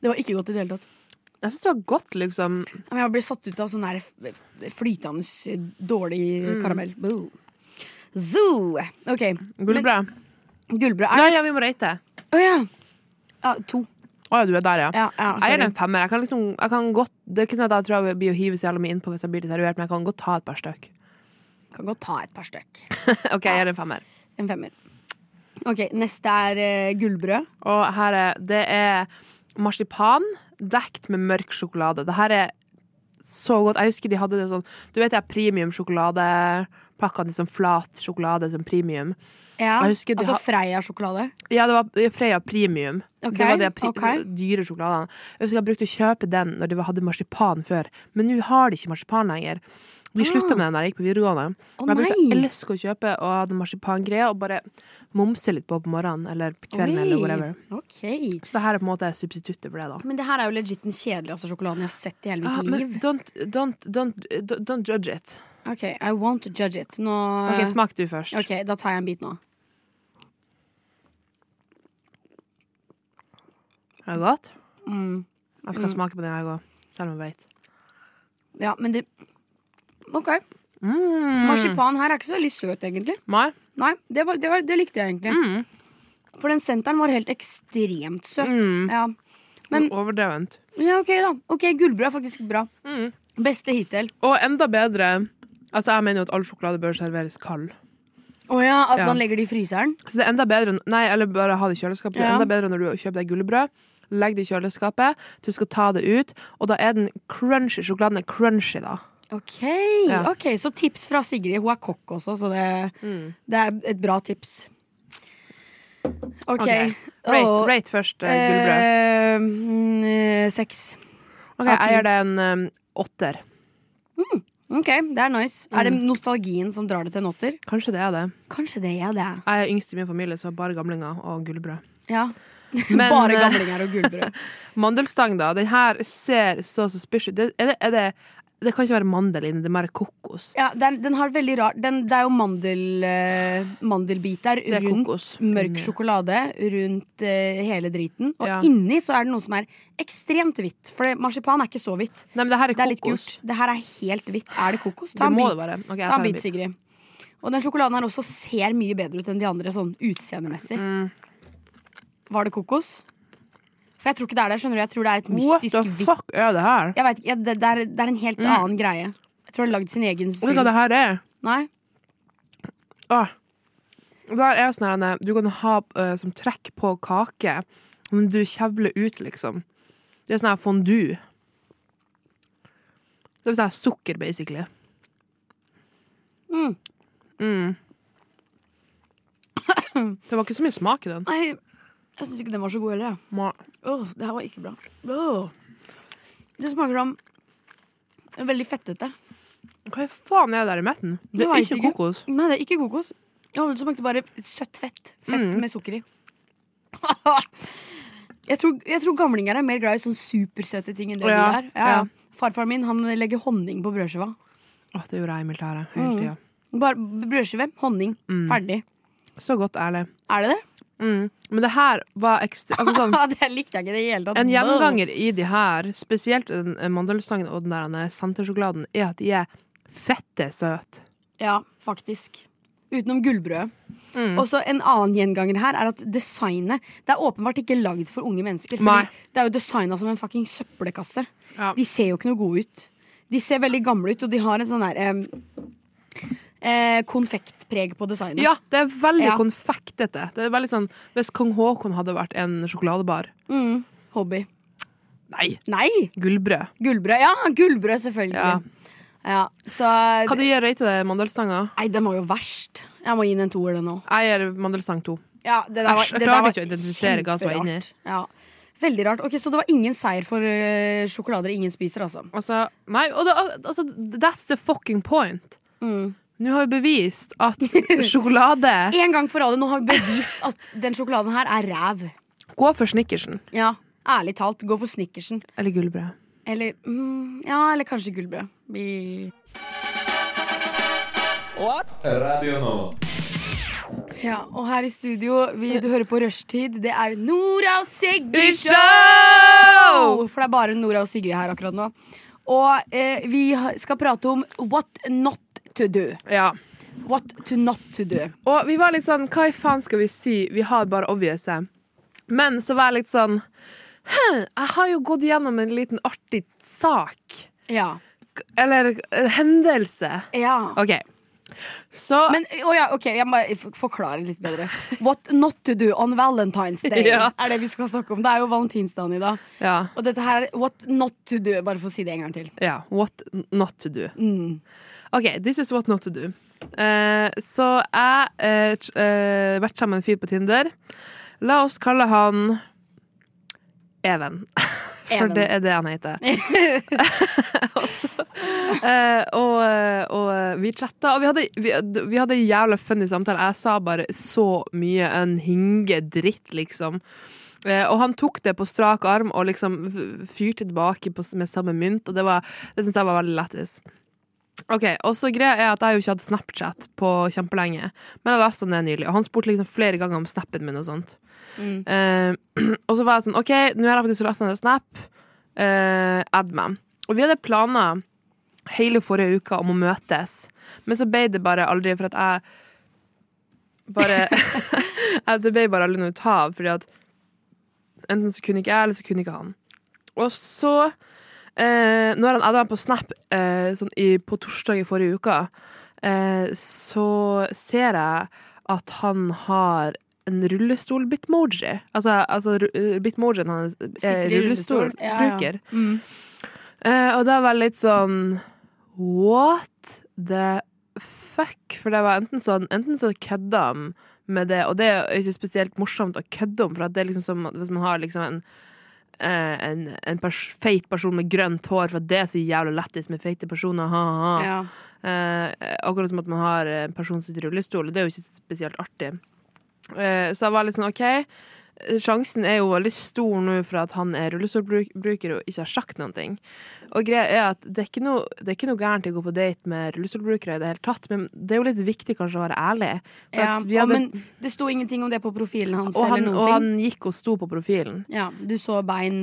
[SPEAKER 5] Det var ikke godt i det hele tatt.
[SPEAKER 6] Jeg syns det var godt, liksom.
[SPEAKER 5] Men jeg ble satt ut av sånn her f- flytende, dårlig
[SPEAKER 6] Mm.
[SPEAKER 5] karamell. Boo. Zoo! OK.
[SPEAKER 6] Gullbrød.
[SPEAKER 5] Gullbrød
[SPEAKER 6] Nei,
[SPEAKER 5] er
[SPEAKER 6] ja, vi må rate.
[SPEAKER 5] Å ja. ja. To.
[SPEAKER 6] Å ja, du er der, ja.
[SPEAKER 5] Ja, ja,
[SPEAKER 6] Jeg gir
[SPEAKER 5] sorry.
[SPEAKER 6] den en femmer. Jeg kan liksom, jeg kan godt, det er ikke sånn at jeg tror jeg blir å hive så jævla mye innpå hvis jeg blir litt servert, men jeg kan godt ta et par stykk.
[SPEAKER 5] Kan godt ta et par stykk.
[SPEAKER 6] OK, jeg gir den en femmer.
[SPEAKER 5] En femmer. OK, neste er eh, gullbrød.
[SPEAKER 6] Og her er Det er marsipan dekt med mørk sjokolade. Det her er så godt. Jeg husker de hadde det sånn Du vet de her premium sjokoladepakkene, sånn flat sjokolade som premium?
[SPEAKER 5] Ja.
[SPEAKER 6] Jeg husker de
[SPEAKER 5] altså
[SPEAKER 6] ha-
[SPEAKER 5] Freia-sjokolade.
[SPEAKER 6] Ja, det var Freia premium.
[SPEAKER 5] Ok,
[SPEAKER 6] det var de pri
[SPEAKER 5] ok.
[SPEAKER 6] dyre sjokoladene. Jeg husker jeg brukte å kjøpe den når de hadde marsipan før, men nå har de ikke marsipan lenger. Vi slutta med den da jeg gikk på videregående.
[SPEAKER 5] Ah. Å,
[SPEAKER 6] Men jeg brukte å
[SPEAKER 5] nei.
[SPEAKER 6] elske å kjøpe og ha den marsipangreia og bare momse litt på på morgenen eller kvelden eller
[SPEAKER 5] Oi,
[SPEAKER 6] whatever.
[SPEAKER 5] ok.
[SPEAKER 6] Så det her er på en måte substituttet for det, da.
[SPEAKER 5] Men det her er jo legit den kjedeligste sjokoladen jeg har sett i hele
[SPEAKER 6] Ah,
[SPEAKER 5] mitt
[SPEAKER 6] men
[SPEAKER 5] liv.
[SPEAKER 6] don't, don't, don't, don't, don't judge it.
[SPEAKER 5] Ok, I won't judge it. Nå
[SPEAKER 6] Ok, Smak du først.
[SPEAKER 5] Ok, da tar jeg en bit nå.
[SPEAKER 6] Er det godt?
[SPEAKER 5] Mm.
[SPEAKER 6] Jeg skal smake på den jeg òg, selv om jeg vet.
[SPEAKER 5] Ja, men det OK.
[SPEAKER 6] Mm.
[SPEAKER 5] Marsipan her er ikke så veldig søt, egentlig.
[SPEAKER 6] Mai?
[SPEAKER 5] Nei, det, var, det, var, det likte jeg egentlig. For den senteren var helt ekstremt søt.
[SPEAKER 6] Mm.
[SPEAKER 5] Ja. Men-
[SPEAKER 6] Overdrevent.
[SPEAKER 5] ja, OK, da. Ok, Gullbrød er faktisk bra.
[SPEAKER 6] Mm.
[SPEAKER 5] Beste hittil.
[SPEAKER 6] Og enda bedre Altså, jeg mener jo at all sjokolade bør serveres kald.
[SPEAKER 5] Å ja, at
[SPEAKER 6] Ja.
[SPEAKER 5] man legger det i fryseren?
[SPEAKER 6] Så det er enda bedre Nei, eller bare ha det i kjøleskapet. Det er
[SPEAKER 5] Ja.
[SPEAKER 6] enda bedre når du kjøper deg gullbrød. Legg det i kjøleskapet til du skal ta det ut, og da er den crunchy. Sjokoladen er crunchy, da.
[SPEAKER 5] Ok,
[SPEAKER 6] Ja.
[SPEAKER 5] ok, så tips
[SPEAKER 6] Mm.
[SPEAKER 5] fra Sigrid. Hun er kokk også, så det, det er et bra tips. OK.
[SPEAKER 6] Ok. Rate, rate først, uh, gullbrød.
[SPEAKER 5] Eh, mm, Seks.
[SPEAKER 6] Ok,
[SPEAKER 5] av ti.
[SPEAKER 6] jeg gir det en um, åtter.
[SPEAKER 5] OK, det er nice. Er det nostalgien som drar det til en åtter?
[SPEAKER 6] Mm. Kanskje det er det.
[SPEAKER 5] Kanskje det er det.
[SPEAKER 6] Jeg er yngst i min familie, så bare gamlinger og gullbrød.
[SPEAKER 5] Ja.
[SPEAKER 6] Men,
[SPEAKER 5] Bare
[SPEAKER 6] eh,
[SPEAKER 5] gamlinger og gullbrød.
[SPEAKER 6] Mandelstang, da. Den her ser så suspicious ut. Det- Er det, er det, det kan ikke være mandel inni, det er mer kokos.
[SPEAKER 5] Ja, den, den har veldig rar den, Det er jo mandel, eh, mandelbiter
[SPEAKER 6] Det er
[SPEAKER 5] rundt
[SPEAKER 6] kokos.
[SPEAKER 5] mørk
[SPEAKER 6] Inni.
[SPEAKER 5] sjokolade rundt eh, hele driten. Og
[SPEAKER 6] Ja.
[SPEAKER 5] inni så er det noe som er ekstremt hvitt. For det- marsipan er ikke så hvitt.
[SPEAKER 6] Nei, men det her er
[SPEAKER 5] Det er litt
[SPEAKER 6] kokos.
[SPEAKER 5] gult. Det her er helt hvitt. Er det kokos?
[SPEAKER 6] Det
[SPEAKER 5] Ta en bit.
[SPEAKER 6] må det være. Ok, jeg
[SPEAKER 5] Ta
[SPEAKER 6] tar
[SPEAKER 5] en bit,
[SPEAKER 6] en bit.
[SPEAKER 5] Sigrid. Og den sjokoladen her også ser mye bedre ut enn de andre sånn utseendemessig. Var det kokos? For jeg tror ikke det er det. skjønner du Jeg tror det er et
[SPEAKER 6] What
[SPEAKER 5] mystisk
[SPEAKER 6] the
[SPEAKER 5] hvitt
[SPEAKER 6] fuck er det her?
[SPEAKER 5] Jeg vet ikke, ja, det, det, er, det er en helt annen greie. Jeg tror det har lagd sin egen
[SPEAKER 6] Vet du
[SPEAKER 5] film.
[SPEAKER 6] hva det her er?
[SPEAKER 5] Nei?
[SPEAKER 6] Åh. Det her er jo sånn her, du kan ha eh, som trekk på kake, men du kjevler ut, liksom. Det er sånn her fondue. Det er sånn her sukker, basically.
[SPEAKER 5] Mm.
[SPEAKER 6] Mm. Det var ikke så mye smak i den.
[SPEAKER 5] Nei, jeg syns ikke den var så god heller. jeg.
[SPEAKER 6] Ma-
[SPEAKER 5] Åh, det her var ikke bra. Åh. Det smaker som veldig fettete.
[SPEAKER 6] Hva faen er det der i midten? Det
[SPEAKER 5] Jeg
[SPEAKER 6] er
[SPEAKER 5] vet
[SPEAKER 6] ikke
[SPEAKER 5] ikke.
[SPEAKER 6] kokos.
[SPEAKER 5] Nei, det er ikke kokos. Ja, det smakte bare søtt fett. Fett
[SPEAKER 6] Mm.
[SPEAKER 5] med sukker i. jeg, tror, jeg tror gamlinger er mer glad i sånne supersøte ting enn det
[SPEAKER 6] Ja,
[SPEAKER 5] vi er. Ja, ja.
[SPEAKER 6] ja.
[SPEAKER 5] Farfaren min han legger honning på brødskiva.
[SPEAKER 6] Åh, det gjorde jeg i militæret hele
[SPEAKER 5] Mm.
[SPEAKER 6] tida.
[SPEAKER 5] Bare brødskive, honning,
[SPEAKER 6] Mm.
[SPEAKER 5] ferdig.
[SPEAKER 6] Så godt, ærlig.
[SPEAKER 5] Er det det?
[SPEAKER 6] Mm. Men det her var ekstra altså, sånn,
[SPEAKER 5] det likte jeg ikke i det hele tatt.
[SPEAKER 6] En gjennomganger i de her, spesielt den mandelstangen og den der denne sentersjokoladen, er at de er fette søte.
[SPEAKER 5] Ja, faktisk. Utenom gullbrødet.
[SPEAKER 6] Mm.
[SPEAKER 5] Og så en annen gjenganger her er at designet Det er åpenbart ikke lagd for unge mennesker. Fordi
[SPEAKER 6] Nei.
[SPEAKER 5] det er jo designa som en fucking søppelkasse.
[SPEAKER 6] Ja.
[SPEAKER 5] De ser jo ikke noe gode ut. De ser veldig gamle ut, og de har en sånn der eh, eh, konfektpreg på designet.
[SPEAKER 6] Ja, det er veldig
[SPEAKER 5] Ja.
[SPEAKER 6] konfektete. Det er veldig sånn, Hvis kong Haakon hadde vært en sjokoladebar
[SPEAKER 5] Mm, hobby.
[SPEAKER 6] Nei,
[SPEAKER 5] Nei!
[SPEAKER 6] gullbrød.
[SPEAKER 5] Gullbrød. Ja, gullbrød, selvfølgelig. Ja. så
[SPEAKER 6] Hva du gir røy til det, mandelstanga?
[SPEAKER 5] Nei, den var jo verst. Jeg må gi den en toer, den òg.
[SPEAKER 6] Jeg gir mandelstang to.
[SPEAKER 5] Ja, det der var,
[SPEAKER 6] Æsj, jeg
[SPEAKER 5] det der
[SPEAKER 6] klarte
[SPEAKER 5] var
[SPEAKER 6] ikke å identifisere hva som var inni her.
[SPEAKER 5] kjemperart. Ja. Veldig rart. Ok, Så det var ingen seier for eh, sjokolader ingen spiser, altså.
[SPEAKER 6] Altså, nei, og det, altså, that's the fucking point.
[SPEAKER 5] Mm.
[SPEAKER 6] Nå har vi bevist at sjokolade
[SPEAKER 5] En gang for alle, nå har vi bevist at den sjokoladen her er ræv.
[SPEAKER 6] Gå for snickersen.
[SPEAKER 5] Ja, Ærlig talt, gå for snickersen.
[SPEAKER 6] Eller gullbrød.
[SPEAKER 5] Eller mm, ja, eller kanskje gullbrød. Vi
[SPEAKER 2] Radio Nova.
[SPEAKER 5] Ja, og her i studio, vi, du hører på Rushtid, det er Nora og Sigrid Show!
[SPEAKER 6] Show!
[SPEAKER 5] For det er bare Nora og Sigrid her akkurat nå. Og eh, vi ha- skal prate om what not to do.
[SPEAKER 6] Ja.
[SPEAKER 5] What to not to do.
[SPEAKER 6] Og vi var litt sånn, hva i faen skal vi si? Vi har bare obvious. Men så var jeg litt sånn «Hm, Jeg har jo gått gjennom en liten artig sak.
[SPEAKER 5] Ja.
[SPEAKER 6] Eller eh, hendelse.
[SPEAKER 5] ja.
[SPEAKER 6] OK. Så
[SPEAKER 5] Men å ja, ok, jeg må f- forklare litt bedre. What not to do on Valentine's Day
[SPEAKER 6] Ja.
[SPEAKER 5] er det vi skal snakke om. Det er jo valentinsdagen i dag.
[SPEAKER 6] ja,
[SPEAKER 5] Og dette her er what not to do, bare for å si det en gang til.
[SPEAKER 6] ja. What not to do.
[SPEAKER 5] Mm.
[SPEAKER 6] OK, this is what not to do. Eh, så jeg har vært sammen med en fyr på Tinder. La oss kalle han Even. For
[SPEAKER 5] Even.
[SPEAKER 6] det er det han heter. og, så, eh, og, eh, og eh, vi chatta, og vi hadde, vi, hadde- vi hadde en jævla funny samtale. Jeg sa bare så mye en hingedritt, liksom. Eh, og han tok det på strak arm og liksom f- fyrte tilbake på, s- med samme mynt, og det, var- det syns jeg var veldig lættis. Ok, og så greia er at Jeg har jo ikke hatt Snapchat på kjempelenge, men jeg lasta ned nylig. Og han spurte liksom flere ganger om snappen min og sånt.
[SPEAKER 5] Mm.
[SPEAKER 6] Eh, og så var jeg sånn OK, nå har jeg faktisk lasta ned Snap. Eh, add meg. Og vi hadde planer hele forrige uka om å møtes, men så ble det bare aldri for at jeg bare jeg- Det ble bare aldri noe ut av, fordi at enten så kunne ikke jeg, eller så kunne ikke han. Og så eh, Når han adda meg på Snap eh, sånn i, på torsdag i forrige uke, eh, så ser jeg at han har en rullestol-bitmoji. Altså, altså ru- bitmojien hans eh, er
[SPEAKER 5] Sitter i rullestol. Ja, ja.
[SPEAKER 6] rullestolbruker.
[SPEAKER 5] Mm.
[SPEAKER 6] Eh, og det var litt sånn What the fuck? for det var enten sånn Enten så kødda han med det, og det er jo ikke spesielt morsomt å kødde om, for at det er liksom som at hvis man har liksom en eh, en, en pers feit person med grønt hår, for at det er så jævla lættis med feite personer. Ha, ha. ha.
[SPEAKER 5] Ja.
[SPEAKER 6] Eh, akkurat som at man har en person som sitter i rullestol, og det er jo ikke spesielt artig. Eh, så jeg var litt sånn OK, sjansen er jo veldig stor nå for at han er rullestolbruker og ikke har sagt noen ting. Og greia er at det er ikke noe, det er ikke noe gærent i å gå på date med rullestolbrukere i det hele tatt, men det er jo litt viktig kanskje å være ærlig. For
[SPEAKER 5] Ja,
[SPEAKER 6] at vi hadde,
[SPEAKER 5] og, men det sto ingenting om det på profilen hans.
[SPEAKER 6] og, han,
[SPEAKER 5] eller
[SPEAKER 6] og
[SPEAKER 5] noen
[SPEAKER 6] han
[SPEAKER 5] ting.
[SPEAKER 6] gikk og sto på profilen.
[SPEAKER 5] Ja, du så bein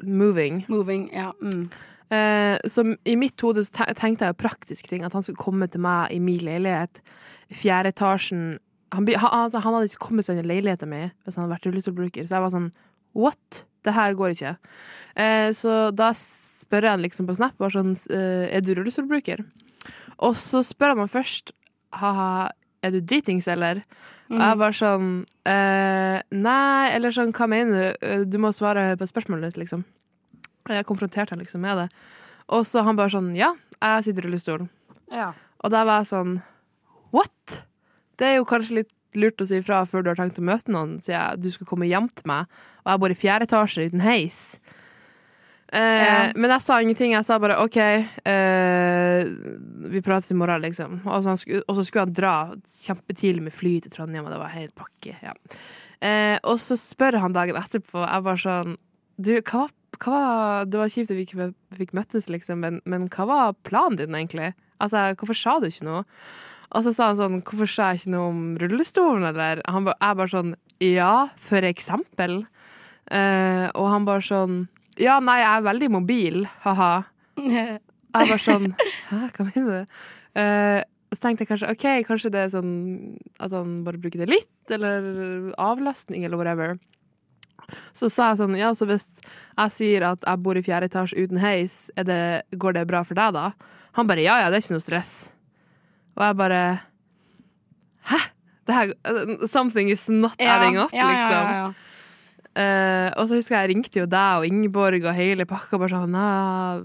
[SPEAKER 6] Moving.
[SPEAKER 5] moving. Ja, mm.
[SPEAKER 6] Eh, så i mitt hode så te- tenkte jeg jo praktiske ting. At han skulle komme til meg i min leilighet. Fjerde etasjen. Han, by- han, altså, han hadde ikke kommet seg inn i leiligheten min hvis han hadde vært rullestolbruker. Så jeg var sånn what? Det her går ikke. Eh, så da spør jeg han liksom på Snap bare sånn eh, er du rullestolbruker? Og så spør han meg først ha-ha, er du dritings, eller? Og jeg bare sånn eh, nei, eller sånn hva mener du? Eh, Du må svare på spørsmålet ditt, liksom. Og jeg konfronterte han liksom med det. Og så han bare sånn Ja, jeg sitter i rullestol. Og da var jeg sånn What?! Det er jo kanskje litt lurt å si ifra før du har tenkt å møte noen, sier jeg. Du skal komme hjem til meg, og jeg bor i fjerde etasje uten heis. Eh,
[SPEAKER 5] Ja.
[SPEAKER 6] Men jeg sa ingenting. Jeg sa bare OK, eh, vi prates i morgen, liksom. Og så, han sku, og så skulle han dra kjempetidlig med fly til Trondheim, og det var helt pakke. Ja. Eh, og så spør han dagen etterpå, jeg bare sånn Du, hva var hva var, det var kjipt at vi ikke fikk møttes, liksom, men, men hva var planen din, egentlig? Altså, Hvorfor sa du ikke noe? Og så sa han sånn, hvorfor sa jeg ikke noe om rullestolen, eller? Han ba, jeg bare sånn, ja, for eksempel. Eh, og han bare sånn, ja, nei, jeg er veldig mobil, haha. Jeg bare sånn, hæ, hva mener du? Eh, så tenkte jeg kanskje, ok, kanskje det er sånn at han bare bruker det litt, eller avlastning, eller whatever. Så sa jeg sånn, ja, så hvis jeg sier at jeg bor i fjerde etasje uten heis, er det, går det bra for deg da? Han bare, ja, ja, det er ikke noe stress. Og jeg bare Hæ? Det her, something is not adding up,
[SPEAKER 5] ja,
[SPEAKER 6] liksom.
[SPEAKER 5] Ja, ja, ja.
[SPEAKER 6] Eh, og så husker jeg jeg ringte jo deg og Ingeborg og hele pakka bare sånn «Ah,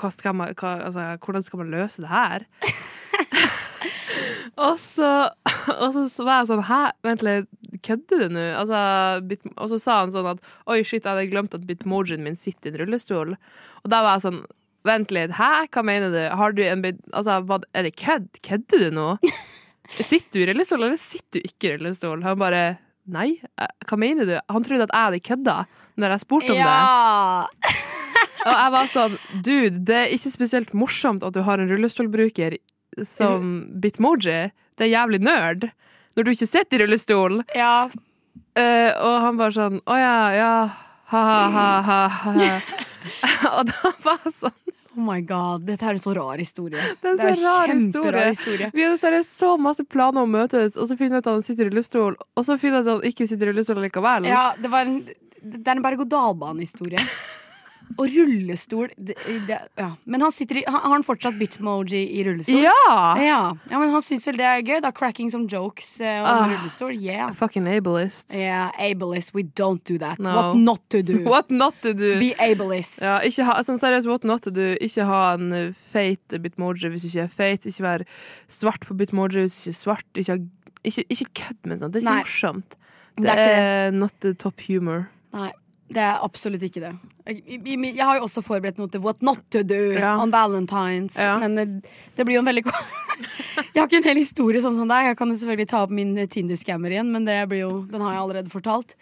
[SPEAKER 6] hva skal man, hva, altså, Hvordan skal man løse det her? og, så, og så- så var jeg sånn Hæ, vent litt, kødder du nå? Altså, Bit- og så sa han sånn at Oi, shit, jeg hadde glemt at bitmojien min sitter i en rullestol. Og da var jeg sånn Vent litt, hæ, hva mener du? Har du en bit, altså, hva, Er det kødd? Kødder du nå? Sitter du i rullestol, eller sitter du ikke i rullestol? Han bare Nei, eh, hva mener du? Han trodde at jeg hadde kødda når jeg spurte om det.
[SPEAKER 5] ja.
[SPEAKER 6] Og jeg var sånn, dude, det er ikke spesielt morsomt at du har en rullestolbruker som Bitmoji. Det er jævlig nerd. Når du ikke sitter i rullestol.
[SPEAKER 5] ja.
[SPEAKER 6] Eh, og han bare sånn Å ja, ja. Ha-ha-ha. og da var jeg sånn
[SPEAKER 5] Oh my god, dette er en så rar historie.
[SPEAKER 6] Det er en så rar historie.
[SPEAKER 5] historie.
[SPEAKER 6] Vi hadde seriøst så masse planer om å møtes, og så finner jeg ut at han sitter i rullestol, og så finner jeg ut at han ikke sitter i rullestol likevel.
[SPEAKER 5] Ja, det, var en, det er en berg-og-dal-bane-historie. Og rullestol det, det, ja. Men han sitter i, har har han fortsatt bitmoji i rullestol?
[SPEAKER 6] ja.
[SPEAKER 5] Ja. ja, men han syns vel det er gøy, da. Cracking some jokes eh, om
[SPEAKER 6] Ah.
[SPEAKER 5] rullestol. Yeah.
[SPEAKER 6] Fucking ableist.
[SPEAKER 5] yeah. Ableist, we don't do that.
[SPEAKER 6] No.
[SPEAKER 5] What not to do.
[SPEAKER 6] What not to do?
[SPEAKER 5] Be ableist.
[SPEAKER 6] Ja, ikke ha, sånn seriøst, what not to do? Ikke ha en eh, feit bitmoji hvis du ikke er feit. Ikke vær svart på bitmoji hvis du ikke er svart. Ikke, ha, ikke, ikke kødd med sånt. Det er ikke
[SPEAKER 5] Nei.
[SPEAKER 6] morsomt.
[SPEAKER 5] Det
[SPEAKER 6] Det
[SPEAKER 5] er
[SPEAKER 6] er,
[SPEAKER 5] ikke
[SPEAKER 6] not the top humor.
[SPEAKER 5] Nei, det er absolutt ikke det. Jeg, i- i- jeg har jo også forberedt noe til What Not To Do
[SPEAKER 6] Ja.
[SPEAKER 5] on Valentines,
[SPEAKER 6] Ja.
[SPEAKER 5] men det, det blir jo en veldig ko- Jeg har ikke en hel historie sånn som deg. Jeg kan jo selvfølgelig ta opp min eh, Tinder-scammer igjen, men det blir jo, den har jeg allerede fortalt.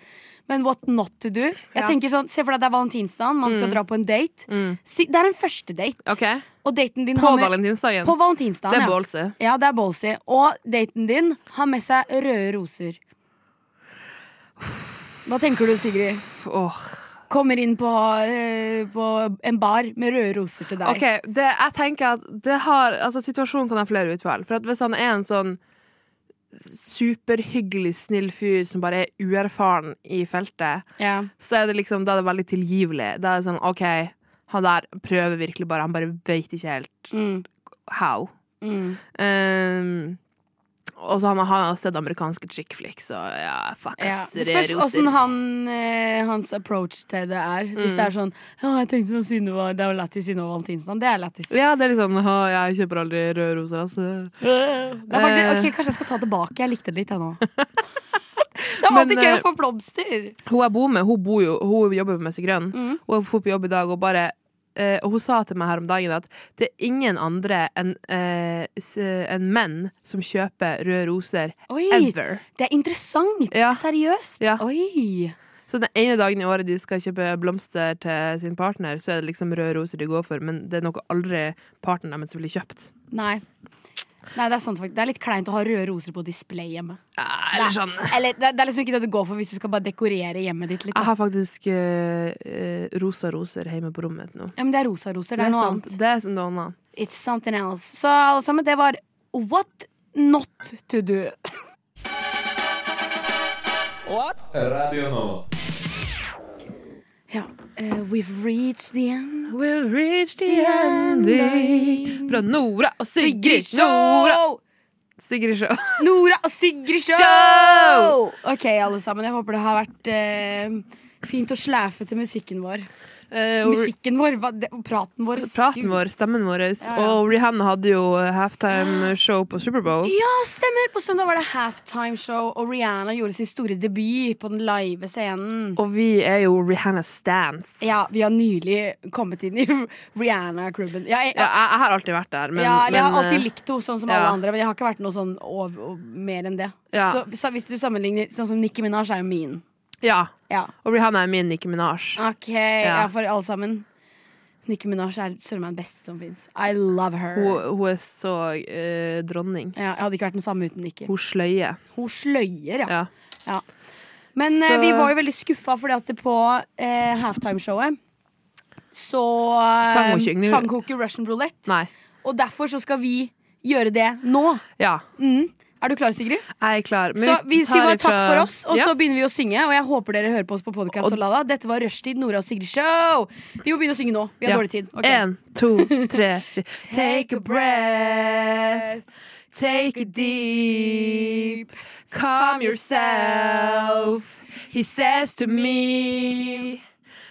[SPEAKER 5] Men What Not To Do Jeg
[SPEAKER 6] Ja. Mm.
[SPEAKER 5] tenker sånn, Se for deg det er valentinsdagen, man skal dra på en date. Si, det er en første date, og daten din
[SPEAKER 6] På
[SPEAKER 5] har med
[SPEAKER 6] valentinsdagen.
[SPEAKER 5] På valentinsdagen,
[SPEAKER 6] Det er
[SPEAKER 5] ja.
[SPEAKER 6] ballsy.
[SPEAKER 5] Ja, det er ballsy. Og daten din har med seg røde roser. Hva tenker du, Sigrid?
[SPEAKER 6] Åh.
[SPEAKER 5] Kommer inn på, eh, på en bar med røde roser til deg.
[SPEAKER 6] Ok, det, jeg tenker at det har, altså, situasjonen kan ha flere utfall. For at hvis han er en sånn superhyggelig, snill fyr som bare er uerfaren i feltet,
[SPEAKER 5] Ja.
[SPEAKER 6] så er det liksom, da er det veldig tilgivelig. Da er det sånn, ok, han der prøver virkelig bare, han bare vet ikke helt
[SPEAKER 5] Mm,
[SPEAKER 6] how.
[SPEAKER 5] mm.
[SPEAKER 6] Ehm, Og så han, han har sett amerikanske chick flicks, og ja, fuck
[SPEAKER 5] Ja.
[SPEAKER 6] ass,
[SPEAKER 5] Det
[SPEAKER 6] det er
[SPEAKER 5] spørs
[SPEAKER 6] roser.
[SPEAKER 5] åssen han, eh, hans approach til det er. Hvis det er
[SPEAKER 6] Mm.
[SPEAKER 5] sånn Ja, jeg tenkte på Synnøve Det er jo lættis Synnøve Valentinsdagen. Det er lættis.
[SPEAKER 6] Ja, det er litt sånn «Å, Jeg kjøper aldri røde roser, altså.
[SPEAKER 5] Det er faktisk,
[SPEAKER 6] Eh.
[SPEAKER 5] ok, Kanskje jeg skal ta tilbake. Jeg likte det litt, jeg nå. Det er
[SPEAKER 6] Men,
[SPEAKER 5] alltid gøy
[SPEAKER 6] eh,
[SPEAKER 5] å få blomster.
[SPEAKER 6] Hun jeg bor med, hun, bor jo, hun jobber på Messe Grønn.
[SPEAKER 5] Mm.
[SPEAKER 6] Hun dro på jobb i dag og bare eh, Og hun sa til meg her om dagen at det er ingen andre enn eh, s- enn menn som kjøper røde roser
[SPEAKER 5] Oi,
[SPEAKER 6] ever.
[SPEAKER 5] det er interessant.
[SPEAKER 6] Ja.
[SPEAKER 5] Seriøst.
[SPEAKER 6] Ja.
[SPEAKER 5] Oi.
[SPEAKER 6] Så den ene dagen i året de skal kjøpe blomster til sin partner, så er det liksom røde roser de går for, men det er noe aldri partneren deres ville kjøpt.
[SPEAKER 5] Nei. Nei, det er sant faktisk. Det er litt kleint å ha røde roser på display hjemme.
[SPEAKER 6] Ja, eller sånn.
[SPEAKER 5] Eller, det, er- det er liksom ikke det du går for hvis du skal bare dekorere hjemmet ditt litt.
[SPEAKER 6] Jeg
[SPEAKER 5] Da.
[SPEAKER 6] har faktisk eh, eh, rosa roser hjemme på rommet nå.
[SPEAKER 5] Ja, men det er rosa roser. Det er, noe
[SPEAKER 6] sant.
[SPEAKER 5] annet.
[SPEAKER 6] Det er som noe annet.
[SPEAKER 5] It's something else. Så alle sammen, det var What not to do.
[SPEAKER 2] Radio Nova.
[SPEAKER 5] Ja. eh, we've reached the end.
[SPEAKER 6] We've reached the ending. Fra Nora og Sigrid Nora. Sigrid Show.
[SPEAKER 5] Nora og Sigrid Show!
[SPEAKER 6] Show!
[SPEAKER 5] Ok, alle sammen. Jeg håper det har vært eh, fint å slæfe til musikken vår.
[SPEAKER 6] Eh, og re-
[SPEAKER 5] Musikken vår? Hva, det, praten vår?
[SPEAKER 6] Praten vår, stemmen vår.
[SPEAKER 5] Ja, ja.
[SPEAKER 6] Og Rihanna hadde jo halftime-show på Superbowl.
[SPEAKER 5] Ja, stemmer! På søndag var det halftime show, og Rihanna gjorde sin store debut på den live scenen.
[SPEAKER 6] Og vi er jo Rihanna Stans.
[SPEAKER 5] Ja, vi har nylig kommet inn i Rihanna-klubben. Ja, jeg,
[SPEAKER 6] Ja, jeg, jeg har alltid vært der, men,
[SPEAKER 5] ja, eller jeg har
[SPEAKER 6] men,
[SPEAKER 5] alltid
[SPEAKER 6] eh,
[SPEAKER 5] likt henne sånn som
[SPEAKER 6] ja.
[SPEAKER 5] alle andre, men jeg har ikke vært noe sånn over, og mer enn det.
[SPEAKER 6] Ja.
[SPEAKER 5] Så, så hvis du sammenligner sånn som Nicki Minaj, er jo min.
[SPEAKER 6] ja.
[SPEAKER 5] Ja.
[SPEAKER 6] Og Rihanna er min Nicki Minaj.
[SPEAKER 5] Ok, ja. for alle sammen. Nicki Minaj er søren meg den beste som fins. I love her.
[SPEAKER 6] Hun, hun er så eh, dronning.
[SPEAKER 5] ja, jeg hadde ikke vært den samme uten Nicki.
[SPEAKER 6] Hun sløyer.
[SPEAKER 5] Hun sløyer, ja.
[SPEAKER 6] Ja.
[SPEAKER 5] Men eh,
[SPEAKER 6] Så-
[SPEAKER 5] vi var jo veldig skuffa fordi at på eh, halftimeshowet så eh,
[SPEAKER 6] Sang hun ikke Yngre-
[SPEAKER 5] sang hun ikke Russian roulette.
[SPEAKER 6] Nei.
[SPEAKER 5] Og derfor så skal vi gjøre det nå.
[SPEAKER 6] Ja,
[SPEAKER 5] Mm. Er du klar, Sigrid?
[SPEAKER 6] jeg er klar. Men
[SPEAKER 5] Så vi sier bare
[SPEAKER 6] ifra-
[SPEAKER 5] takk for oss, og
[SPEAKER 6] ja.
[SPEAKER 5] så begynner vi å synge. Og jeg håper dere hører på oss på podkast. Dette var Rushtid, Nora og Sigrid Show. Vi må begynne å synge nå. Vi har
[SPEAKER 6] Ja.
[SPEAKER 5] dårlig tid. Ok.
[SPEAKER 6] En, to, tre. Take a breath. Take a deep. Calm yourself. He says to me.